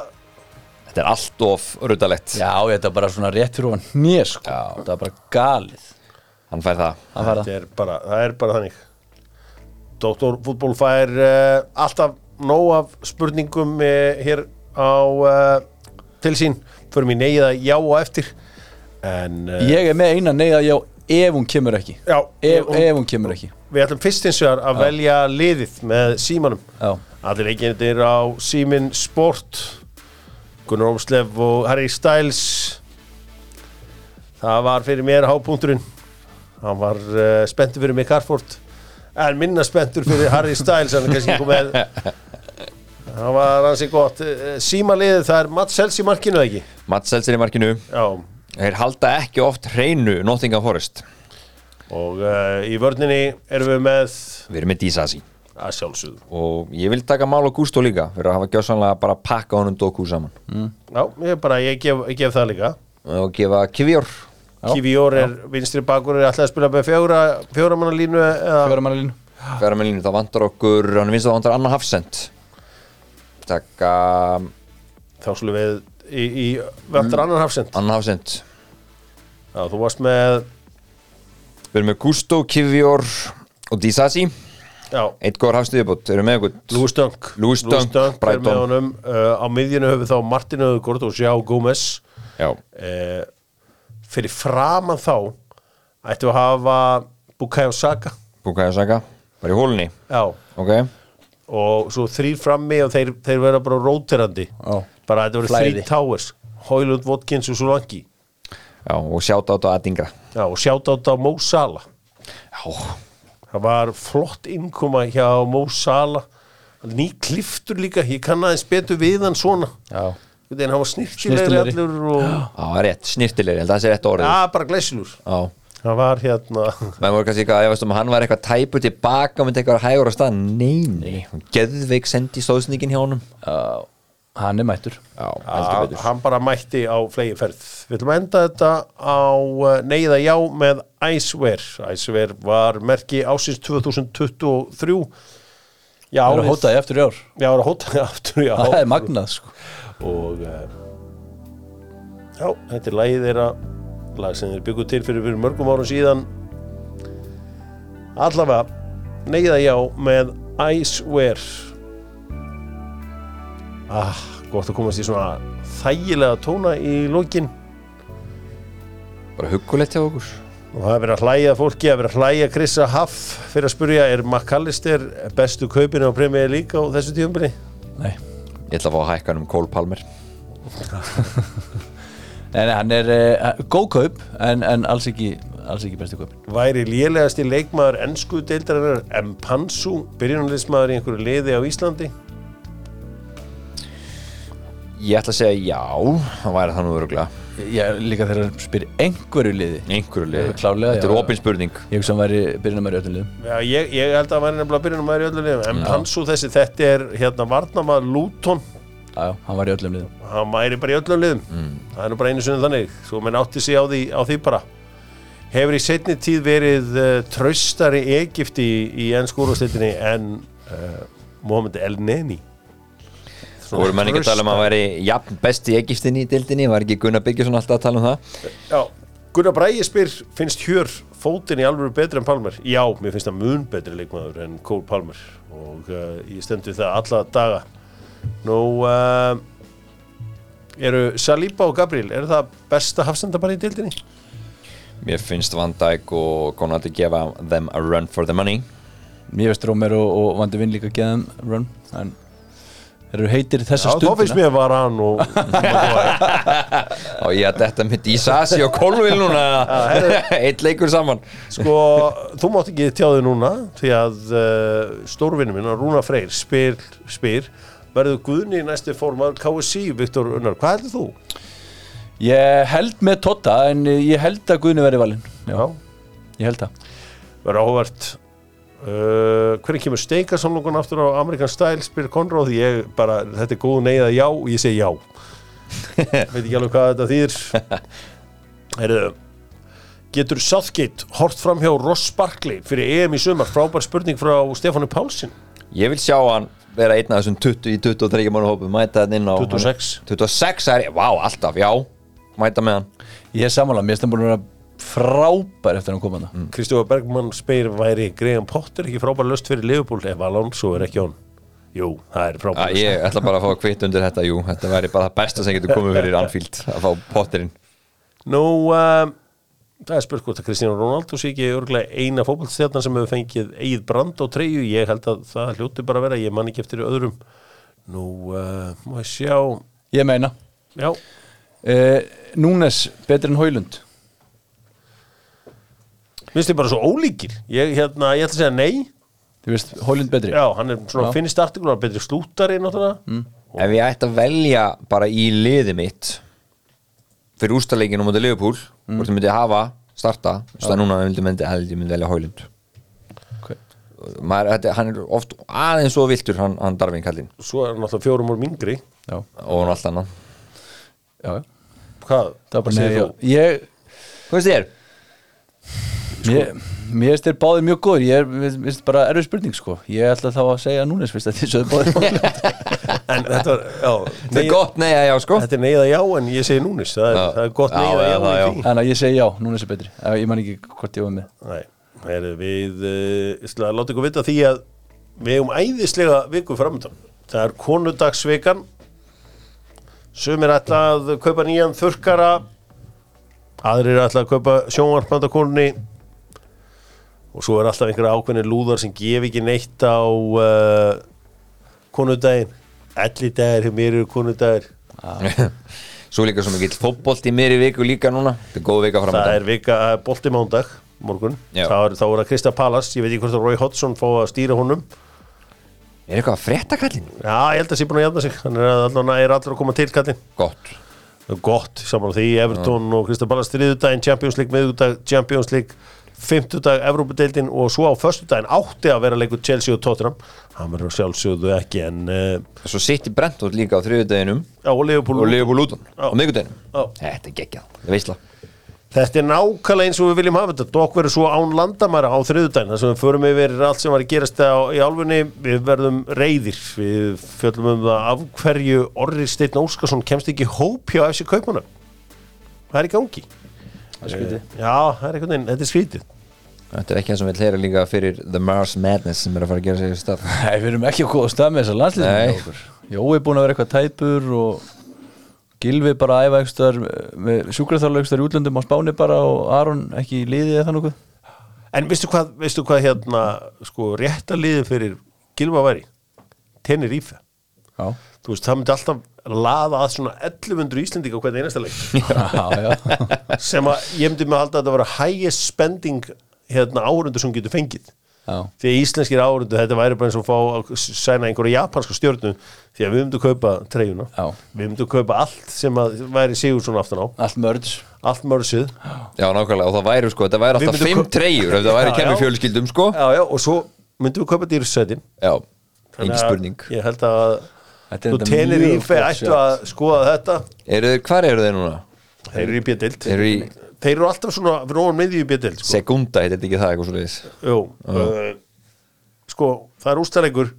[SPEAKER 2] Þetta er allt of ruttalegt.
[SPEAKER 3] Já, þetta er bara svona rétt fyrir ofan hnið sko. Þetta er bara galið
[SPEAKER 2] Hann fær það.
[SPEAKER 3] Hann fær það
[SPEAKER 1] það er bara, það er bara þannig Dóttor fútból fær uh, alltaf nóg af spurningum uh, hér á uh, til sín, förum í neyða já og eftir en uh,
[SPEAKER 3] Ég er með eina neyða já ef hún kemur ekki
[SPEAKER 1] já,
[SPEAKER 3] Ef,
[SPEAKER 1] og-
[SPEAKER 3] ef hún kemur ekki
[SPEAKER 1] við ætlum fyrst eins og að velja liðið með símanum
[SPEAKER 3] Já.
[SPEAKER 1] allir leikindir á símin sport Gunnar Ómslev og Harry Styles það var fyrir mér hápunkturinn hann var uh, spenntur fyrir mig Carford en minna spenntur fyrir Harry Styles hann er kannski ekki komið það var hansi gott Eh, símaliðið það er Mats Hels í markinu eða ekki
[SPEAKER 2] Mats Seltzer í markinu.
[SPEAKER 1] já
[SPEAKER 2] Þeir halda ekki oft hreinu Nottingham Forest.
[SPEAKER 1] og uh, í vörninni erum við með
[SPEAKER 2] Við erum með Dísasi.
[SPEAKER 1] að sjálfsögðu
[SPEAKER 2] Og ég vil taka Mál og Gústó líka fyrir að hafa gjössanlega bara pakka honum Doku saman.
[SPEAKER 1] já, ég, bara, ég, gef, ég gef það líka
[SPEAKER 2] Og gefa Kivjór.
[SPEAKER 1] Kivior er vinstri bakur er alltaf að spila með fjóra, fjóra manna línu eða,
[SPEAKER 3] Fjóra manna línu
[SPEAKER 2] Færa með línu, það vantar okkur, hann finnst að það vantar Anna Hafsend. Taka um,
[SPEAKER 1] þá slum við í, í vantar annan hafsend
[SPEAKER 2] Anna Hafsend.
[SPEAKER 1] Já, þú varst með
[SPEAKER 2] Við erum með Gústó, Kivjór og Dísasi.
[SPEAKER 1] já,
[SPEAKER 2] Eitt góður hafstuði bútt. Erum við með eitthvað?
[SPEAKER 1] Lewis Dunk
[SPEAKER 2] Lewis Dunk,
[SPEAKER 1] er með
[SPEAKER 2] Brighton.
[SPEAKER 1] honum uh, á miðjunu höfum við þá Martin Öðugort og Sjá Gómez
[SPEAKER 2] Já.
[SPEAKER 1] uh, fyrir framan þá ættum við að hafa Bukayo Saka
[SPEAKER 2] Bukayo Saka bara í hólunni
[SPEAKER 1] já,
[SPEAKER 2] ok
[SPEAKER 1] og svo þrýr frammi og þeir, þeir verða bara róterandi
[SPEAKER 3] Já.
[SPEAKER 1] bara þetta verður
[SPEAKER 3] Flæði.
[SPEAKER 1] þrý towers Hoylund, Watkins og Solanki
[SPEAKER 2] já, og sjáta á þetta aðdingra
[SPEAKER 1] já, og sjátt á Mo Salah
[SPEAKER 2] já,
[SPEAKER 1] það var flott innkoma hjá Mo Salah hann er ný kliftur líka, ég kann aðeins betur við hann svona
[SPEAKER 3] Já
[SPEAKER 1] en hann var snirtilegri
[SPEAKER 3] Snyrtilegri.
[SPEAKER 1] allur og
[SPEAKER 2] það er rétt, snirtilegri, ég held að það sé rétt orðið
[SPEAKER 1] já, bara glæsilur
[SPEAKER 2] já,
[SPEAKER 1] hann var hérna
[SPEAKER 3] *laughs*
[SPEAKER 2] menn voru kannski eitthvað, ég veist um að hann var eitthvað tæpu tilbaka, myndi eitthvað hægur á stað nei, nei, hún geðveik sendi stóðsningin hjá honum
[SPEAKER 3] Já, hann er mættur
[SPEAKER 2] já, heldur
[SPEAKER 1] að,
[SPEAKER 2] betur
[SPEAKER 1] hann bara mætti á flegi ferð við ætlum að enda þetta á eh, neyða já með Icewear Icewear var merki ásins 2023 já,
[SPEAKER 3] Það er að
[SPEAKER 1] við-
[SPEAKER 3] hóta því eftir í ár
[SPEAKER 1] já, það er að hóta *laughs* aftur, já,
[SPEAKER 3] Það er magnað sko
[SPEAKER 1] og uh, já, þetta er lagið þeirra lag sem þeir byggu til fyrir, fyrir mörgum árum síðan allavega neyða já með Icewear ah, gott að komast í svona þægilega tóna í lokin
[SPEAKER 2] bara huggulegt hjá okkur
[SPEAKER 1] og það er verið að hlæja að fólki, það er verið að hlæja að Krissa Haff fyrir að spurja, er McAllister bestu kaupinu á Premier League á þessu tíumbili?
[SPEAKER 3] Nei
[SPEAKER 2] Ég ætla að fá að hækka hann um Cole Palmer
[SPEAKER 3] Nei, nei, hann er uh, góð kaup en, en alls ekki, alls ekki bestu kaupin
[SPEAKER 1] Væri lélegasti leikmaður ennsku deildarinnar Mpansu, byrjunarliðsmaður í einhverju liði á Íslandi?
[SPEAKER 2] Ég ætla að segja já, hann væri það nú öruglega
[SPEAKER 3] Ég líka þegar hann spyr einhverju liði
[SPEAKER 2] einhverju liði,
[SPEAKER 3] Klárlega,
[SPEAKER 2] þetta er
[SPEAKER 3] já.
[SPEAKER 2] opin spurning
[SPEAKER 3] Ég hugsa hann væri byrjunum öllum liðum
[SPEAKER 1] Já, ég, ég held að hann væri nefnilega byrjunarmaður í öllu liðum. Mpansu þessi, þetta er hérna varnamaður Luton,
[SPEAKER 3] Já, já, hann var í öllum liðum
[SPEAKER 1] hann væri bara í öllum liðum.
[SPEAKER 2] Mm.
[SPEAKER 1] Það er nú bara einu sunni þannig, svo menn átti sig á því, á því bara. Hefur í setni tíð verið uh, traustari Egipti í, í ennskúrúsleitinni en uh, Mohamed El-Neni?
[SPEAKER 2] Þú voru menn ekki að tala um að hann væri jafn besti Egistinni í dildinni, var ekki Gunnar Byggjesson alltaf að tala um það
[SPEAKER 1] Já, Gunnar Bræði spyr finnst Hjör fótinn í alvöru betri en Palmer? Já, mér finnst það mun betri leikmaður en Cole Palmer og uh, ég stendur það alla daga Nú uh, eru Saliba og Gabriel eru það besta hafstenda bara í dildinni?
[SPEAKER 2] Mér finnst Van Dijk og Konrad að gefa them a run for the money
[SPEAKER 3] Mér veist Rómer og, og Vandi Vinn líka geðum run En þeir eru heitir þessa
[SPEAKER 1] Já, þá finnst
[SPEAKER 3] stundina
[SPEAKER 1] mér var hann og
[SPEAKER 3] *laughs*
[SPEAKER 2] og ég að þetta mitt í Sassi og Kolvil *laughs* núna eitt leikur saman
[SPEAKER 1] sko, þú mátt ekki tjáði núna því að uh, stórvinnum minn Rúna Freyr spyr, spyr verður Guðni í næstu formar KSC, Viktor Unnar, hvað heldur þú?
[SPEAKER 3] Ég held með Totta en ég held að Guðni verði valinn Já, ég held það
[SPEAKER 1] verður áhvert uh, hvernig kemur steikarsamlungun aftur á Amerikan Style spyr Konróð ég bara, þetta er góð neyða já og ég segi já veit ekki alveg hvað þetta þýðir heyrðu getur Southgate hort fram hjá Ross Barkley fyrir EM í sumar, frábær spurning frá Stefánu Pálsson
[SPEAKER 2] Ég vil sjá hann vera einn af þessum 20 í 23 mann hópu, mæta hann inn á
[SPEAKER 1] 26.
[SPEAKER 2] 26 er, vá, alltaf, já mæta með hann
[SPEAKER 3] Ég er sammála, mér finnst hann búin að vera frábær eftir að hann koma það
[SPEAKER 1] Kristjófa Bergmann spyr væri Graham Potter ekki frábær löst fyrir Liverpool ef Alonso er ekki hon jú, það er
[SPEAKER 2] Æ,
[SPEAKER 1] frábær lausn.
[SPEAKER 2] Ég ætla bara að fá að kvitt undir þetta, jú þetta væri bara það besta sem getur komið fyrir Anfield að fá potterinn
[SPEAKER 1] Nú, um, það er spurt hvort að Kristján Rónald sé ekki örgulega eina fótballstjarnan sem hefur fengið eigið brand á treyju. Ég held að það hljóti bara að vera, ég man ekki eftir öðrum. Nú, uh, má ég sjá,
[SPEAKER 3] Ég meina
[SPEAKER 1] já,
[SPEAKER 3] Uh, Núnes, betur en Hóilund
[SPEAKER 1] minnst þið bara svo ólíkir. Ég, hérna, ég ætla að segja nei.
[SPEAKER 3] Þú veist, Hóilund betri
[SPEAKER 1] Já, hann er svona
[SPEAKER 3] Já.
[SPEAKER 1] finnist artikular betri slúttari náttúrulega. Mm.
[SPEAKER 2] Ef ég ætti að velja bara í liði mitt fyrir úrstaleikin á móti Liverpool
[SPEAKER 1] Mm.
[SPEAKER 2] hvort ég myndi hafa, starta það núna myndi, myndi, held ég myndi velja Hólund
[SPEAKER 3] Ok.
[SPEAKER 2] Maður, þetta, hann er oft aðeins svo viltur hann, hann Darvin kallinn
[SPEAKER 1] Svo er hann náttúrulega fjórum úr mingri.
[SPEAKER 3] já,
[SPEAKER 2] og hann allt annað
[SPEAKER 3] já, já.
[SPEAKER 1] Hvað?
[SPEAKER 3] Það var bara
[SPEAKER 1] Hvað segir
[SPEAKER 3] nei,
[SPEAKER 1] þú?
[SPEAKER 3] já. Sko. Ég,
[SPEAKER 2] Hvað veist þér?
[SPEAKER 3] Mér mér finnst þeir báðir mjög góður Ég er mér finnst bara erfið spurning sko Ég ætla þá að segja Núnes fyrst að því svo þeir báðir Hólund
[SPEAKER 1] En þetta var, já,
[SPEAKER 2] Þetta er gott, nei, já, já, sko
[SPEAKER 1] þetta er neyða já en ég segi núnis. Það er,
[SPEAKER 2] Já.
[SPEAKER 1] það er gott
[SPEAKER 2] Já,
[SPEAKER 1] neyða
[SPEAKER 2] já,
[SPEAKER 1] já,
[SPEAKER 2] það,
[SPEAKER 1] í
[SPEAKER 2] já.
[SPEAKER 1] því.
[SPEAKER 3] Þannig að ég segi já, Núnes er betri Eh, Ég man ekki hvort ég var með
[SPEAKER 1] Nei, heyrðu, við uh, ætla að láta ykkur vita því að við hefum æðislega viku framöndan það er konudagsvikan sumir ætla að kaupa nýjan þurkara aðrir ætla að kaupa sjónvarpmandakonunni og svo er alltaf einhverja ákveðni lúðar sem gef ekki neitt á uh, konudaginn allir dagir hjá mér eru konudagir
[SPEAKER 2] *laughs* Svo líka svo mikill fótbolt í mér í viku líka núna Þetta er góð vika
[SPEAKER 1] það
[SPEAKER 2] framöndan
[SPEAKER 1] er vika eh, bolti mándag morgun,
[SPEAKER 2] Já.
[SPEAKER 1] þá er, þá er að Krista Palace ég veit ekki hvort að Roy Hodgson fá að stýra honum
[SPEAKER 2] Er eitthvað að frétta kallinn?
[SPEAKER 1] Já, ég held að sé búin að jafna sig hann er allan er allir að koma til kallinn
[SPEAKER 2] Gott
[SPEAKER 1] gott, saman á því, Everton og Kristján Ballas þriðudaginn, Champions League, miðugudag Champions League, fimmtudag, Evrópadeildin og svo á föstudag átti að vera leikur Chelsea og Tottenham, hann verður að sjálfsögðu ekki en uh,
[SPEAKER 2] Svo sitt í Brentford líka á þriðudeginum
[SPEAKER 1] á Leopold
[SPEAKER 2] og Liverpool Luton
[SPEAKER 1] Já.
[SPEAKER 2] á miðgudeginum
[SPEAKER 1] Já.
[SPEAKER 2] Þetta er geggjað, það er veistla
[SPEAKER 1] Þetta er nákvæmlega eins og við viljum hafa þetta Dokk verður svo án landamæra á þriðudaginn þar sem við förum yfir allt sem var að gerast á, í álfunni við verðum reyðir við fjöllum um það af hverju Orri Steinn Óskarsson kemst ekki í hóp hjá FC Kaupunum Hvað er í gangi?
[SPEAKER 3] Eh,
[SPEAKER 1] Já, það er einhvern veginn, þetta er skrítið
[SPEAKER 2] Þetta er ekki það sem við hlera líka fyrir The Mars Madness sem er að fara að gera sér stað
[SPEAKER 3] Nei, við erum ekki að góða stað með þessar
[SPEAKER 2] Nei.
[SPEAKER 3] landslýsum Jó, er búin að vera eitthvað tæpur og Gilvi bara að æfa ekstar með sjúkraþála ekstar í útlöndum á Spáni bara og Aron ekki í liði eða þannig
[SPEAKER 1] En veistu hvað, veistu hvað hérna sko rétta liðið fyrir Gilva væri? Tenir Ífe
[SPEAKER 3] Já,
[SPEAKER 1] Þú veist, það myndi alltaf laða að svona 1100 Íslendinga á hvernig einasta leik
[SPEAKER 3] *laughs* já, já.
[SPEAKER 1] sem að ég myndi með að halda að þetta vera highest spending hérna áhörundu sem getur fengið
[SPEAKER 3] já.
[SPEAKER 1] því að íslenskir áhörundu, þetta væri bara eins og fá að sæna einhverja japanska stjórnu því að við myndum kaupa treyjuna
[SPEAKER 3] Já.
[SPEAKER 1] við myndum kaupa allt sem að væri sigur svona aftan á,
[SPEAKER 3] Allt mörds
[SPEAKER 1] allt mörsið
[SPEAKER 2] Já, nákvæmlega, og það væri sko, þetta væri
[SPEAKER 1] Við
[SPEAKER 2] alltaf
[SPEAKER 1] myndum
[SPEAKER 2] fimm
[SPEAKER 1] ko-
[SPEAKER 2] treyjur ef það væri
[SPEAKER 1] Já,
[SPEAKER 2] kemur
[SPEAKER 1] já.
[SPEAKER 2] fjölskyldum sko
[SPEAKER 1] já, já, og svo myndum við kaupa dýrsætin
[SPEAKER 2] Já, engin spurning
[SPEAKER 1] ég held að
[SPEAKER 3] Þetta er
[SPEAKER 1] þú
[SPEAKER 3] enda
[SPEAKER 1] tenir
[SPEAKER 3] mjög
[SPEAKER 1] ífe
[SPEAKER 3] gott
[SPEAKER 1] ættu
[SPEAKER 3] sjá.
[SPEAKER 1] að skoða þetta
[SPEAKER 2] eru, Hvar eru þeir núna?
[SPEAKER 1] þeir eru í bjödild
[SPEAKER 2] Þeir eru í
[SPEAKER 1] þeir eru alltaf svona fyrir ofan miðju í bjödild sko.
[SPEAKER 2] sekunda, heitir þetta ekki það eitthvað svo leiðis
[SPEAKER 1] Jú, uh, sko, það er ústarengur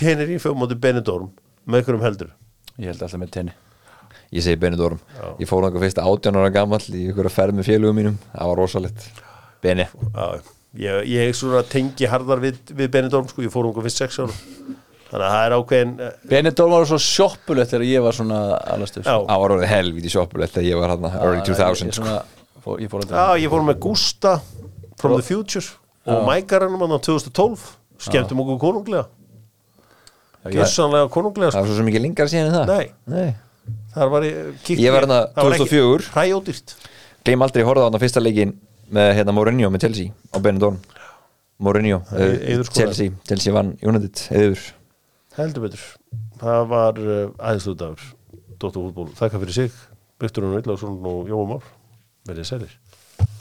[SPEAKER 1] tenir ífe á móti Benidorm með ykkur um heldur
[SPEAKER 3] Ég held alltaf með tenni
[SPEAKER 2] Ég segi Benidorm, ég fór þangað fyrst 18 ára gamall í ykkur að ferð með félugum mínum Það var rosalegt Beni,
[SPEAKER 1] Já, ég, ég svona tengi harðar við, við Benidorm sko, ég fór ungu fyrst sex ára þannig að það er ákveðin eh,
[SPEAKER 3] Benidorm var svo sjoppulegt þegar ég var svona alastu
[SPEAKER 1] já,
[SPEAKER 2] það var orðið helviti sjoppulegt þegar ég var hann early 2000
[SPEAKER 3] Ég,
[SPEAKER 2] sko.
[SPEAKER 3] svona, fó, ég fór aldrei
[SPEAKER 1] já, ég fór með Gústa from the future og Mækaranum hann á 2012 skemmtum okkur konunglega gessanlega konunglega
[SPEAKER 2] Það
[SPEAKER 1] sko.
[SPEAKER 2] var svo sem ekki lengra síðan en það
[SPEAKER 1] Nei. þar var ég kíkti-
[SPEAKER 2] Ég var þarna
[SPEAKER 1] það var ekki-
[SPEAKER 2] 2004.
[SPEAKER 1] hræjódýrt
[SPEAKER 2] Gleim aldrei að horfa á hann fyrsta leikin með hérna, Mourinho með Chelsea á Benidorm Mourinho,
[SPEAKER 1] er
[SPEAKER 2] eh,
[SPEAKER 1] Eiður skoraði.
[SPEAKER 2] Chelsea, Chelsea vann United, eður
[SPEAKER 1] heldur betur það var uh, aðeinslu dagur Dóttur Hútból, þakka fyrir sig Viktor Unn Villarsson og Jóum Már verðið sælir